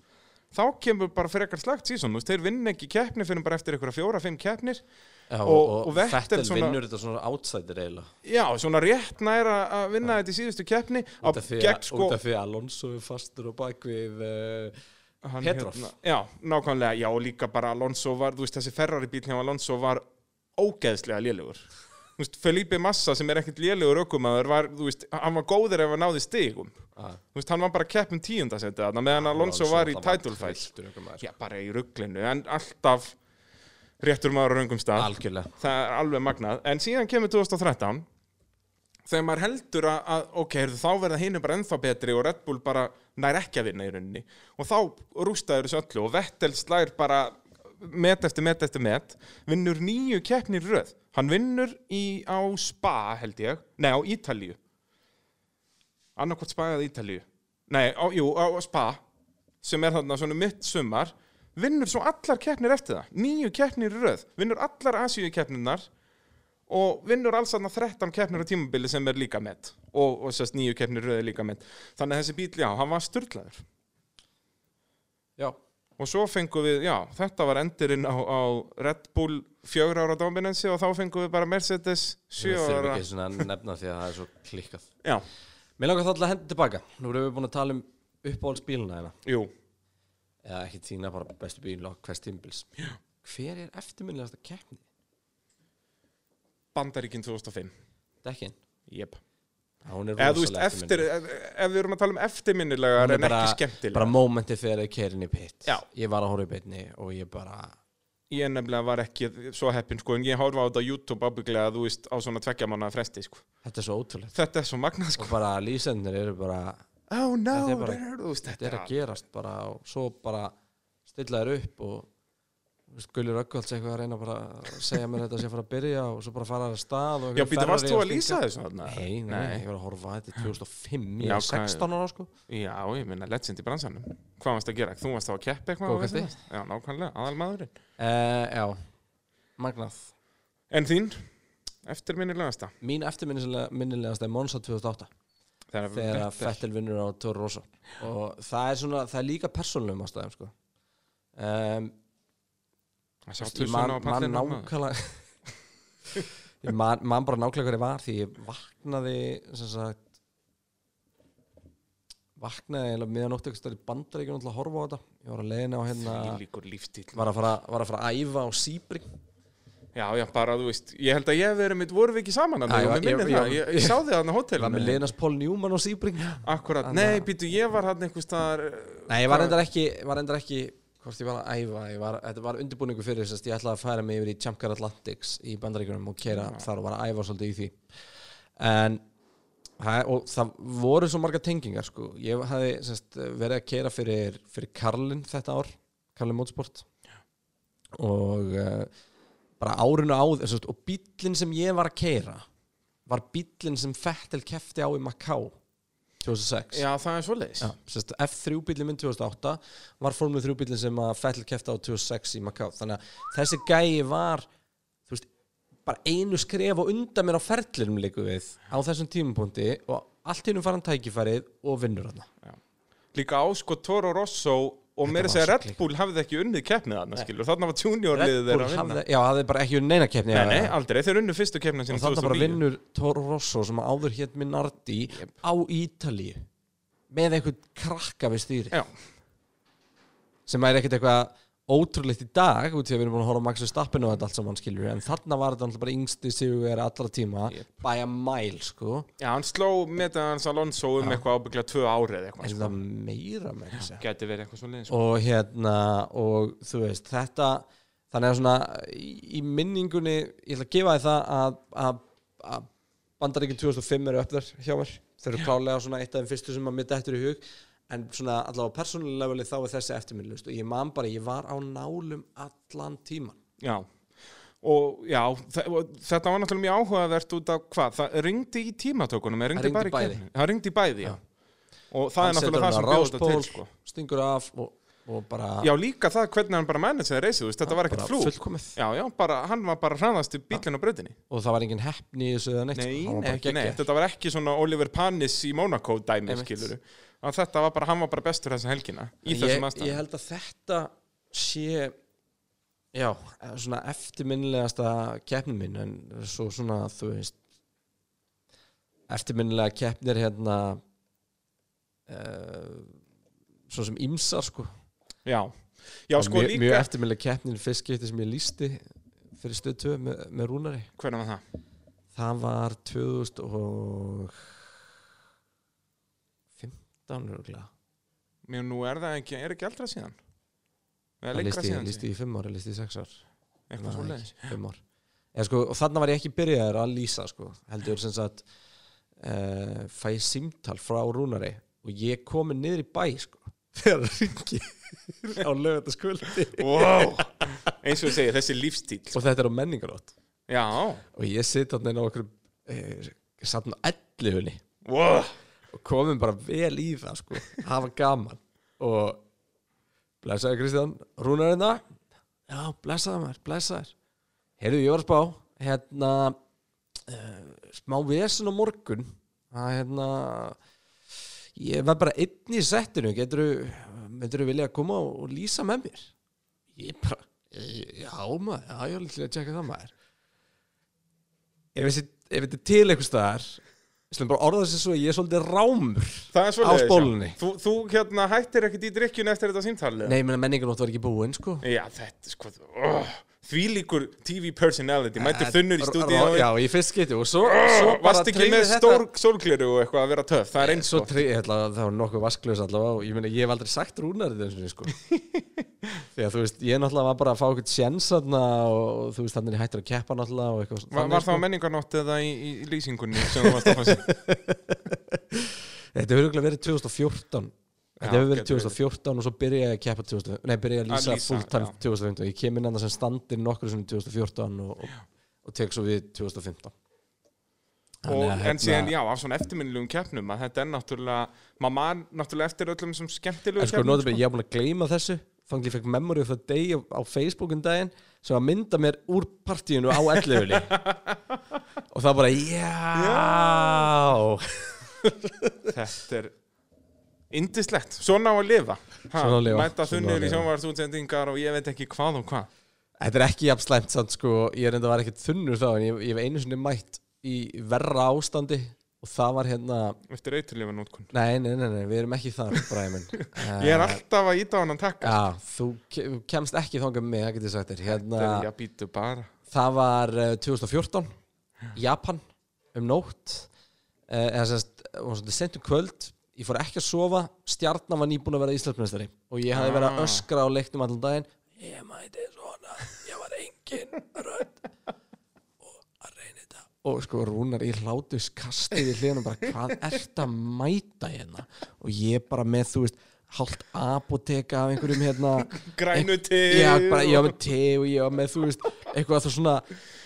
Speaker 2: þá kemur bara frekar slagt sísón, þú veist, þeir vinna ekki keppni fyrir bara eftir einhverja fjóra, fimm keppnir.
Speaker 1: Já,
Speaker 2: og- og og Vettel Vettel svona- vinnur
Speaker 1: þetta svona outsider eiginlega
Speaker 2: Já, svona rétt næra að vinna þetta í síðustu keppni á gegn sko
Speaker 1: því Alonso er fastur og bak við uh,
Speaker 2: hann hérna,
Speaker 1: Petrov.
Speaker 2: já, nákvæmlega, já, og líka bara Alonso var, þú veist, þessi Ferrari bíl hjá Alonso var ógeðslega lélugur þú veist, Felipe Massa sem er ekkert lélugur ökumæður var, þú veist, hann var góður ef hann náði stigum, þú veist, hann var bara keppum tíundasetti þarna, meðan Alonso var í title fight, já, bara í rugglinu en alltaf réttur maður á raungum stað
Speaker 1: Algjörlega
Speaker 2: það er alveg magnað en síðan kemur 2013 þegar maður heldur að, að ok, heyrðu, þá verða hinu bara ennþá betri og Red Bull bara nær ekki að vinna í rauninni og þá rústaður þessu öllu og Vettel slær bara met eftir met eftir met vinnur nýju keppnir í röð hann vinnur í, á Spa held ég, nei á Ítalíu annarkvort Spa eða Ítalíu nei, á, jú, á Spa sem er þarna svona mitt sumar vinnur svo allar keppnir eftir það nýju keppnir í röð, vinnur allar Asíu keppninar og vinnur alls aðna 13 keppnir á tímabili sem er líka met og, og sérst nýju keppnir röði líka met þannig að þessi bíl, já, hann var sturlaður
Speaker 1: Já,
Speaker 2: og svo fengum við, já, þetta var endurinn á, á Red Bull fjögur ára dominansi og þá fengum við bara Mercedes sjö
Speaker 1: við þurfum
Speaker 2: ára
Speaker 1: ekki svona að nefna því að það er svo klikkað
Speaker 2: já,
Speaker 1: Mér langar þá alltaf að henda tilbaka Nú erum við búin að tala um uppáhaldsbíluna hérna
Speaker 2: jú,
Speaker 1: Eða ekki tína bara bestu bíluna og hvers tímbils Hver er eftirminnilegasta keppni?
Speaker 2: Bandaríkin 2005
Speaker 1: Dekkin
Speaker 2: Jep.
Speaker 1: Já, hún er
Speaker 2: eða þú veist,
Speaker 1: rosalega
Speaker 2: eftir,
Speaker 1: eftirminnileg.
Speaker 2: ef, ef við erum að tala um
Speaker 1: Hún
Speaker 2: eftirminnilegar
Speaker 1: er
Speaker 2: en ekki skemmtilegar
Speaker 1: Bara mómentið þegar þið kerin í pitt
Speaker 2: Já.
Speaker 1: Ég var að horfa í bitni og ég bara
Speaker 2: ég nefnilega var ekki svo heppin sko, en ég horfa á þetta á YouTube ábygglega þú veist á svona tveggja manna fresti sko.
Speaker 1: Þetta er svo ótrúlegt
Speaker 2: þetta er svo magnað sko
Speaker 1: Og bara lýsendur eru bara
Speaker 2: oh no,
Speaker 1: Þetta er bara-
Speaker 2: there are- þú veist,
Speaker 1: Þetta er
Speaker 2: þetta
Speaker 1: að gerast bara og svo bara stilla þér upp og þú veist, Gulli Röggvalds eitthvað að reyna bara að segja mér þetta sé að fara að byrja og svo bara fara að stað og
Speaker 2: já,
Speaker 1: einhver
Speaker 2: býta, varst
Speaker 1: Ferrari
Speaker 2: þú
Speaker 1: og
Speaker 2: að lýsa
Speaker 1: stinga.
Speaker 2: þessu þarna?
Speaker 1: Nei, nei, ég var að horfa að þetta er 2005, ég
Speaker 2: Já,
Speaker 1: er 16 ára sko
Speaker 2: já, ég minna legend í bransanum hvað varst að gera, þú varst þá að keppa eitthvað og
Speaker 1: Bókhaldi.
Speaker 2: veist það? já, nákvæmlega, aðal maðurinn Eh,
Speaker 1: uh, Já, magnað
Speaker 2: en þín, eftirminnilegasta
Speaker 1: Mín eftirminnilegast er Monza 2008
Speaker 2: þegar,
Speaker 1: þegar að Fettel vinnur á Toro Rosso og það er svona, það er líka persónulegum ástæðum sko um,
Speaker 2: að sjá
Speaker 1: Ég man,
Speaker 2: tussuna á
Speaker 1: man
Speaker 2: pallinum maður.
Speaker 1: nákvæmlega Ég man, man bara nákvæmlega hver ég var því ég vaknaði sem sagt vaknaði eiginlega um miðan óttu eitthvað í bandaríkjum til að horfa á þetta ég var að leiðina á hérna
Speaker 2: líkur lífstíl
Speaker 1: var að fara, var að, fara að æfa á Sýbring
Speaker 2: já, já, bara, þú veist, ég held að ég hef verið mitt voru við ekki saman
Speaker 1: Já,
Speaker 2: þarna,
Speaker 1: ég
Speaker 2: jú,
Speaker 1: var-
Speaker 2: mig minnir
Speaker 1: ég- ég-
Speaker 2: það. ég ég sá þig þarna á
Speaker 1: var með
Speaker 2: hótelinu.
Speaker 1: Linus Paul Newman á Sýbring nei,
Speaker 2: Akkurat,
Speaker 1: Þannig
Speaker 2: nei,
Speaker 1: að-
Speaker 2: býtu, ég var hann einhvers staðar eh,
Speaker 1: ég var
Speaker 2: hvað-
Speaker 1: reyndar ekki, var reyndar ekki hvort ég var að æfa, ég var, þetta var undirbúningu fyrir þess að ég ætlaði að færa mig yfir í Champ Car Atlantics í bandaríkjunum og keira þar og var að æfa svolítið í því en hæ, og það voru svo marga tengingar sko. ég hafði sest, verið að keira fyrir, fyrir Karlin þetta ár Karlin Motorsport og uh, bara árinu áður sest, og bíllinn sem ég var að keira var bíllinn sem Fettel kefti á í Macau 2006
Speaker 2: eh, Já, það er svoleiðis
Speaker 1: Já, sérst, F3 bílinn minn 2008 var formule 3 bílinn sem að Fettel kefti á 2006 í Macau þannig að þessi gæi var þú veist, bara einu skref og undan mér á ferlinum líku við á þessum tímapunkti og allt innum faran tækifærið og vinnur hann
Speaker 2: Líka á sko Toro Rosso og
Speaker 1: var
Speaker 2: mér að segja
Speaker 1: svo
Speaker 2: Red Bull hafði ekki unnið keppnið þarna skilur Þarna var junior liðið þeirra að vinna
Speaker 1: hafði, já, hafði bara ekki unnið neina keppni
Speaker 2: Nei,
Speaker 1: já,
Speaker 2: nei,
Speaker 1: já.
Speaker 2: aldrei, þeir unnu fyrstu keppnið
Speaker 1: og
Speaker 2: sinni
Speaker 1: þannig bara
Speaker 2: 2009
Speaker 1: vinnur Toro Rosso sem áður hétt Minardi á Ítalíu með einhvern krakka við stýri
Speaker 2: Já,
Speaker 1: sem er ekkert eitthvað ótrúleitt í dag út í að við erum búin að horfa á Maxi Stappin og þetta allt saman skilur en þarna var þetta alltaf bara yngsti sigur allra tíma
Speaker 2: Jep.
Speaker 1: by a mile sko
Speaker 2: já, hann sló með hans Alonso um eitthvað ábygglega tvö árið eða
Speaker 1: en
Speaker 2: eitthvað sko.
Speaker 1: það meira með þessi
Speaker 2: Gæti verið eitthvað svoleiðis
Speaker 1: og hérna og þú veist þetta þannig að svona í, í minningunni ég ætla að gefa þið það að, að, að bandaríkinn 2005 eru upp þar hjá mér þeir eru klálega svona eitt af þeim fyrstu sem að mitt eftir í hug en svona allavega á persónulega velið þá er þessi eftirminnlust og ég man bara ég var á nálum allan tíman
Speaker 2: Já Og já, þe- og þetta var náttúrulega mjög áhugavert út af hvað, það ringdi í tímatökunum, það ringdi
Speaker 1: Það
Speaker 2: bara
Speaker 1: rigndi
Speaker 2: í
Speaker 1: bæði.
Speaker 2: keppni. það ringdi í bæði, já. Og það er
Speaker 1: hann setur
Speaker 2: náttúrulega
Speaker 1: hann á
Speaker 2: það sem bjóð
Speaker 1: ráspól,
Speaker 2: þetta til, sko.
Speaker 1: stingur af og, og bara
Speaker 2: Já, líka það hvernig hann bara manageði reysið, þú veist, þetta var
Speaker 1: bara
Speaker 2: ekkert flúk.
Speaker 1: fullkomið
Speaker 2: Já, já, bara, hann var bara hraðast í bílinn á bröðinni.
Speaker 1: og það var engin heppni í þessu eða neitt
Speaker 2: Nei,
Speaker 1: sko. Hann var
Speaker 2: nei,
Speaker 1: bara
Speaker 2: ekki, nei,
Speaker 1: geggjaður.
Speaker 2: þetta var ekki svona Oliver Panis í Monaco dæmi,
Speaker 1: Einmitt.
Speaker 2: skiluru. Að þetta var bara, hann var bara bestur þessa helgina í
Speaker 1: ég, ég
Speaker 2: þessum aðstæðum.
Speaker 1: held að þetta sé já, eh, svona eftirminnilegasta keppnin mín en svo svona, þú veist eftirminnilega keppnir hérna uh, svo sem ymsar sko,
Speaker 2: Já, já, sko
Speaker 1: mjög,
Speaker 2: líka,
Speaker 1: mjög eftirminnilega keppnin fyrst getið sem ég lísti fyrir stöð 2 með, með Rúnari
Speaker 2: hvernig var það?
Speaker 1: Það var 2015 örgulega
Speaker 2: Mér nú er það ekki, er ekki eldra síðan. Eða
Speaker 1: Það
Speaker 2: lengra
Speaker 1: listi,
Speaker 2: síðan,
Speaker 1: listi í 5 ár, listi í 6 ár
Speaker 2: eitthvað
Speaker 1: Nei,
Speaker 2: svoleiðis.
Speaker 1: fimm ár. Eða, sko, Og þarna var ég ekki byrjaður að lýsa sko. heldur sem sagt uh, fæ ég símtal frá Rúnari og ég komi niður í bæ sko, þegar það ringi á lögataskvöldi
Speaker 2: wow. eins og ég segi, þessi lífstíl
Speaker 1: og þetta er á menningarótt
Speaker 2: já,
Speaker 1: og ég sitt hann inn á okkur uh, satt hann á 11
Speaker 2: wow.
Speaker 1: og komum bara vel í það sko, hafa gaman og blessaði Kristján Rúnarina já, blessaði maður, blessaði heyrðu, ég var að spá hérna, uh, smá vesen á morgun það er hérna ég var bara einn í settinu getur þú vilja að koma og, og lýsa með mér ég bara eh, já maður, já ég var líklega að tjekka það maður ef þessi- ef þetta er til einhvers staðar ég slum bara orða þessi svo að ég er svolítið rámur
Speaker 2: Það er svolítið
Speaker 1: Á spólunni.
Speaker 2: Þú, þú hérna hættir ekkert í drikkjun eftir þetta símtalið
Speaker 1: nei, ég meina menningarnótt var ekki búin sko
Speaker 2: Já, þetta sko oh, Því líkur TV personality Mættur þunnur í
Speaker 1: Rá-
Speaker 2: stúdíu
Speaker 1: já, í fyrst geti og svo, svo bara
Speaker 2: Vast oh, ekki
Speaker 1: tryggði
Speaker 2: með
Speaker 1: þetta-
Speaker 2: stór sólgleru og eitthvað að vera töff Það er eins
Speaker 1: Svo
Speaker 2: og
Speaker 1: trygg, ég ætla að það var nokkuð vaskljós allavega og ég meina, ég hef aldrei sagt rúnar þetta eins og sko því að þú veist, ég náttúrulega var bara að fá eitthvað sjens þarna og, og þú veist, þannig er ég hættur að keppa náttúrulega og eitthvað
Speaker 2: Var,
Speaker 1: þannig, sko.
Speaker 2: var það á menningarnótt eða í, í, í lýsingunni sem þú varst að fannst?
Speaker 1: Þetta hefur örugglega verið 2014 Þetta
Speaker 2: Já,
Speaker 1: hefur verið
Speaker 2: getur verið.
Speaker 1: 2014 og svo byrja ég að keppa 2000, nei, byrja ég að
Speaker 2: Að
Speaker 1: lýsa
Speaker 2: lýsa,
Speaker 1: fulltime
Speaker 2: já.
Speaker 1: 2015 Ég kem inn annað sem standir nokkur sem 2014 og, og, og tek svo við 2015 Þannig
Speaker 2: Og
Speaker 1: að,
Speaker 2: en
Speaker 1: hérna,
Speaker 2: síðan, já, af svona eftirminnilegum keppnum að þetta er náttúrulega, maður man náttúrulega eftir öllum sem skemmtilegu
Speaker 1: En sko, notabene, ég hef búin að gleyma þessu Þannig að ég fekk memory of the day á, á Facebookum daginn sem að mynda mér úr partíinu á ellöfuli og það bara, já
Speaker 2: Þetta er indislegt, svona á að lifa ha,
Speaker 1: Svona á að lifa, svona á
Speaker 2: Mæta
Speaker 1: að
Speaker 2: þunnið í
Speaker 1: lifa.
Speaker 2: sjónvarsútsendingar og ég veit ekki hvað og hvað
Speaker 1: Þetta er ekki jafn slæmt samt sko Ég reynda var ekkert þunnur þá en ég, ég hef einu sinni mætt í verra ástandi og það var hérna
Speaker 2: Eftir eiturlifa nótkun
Speaker 1: Nei, nei, nei, nei, við erum ekki þar, Bræmin
Speaker 2: Ég er alltaf að íta á hann takka
Speaker 1: Já, þú ke- þú kemst ekki þangað með mig, það getur sagt þér hérna,
Speaker 2: Þetta er ég að býtu bara
Speaker 1: Það var eh, 2014 Japan, um nótt eh, eða semst, var svolítið sent um kvöld ég fór ekki að sofa, stjarnan var nýbúin að vera Íslandsmeistari og ég hafði verið að
Speaker 2: Ah.
Speaker 1: öskra á leiknum allan daginn ég mæti svona, ég var engin rödd og að reyna þetta og sko Rúnar í hlátus kastið í hliðanum bara hvað ert að mæta hérna og ég bara með þú veist hálft apoteka af einhverjum hérna
Speaker 2: Grænu
Speaker 1: Ek-
Speaker 2: te
Speaker 1: já, bara, ég var
Speaker 2: og-
Speaker 1: með te og ég var með, þú veist, eitthvað það svona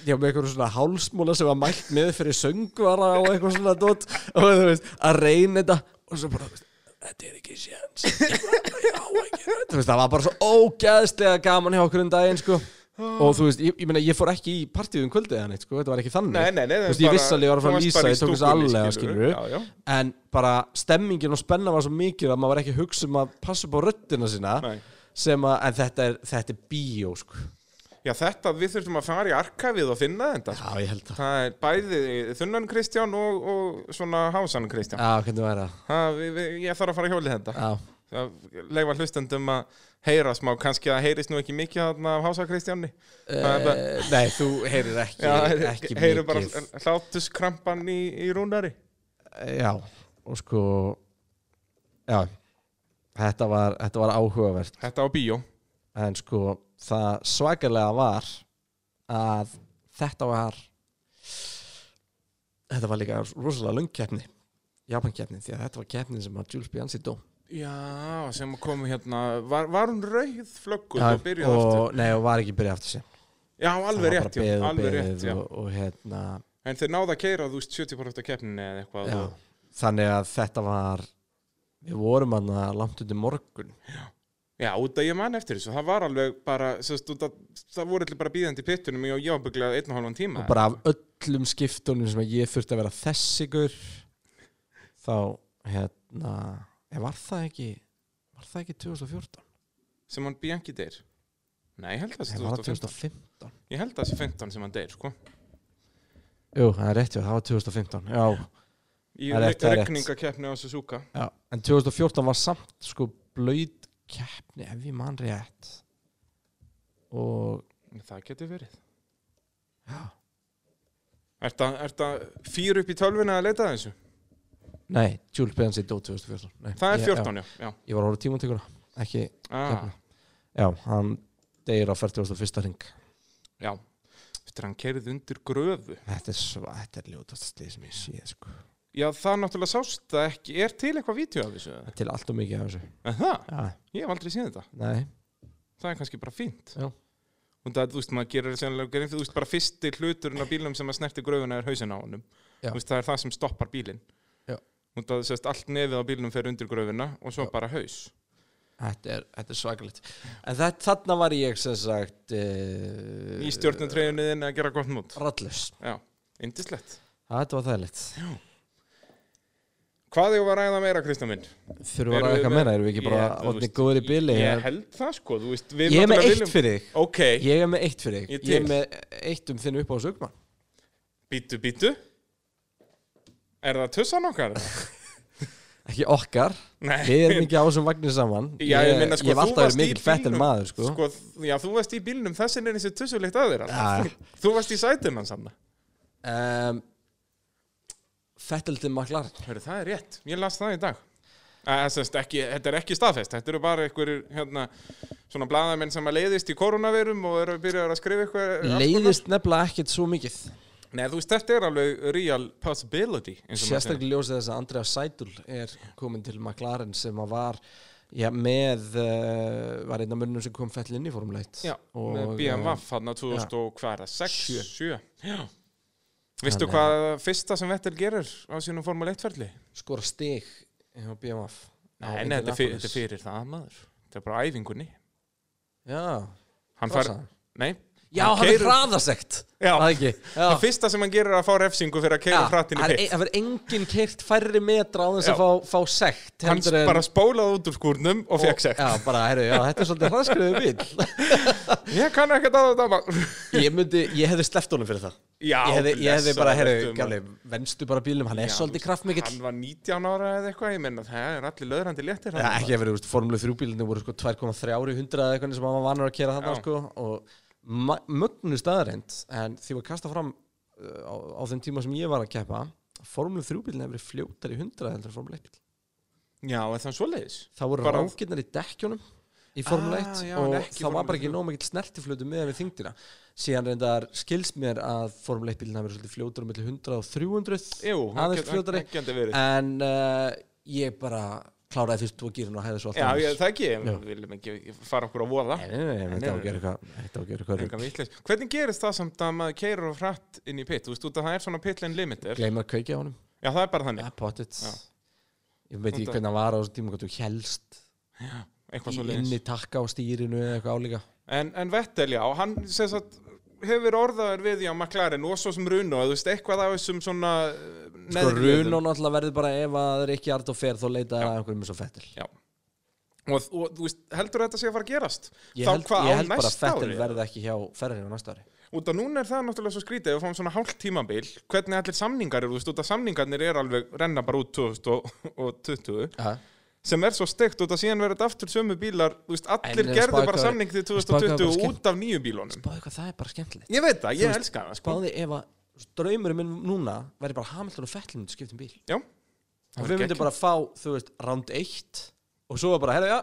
Speaker 1: ég var með eitthvað svona hálsmóla sem var mælt með fyrir söngvara og eitthvað svona dot, og þú veist, að reyna þetta og svo bara, þú veist, þetta er ekki sjans ég bara, ég á ekki rödd." þú veist, það var bara svo ógæðslega gaman hjá okkur um daginn, sko og þú veist, ég, ég meina, ég fór ekki í partíðum kvöldið eða neitt, sko, þetta var ekki þannig
Speaker 2: Nei, nei, nei,
Speaker 1: þú veist,
Speaker 2: bara-
Speaker 1: ég viss alveg ég var að fara
Speaker 2: þú
Speaker 1: að
Speaker 2: varst
Speaker 1: lýsa,
Speaker 2: bara í
Speaker 1: ég tók þessu
Speaker 2: stúkunni,
Speaker 1: allega, skilur
Speaker 2: skilurðu. Já, já.
Speaker 1: en bara stemmingin og spenna var svo mikil að maður var ekki að hugsa um að passa upp á röddina sína
Speaker 2: Nei.
Speaker 1: sem að, en þetta er, þetta er bíó sko.
Speaker 2: Já, þetta, við þurfum að fara í arkafið og finna þetta sko.
Speaker 1: Já, ég held það
Speaker 2: Það er bæði þunnan Kristján og, og svona hásan Kristján
Speaker 1: Já, hvernig væri það?
Speaker 2: ha, við, við, Ég þarf að fara í hjólið þetta
Speaker 1: Já,
Speaker 2: leifa hlustendum að heyra smá, kannski að heyrist nú ekki mikið þarna af hása Kristjáni Það er
Speaker 1: uh, nei, þú heyrir ekki, ekki
Speaker 2: heyru bara
Speaker 1: mikið
Speaker 2: hlátuskrampan í, í rúnari
Speaker 1: Já, og sko Já Þetta var, þetta var áhugavert
Speaker 2: Þetta á bíó
Speaker 1: en sko, það svakalega var að þetta var þetta var líka rosalega lungkeppni Japankeppni, því að þetta var keppnin sem að Jules Bianchi dó
Speaker 2: Já, sem komu hérna Var, var hún rauð flöggur
Speaker 1: Já,
Speaker 2: og byrjuð aftur?
Speaker 1: Nei, og var ekki byrjað aftur sér
Speaker 2: Já, alveg rétt, já,
Speaker 1: beðið,
Speaker 2: alveg rétt já.
Speaker 1: og, og hérna
Speaker 2: En þeir náða að keira, þú veist, 70% af keppninni eða eitthvað
Speaker 1: já,
Speaker 2: og-
Speaker 1: þannig að þetta var við vorum hann að langt undir morgun
Speaker 2: Já, út að ég man eftir þessu, það var alveg bara, sérst, út að, það voru allir bara bíðandi í pittunum og ég var bygglega einn og halvan tíma.
Speaker 1: og bara af öllum skiptunum sem að ég þurfti að vera þessi gaur þá hérna ég var það ekki var það ekki 2014?
Speaker 2: Sem hann Bianchi deyr. Nei, ég held að það sé
Speaker 1: Nei, var það
Speaker 2: 2015.
Speaker 1: 2015?
Speaker 2: Ég held að það sé 15 sem hann deyr, sko.
Speaker 1: Jú, það er rétt, já, það var 2015 já,
Speaker 2: Í
Speaker 1: Það er rétt, það er rétt.
Speaker 2: regningakeppni á Suzuka.
Speaker 1: já, en 2014 var samt sko blöyt keppni ef ég man rétt og
Speaker 2: Það getur verið.
Speaker 1: já,
Speaker 2: Er það fýr upp í tölvuna að leita að þessu?
Speaker 1: nei, Jules Benzi dó 2014 nei,
Speaker 2: Það er
Speaker 1: ég-
Speaker 2: 14, já. já.
Speaker 1: já, ég var að horfa tímantíkuna, ekki
Speaker 2: Ah,
Speaker 1: keppni. já, hann deyr á 41. ring
Speaker 2: já. Þetta hann kerði undir gröfu.
Speaker 1: Þetta er svo, þetta er ljótast slið sem ég sé sko.
Speaker 2: Já, það náttúrulega sást það ekki. Er til eitthvað vídeo af þessu?
Speaker 1: Það er til allt og mikið af þessu
Speaker 2: Er Það?
Speaker 1: ja.
Speaker 2: Ég hef aldrei séð þetta.
Speaker 1: Nei,
Speaker 2: það er kannski bara fínt
Speaker 1: Já.
Speaker 2: og það, þú veist, maður gerir sennilega grein fyrir, þú veist, bara fyrsti hluturinn á bílum sem að snerti gröfuna er hausin á honum
Speaker 1: Já.
Speaker 2: þú veist, það er það sem stoppar bílinn
Speaker 1: Já.
Speaker 2: og það, sérst, allt nefið á bílnum fer undir gröfuna og svo bara haus
Speaker 1: þetta er, þetta er svakalegt En þetta, þarna var ég sem sagt uh,
Speaker 2: í stjórnutreginniðin að gera gott mút
Speaker 1: Rallus
Speaker 2: Já. Indislegt
Speaker 1: Þetta var þægilegt
Speaker 2: Hvað ég var að ræða meira, Kristján minn?
Speaker 1: Þurfum við að ræða eitthvað meira, erum við ekki bara
Speaker 2: Ég- þú
Speaker 1: orðin
Speaker 2: veist,
Speaker 1: góður í bili
Speaker 2: Ég held það sko, þú veist við
Speaker 1: Ég er með
Speaker 2: náttúrulega
Speaker 1: eitt fyrir þig
Speaker 2: Ok,
Speaker 1: Ég er með eitt fyrir þig
Speaker 2: Ég
Speaker 1: Ég,
Speaker 2: til.
Speaker 1: er með eitt um þinn upp á sögman
Speaker 2: býtu, býtu Er það tussan okkar?
Speaker 1: Ekki okkar,
Speaker 2: Nei
Speaker 1: við erum ekki á þessum vagnir saman
Speaker 2: Já, ég meina,
Speaker 1: Ég
Speaker 2: sko,
Speaker 1: hef
Speaker 2: þú
Speaker 1: alltaf
Speaker 2: varst
Speaker 1: verið
Speaker 2: í
Speaker 1: mikil fettir
Speaker 2: bílnum,
Speaker 1: maður sko.
Speaker 2: Sko, já, þú varst í bílnum, þessin er eins og tussulegt að þér
Speaker 1: Já, já.
Speaker 2: Þú varst í sætum hans hann
Speaker 1: um, Fettildin maklar
Speaker 2: Hörru, það er rétt, ég las það í dag Eh, Að, sest, ekki, Þetta er ekki staðfest Þetta eru bara einhverjir hérna, svona blaðamenn sem að leiðist í koronavirum og eru að byrja að skrifa eitthvað
Speaker 1: Leiðist nefnilega ekkert svo mikið
Speaker 2: Nei, þú veist, þetta er alveg real possibility eins og maður segir.
Speaker 1: Sérstaklega ljósið þess að Andrea Sætul er komin til McLaren sem að var já, með uh, var einn af mönnum sem kom fell inn í formuleitt
Speaker 2: Já, með BMW hann á
Speaker 1: 7.
Speaker 2: 2006 Já Vistu hvað fyrsta sem Vettel gerir á sínum Formule 1 ferli?
Speaker 1: skora stig hjá BMW
Speaker 2: Nei, nei, þetta er fyrir, þetta er fyrir það maður Þetta er bara á æfingunni
Speaker 1: Já,
Speaker 2: Hann
Speaker 1: Hvað
Speaker 2: fær,
Speaker 1: sagði hann?
Speaker 2: nei
Speaker 1: já hann er
Speaker 2: keyrir-
Speaker 1: hraðasekt
Speaker 2: Já.
Speaker 1: Það ekki
Speaker 2: Það
Speaker 1: Já.
Speaker 2: fyrsta sem hann gerir er að fá refsingu fyrir að
Speaker 1: Já,
Speaker 2: keira frattinn í
Speaker 1: það er- e-
Speaker 2: pitt
Speaker 1: Það verður enginn keirt færri metra á þess
Speaker 2: Já.
Speaker 1: að fá, fá sekt
Speaker 2: Hann
Speaker 1: heldur en-
Speaker 2: bara spólaði út úr skúrnum og fekk sekt
Speaker 1: Já, bara, herru, já, þetta er svolítið hraðskriðu bíl
Speaker 2: Ég kann ekkert að þetta bara
Speaker 1: Ég myndi, ég hefði sleppt honum fyrir það
Speaker 2: Já,
Speaker 1: Ég hefði, ég hefði
Speaker 2: blessaður,
Speaker 1: bara,
Speaker 2: ertu
Speaker 1: herru,
Speaker 2: maður.
Speaker 1: gæli, venstu bara bílum, hann er
Speaker 2: Já,
Speaker 1: svolítið
Speaker 2: þú-
Speaker 1: kraftmikill
Speaker 2: Hann var 19 ára eða eitthvað, ég menna það er allir löðrandi léttir
Speaker 1: Já, ekki að vera, úst, formlu 3 bílinni voru sko 2,3 ári hundra eða eitthvað sem hann var vanur að kera þarna
Speaker 2: Já.
Speaker 1: sko og ma- mögnu staðarind en því var kasta fram uh, á, á þeim tíma sem ég var að keppa formlu 3 bílinni hefur verið fljótar í hundra heldur en formlu 1
Speaker 2: Já, er það svoleiðis?
Speaker 1: það voru
Speaker 2: Bara-
Speaker 1: rákinnar í dekkjónum í formlu
Speaker 2: Ah,
Speaker 1: 1
Speaker 2: já, en
Speaker 1: og það
Speaker 2: ekki í Formúlu
Speaker 1: var bara ekki
Speaker 2: 3.
Speaker 1: nóg mikill snertiflötu meðan við þyngdina síðan reyndar skils mér að formlu 1 bílinni hefur verið svolítið fljótar um milli 100 og 300
Speaker 2: Jú, hann
Speaker 1: aðeins
Speaker 2: get- hann-
Speaker 1: fljótari
Speaker 2: hann gæti verið.
Speaker 1: en uh, ég bara kláraði fyrst tvo gýrun og hefði svo allt
Speaker 2: Já,
Speaker 1: annars.
Speaker 2: ég, það ekki,
Speaker 1: Já.
Speaker 2: við viljum ekki fara okkur á voða
Speaker 1: Nei, nei, nei, þetta á að
Speaker 2: nei,
Speaker 1: gera eitthvað Þetta á að gera eitthvað
Speaker 2: Engan
Speaker 1: rugg
Speaker 2: vitleys. Hvernig gerist það samt að maður keirir og frætt inn í pitt? Þú veist, út að það er svona pitlane limiter
Speaker 1: Gleima að kveikja á honum
Speaker 2: Já, það er bara þannig,
Speaker 1: Ja, pottet
Speaker 2: Já.
Speaker 1: Ég veit ekki
Speaker 2: Þetta-
Speaker 1: hvernig hann var á þessum tíma Hvað þú helst
Speaker 2: eitthvað svo
Speaker 1: í
Speaker 2: leiðis
Speaker 1: inni takka á stýrinu Eða eitthvað álíka
Speaker 2: en, en Vettel, já, hann sem sagt, hefur orðaður við já, McLaren og svo sem Runo, þú veist, eitthvað af þessum svona eh,
Speaker 1: Sko
Speaker 2: neðri liðum.
Speaker 1: run og náttúrulega verður bara Ef að það er ekki art og fer Þá leita það einhverjum eins og fettil
Speaker 2: Já Og, og þú veist, heldur þetta sé að fara að gerast?
Speaker 1: Ég held,
Speaker 2: hvað
Speaker 1: ég
Speaker 2: á
Speaker 1: held bara að
Speaker 2: næsta
Speaker 1: fettil
Speaker 2: ári?
Speaker 1: verði ekki hjá Ferrari á næsta ári
Speaker 2: Út að núna er það náttúrulega svo skrítið, ef við fáum svona hálft tímabil, hvernig allir samningar eru, þú veist, út að samningarnir er alveg renna bara út 2020
Speaker 1: Aha.
Speaker 2: sem er svo steikt út að síðan verður þetta aftur sömu bílar, þú veist, allir
Speaker 1: En eh,
Speaker 2: gerðu
Speaker 1: spáðu
Speaker 2: bara
Speaker 1: hvað-
Speaker 2: samning til
Speaker 1: spáðu hvað
Speaker 2: 2020
Speaker 1: bara skemmt-
Speaker 2: út af nýju bílunum.
Speaker 1: Báði hvað það er bara skemmtilegt
Speaker 2: Ég veit það,
Speaker 1: Þú
Speaker 2: ég
Speaker 1: veist,
Speaker 2: elska það, sko.
Speaker 1: Báði ef að Draumurinn minn núna Verði bara Hamilton og Fettil Myndu skiptum um bíl
Speaker 2: Já,
Speaker 1: og
Speaker 2: væri
Speaker 1: við myndum
Speaker 2: geggjað.
Speaker 1: bara fá, þú veist, round 1 og svo var bara, herra, já,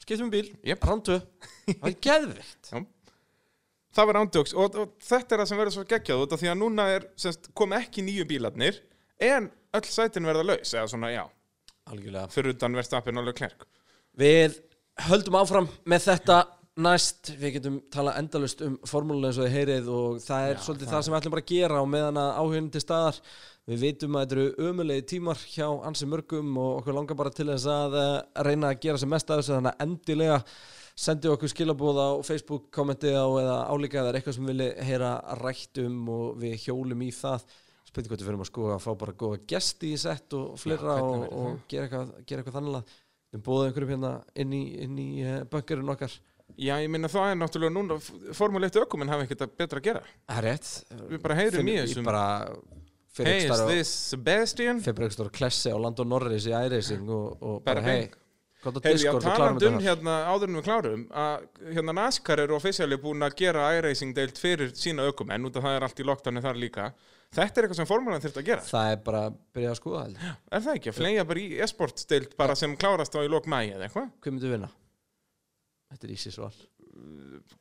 Speaker 1: skiptum við bíl
Speaker 2: Jep.
Speaker 1: round 2, það er geðvikt
Speaker 2: það var ándjóks og, og þetta er það sem verður svo geggjað út af því að núna er, semst, kom ekki nýju bílarnir en öll sætin verða laus, eða svona, já,
Speaker 1: algjörlega,
Speaker 2: fyrir utan verðstappin alveg klerk.
Speaker 1: við höldum áfram með þetta næst, við getum talað endalust um formúluna eins og þið heyrið og það er svolítið það, sem við ætlum bara að gera og meðan að áhugin til staðar við vitum að þetta eru ömulegi tímar hjá ansi mörgum og okkur langar bara til þess að eh, reyna að gera sem mest af þessu þannig að endilega sendið okkur skilabóð á Facebook kommentið á eða álíka eða er eitthvað sem vilja heyra rætt um og við hjólum í það spytum hvað við fyrir að sko að fá bara góða gesti í sett og fleira og,
Speaker 2: hvernig væri það?
Speaker 1: og gera eitthvað, gera eitthvað þannig að við bóðum einhverjum hérna inn í, inn í uh, bökkurinn okkar
Speaker 2: Já, ég minna það er náttúrulega núna, formuleitt ökumenn hafa ekkert betra að gera.
Speaker 1: Það er rétt
Speaker 2: Við bara heyrum í
Speaker 1: Ég
Speaker 2: þessum.
Speaker 1: bara fyrir
Speaker 2: Hey, is
Speaker 1: hey,
Speaker 2: this Sebastian?
Speaker 1: fyrir ekstra klessi á Landon Norris í iRacing og, og
Speaker 2: Bara
Speaker 1: bara hey
Speaker 2: bing.
Speaker 1: gott að
Speaker 2: Hefur ég
Speaker 1: Discord og klárum
Speaker 2: talandi um
Speaker 1: þetta hér
Speaker 2: hérna áður en við klárum að hérna NASCAR eru ofisjali búin að gera iRacing deilt fyrir sína ökumenn út af það er allt í lockdowni þar líka Þetta er eitthvað sem formulan þurft að gera
Speaker 1: Það er bara að byrja að skoða heldur.
Speaker 2: Er það ekki? Að fleja bara í e-sport deilt bara sem klárast á í lok mæi eða eitthvað
Speaker 1: Hvað myndu vinna? Þetta er ísi svar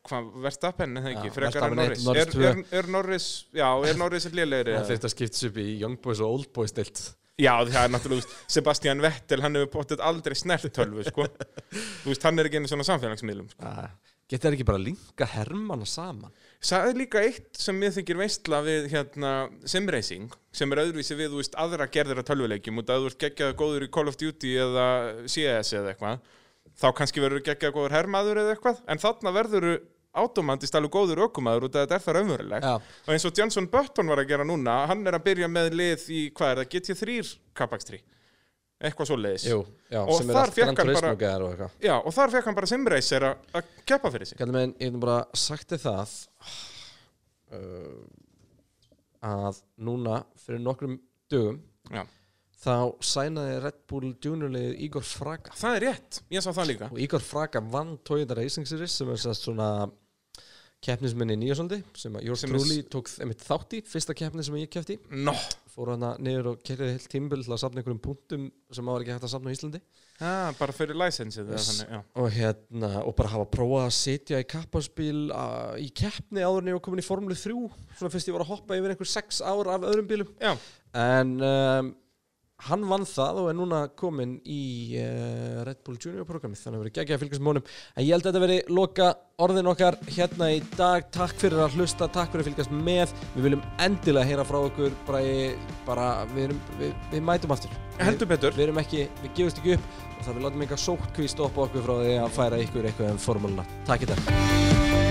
Speaker 2: Hvað verðst að penni það ekki?
Speaker 1: Já,
Speaker 2: Frekar
Speaker 1: Verstappen
Speaker 2: en
Speaker 1: eitt,
Speaker 2: Norris
Speaker 1: Norris
Speaker 2: er,
Speaker 1: tvö.
Speaker 2: er, er Norris, já, er Norris lélegri? eða?
Speaker 1: að skipta upp í Young Boys og Old Boys stilt
Speaker 2: Já, það er náttúrulega, þú veist, Sebastian Vettel hann hefur bóttið aldrei snert tölvu, sko Þú veist, hann er ekki einu svona samfélagsmiðlum sko.
Speaker 1: Geta Ah, þær ekki bara að linka hermana saman?
Speaker 2: Það er líka eitt sem mér þykir veistla við hérna, simracing sem er öðruvísi við þú veist, aðra gerðir að tölvuleikjum út að þú ert geggjaður góður í Call of Duty eða CS eða eitthvað þá kannski verður geggjaður góður hermaður eða eitthvað en þarna verður átomand í stælu góður ökumæður út að þetta er það raunverulegt
Speaker 1: Já.
Speaker 2: og eins og Johnson Button var að gera núna hann er að byrja með lið í, hvað er það, GT3 kapakstri, eitthvað svo leiðis
Speaker 1: Jú, já,
Speaker 2: Og
Speaker 1: sem er
Speaker 2: þar
Speaker 1: allt
Speaker 2: fékk
Speaker 1: Gran
Speaker 2: hann
Speaker 1: Turismo
Speaker 2: bara-
Speaker 1: gæðar og eitthvað
Speaker 2: Já, og þar fekk hann bara simreiser að keppa fyrir sig
Speaker 1: Kallum en, ég hef bara sagt þið það uh, að núna fyrir nokkrum dögum
Speaker 2: Já.
Speaker 1: þá sænaði Red Bull Juniorlegið Igor Fraga
Speaker 2: Það er rétt, ég sá það líka
Speaker 1: og Igor Fraga vann Toyota Racing Series sem er sérst svona keppnisminni nýja svolítið sem að Jórs
Speaker 2: Sem er-
Speaker 1: Trúli tók einmitt þátt í fyrsta keppni sem ég keppti
Speaker 2: Nó,
Speaker 1: fór hana niður og kerði heilt tímbil til að safna einhverjum punktum sem maður ekki hægt að safna á Íslandi
Speaker 2: ah, bara fyrir licensið eða
Speaker 1: Yes.
Speaker 2: þannig, já.
Speaker 1: og hérna, og bara hafa prófað að sitja í kapparspíl uh, í keppni áður en ég var komin í Formule 3 svona fyrst ég var að hoppa yfir einhver 6 ár af öðrum bílum
Speaker 2: Já.
Speaker 1: en um, hann vann það og er núna komin í uh, Red Bull Junior programmið þannig að verið geggja að fylgjast með honum en ég held að þetta verið loka orðin okkar hérna í dag, takk fyrir að hlusta takk fyrir að fylgjast með, við viljum endilega heyra frá okkur, bara, bara við, erum, við, við mætum aftur
Speaker 2: heldur betur
Speaker 1: við erum ekki, við gefumst ekki upp og það við látum enga sótkví stoppa okkur frá því að færa ykkur eitthvað um formúluna. Takk í dag.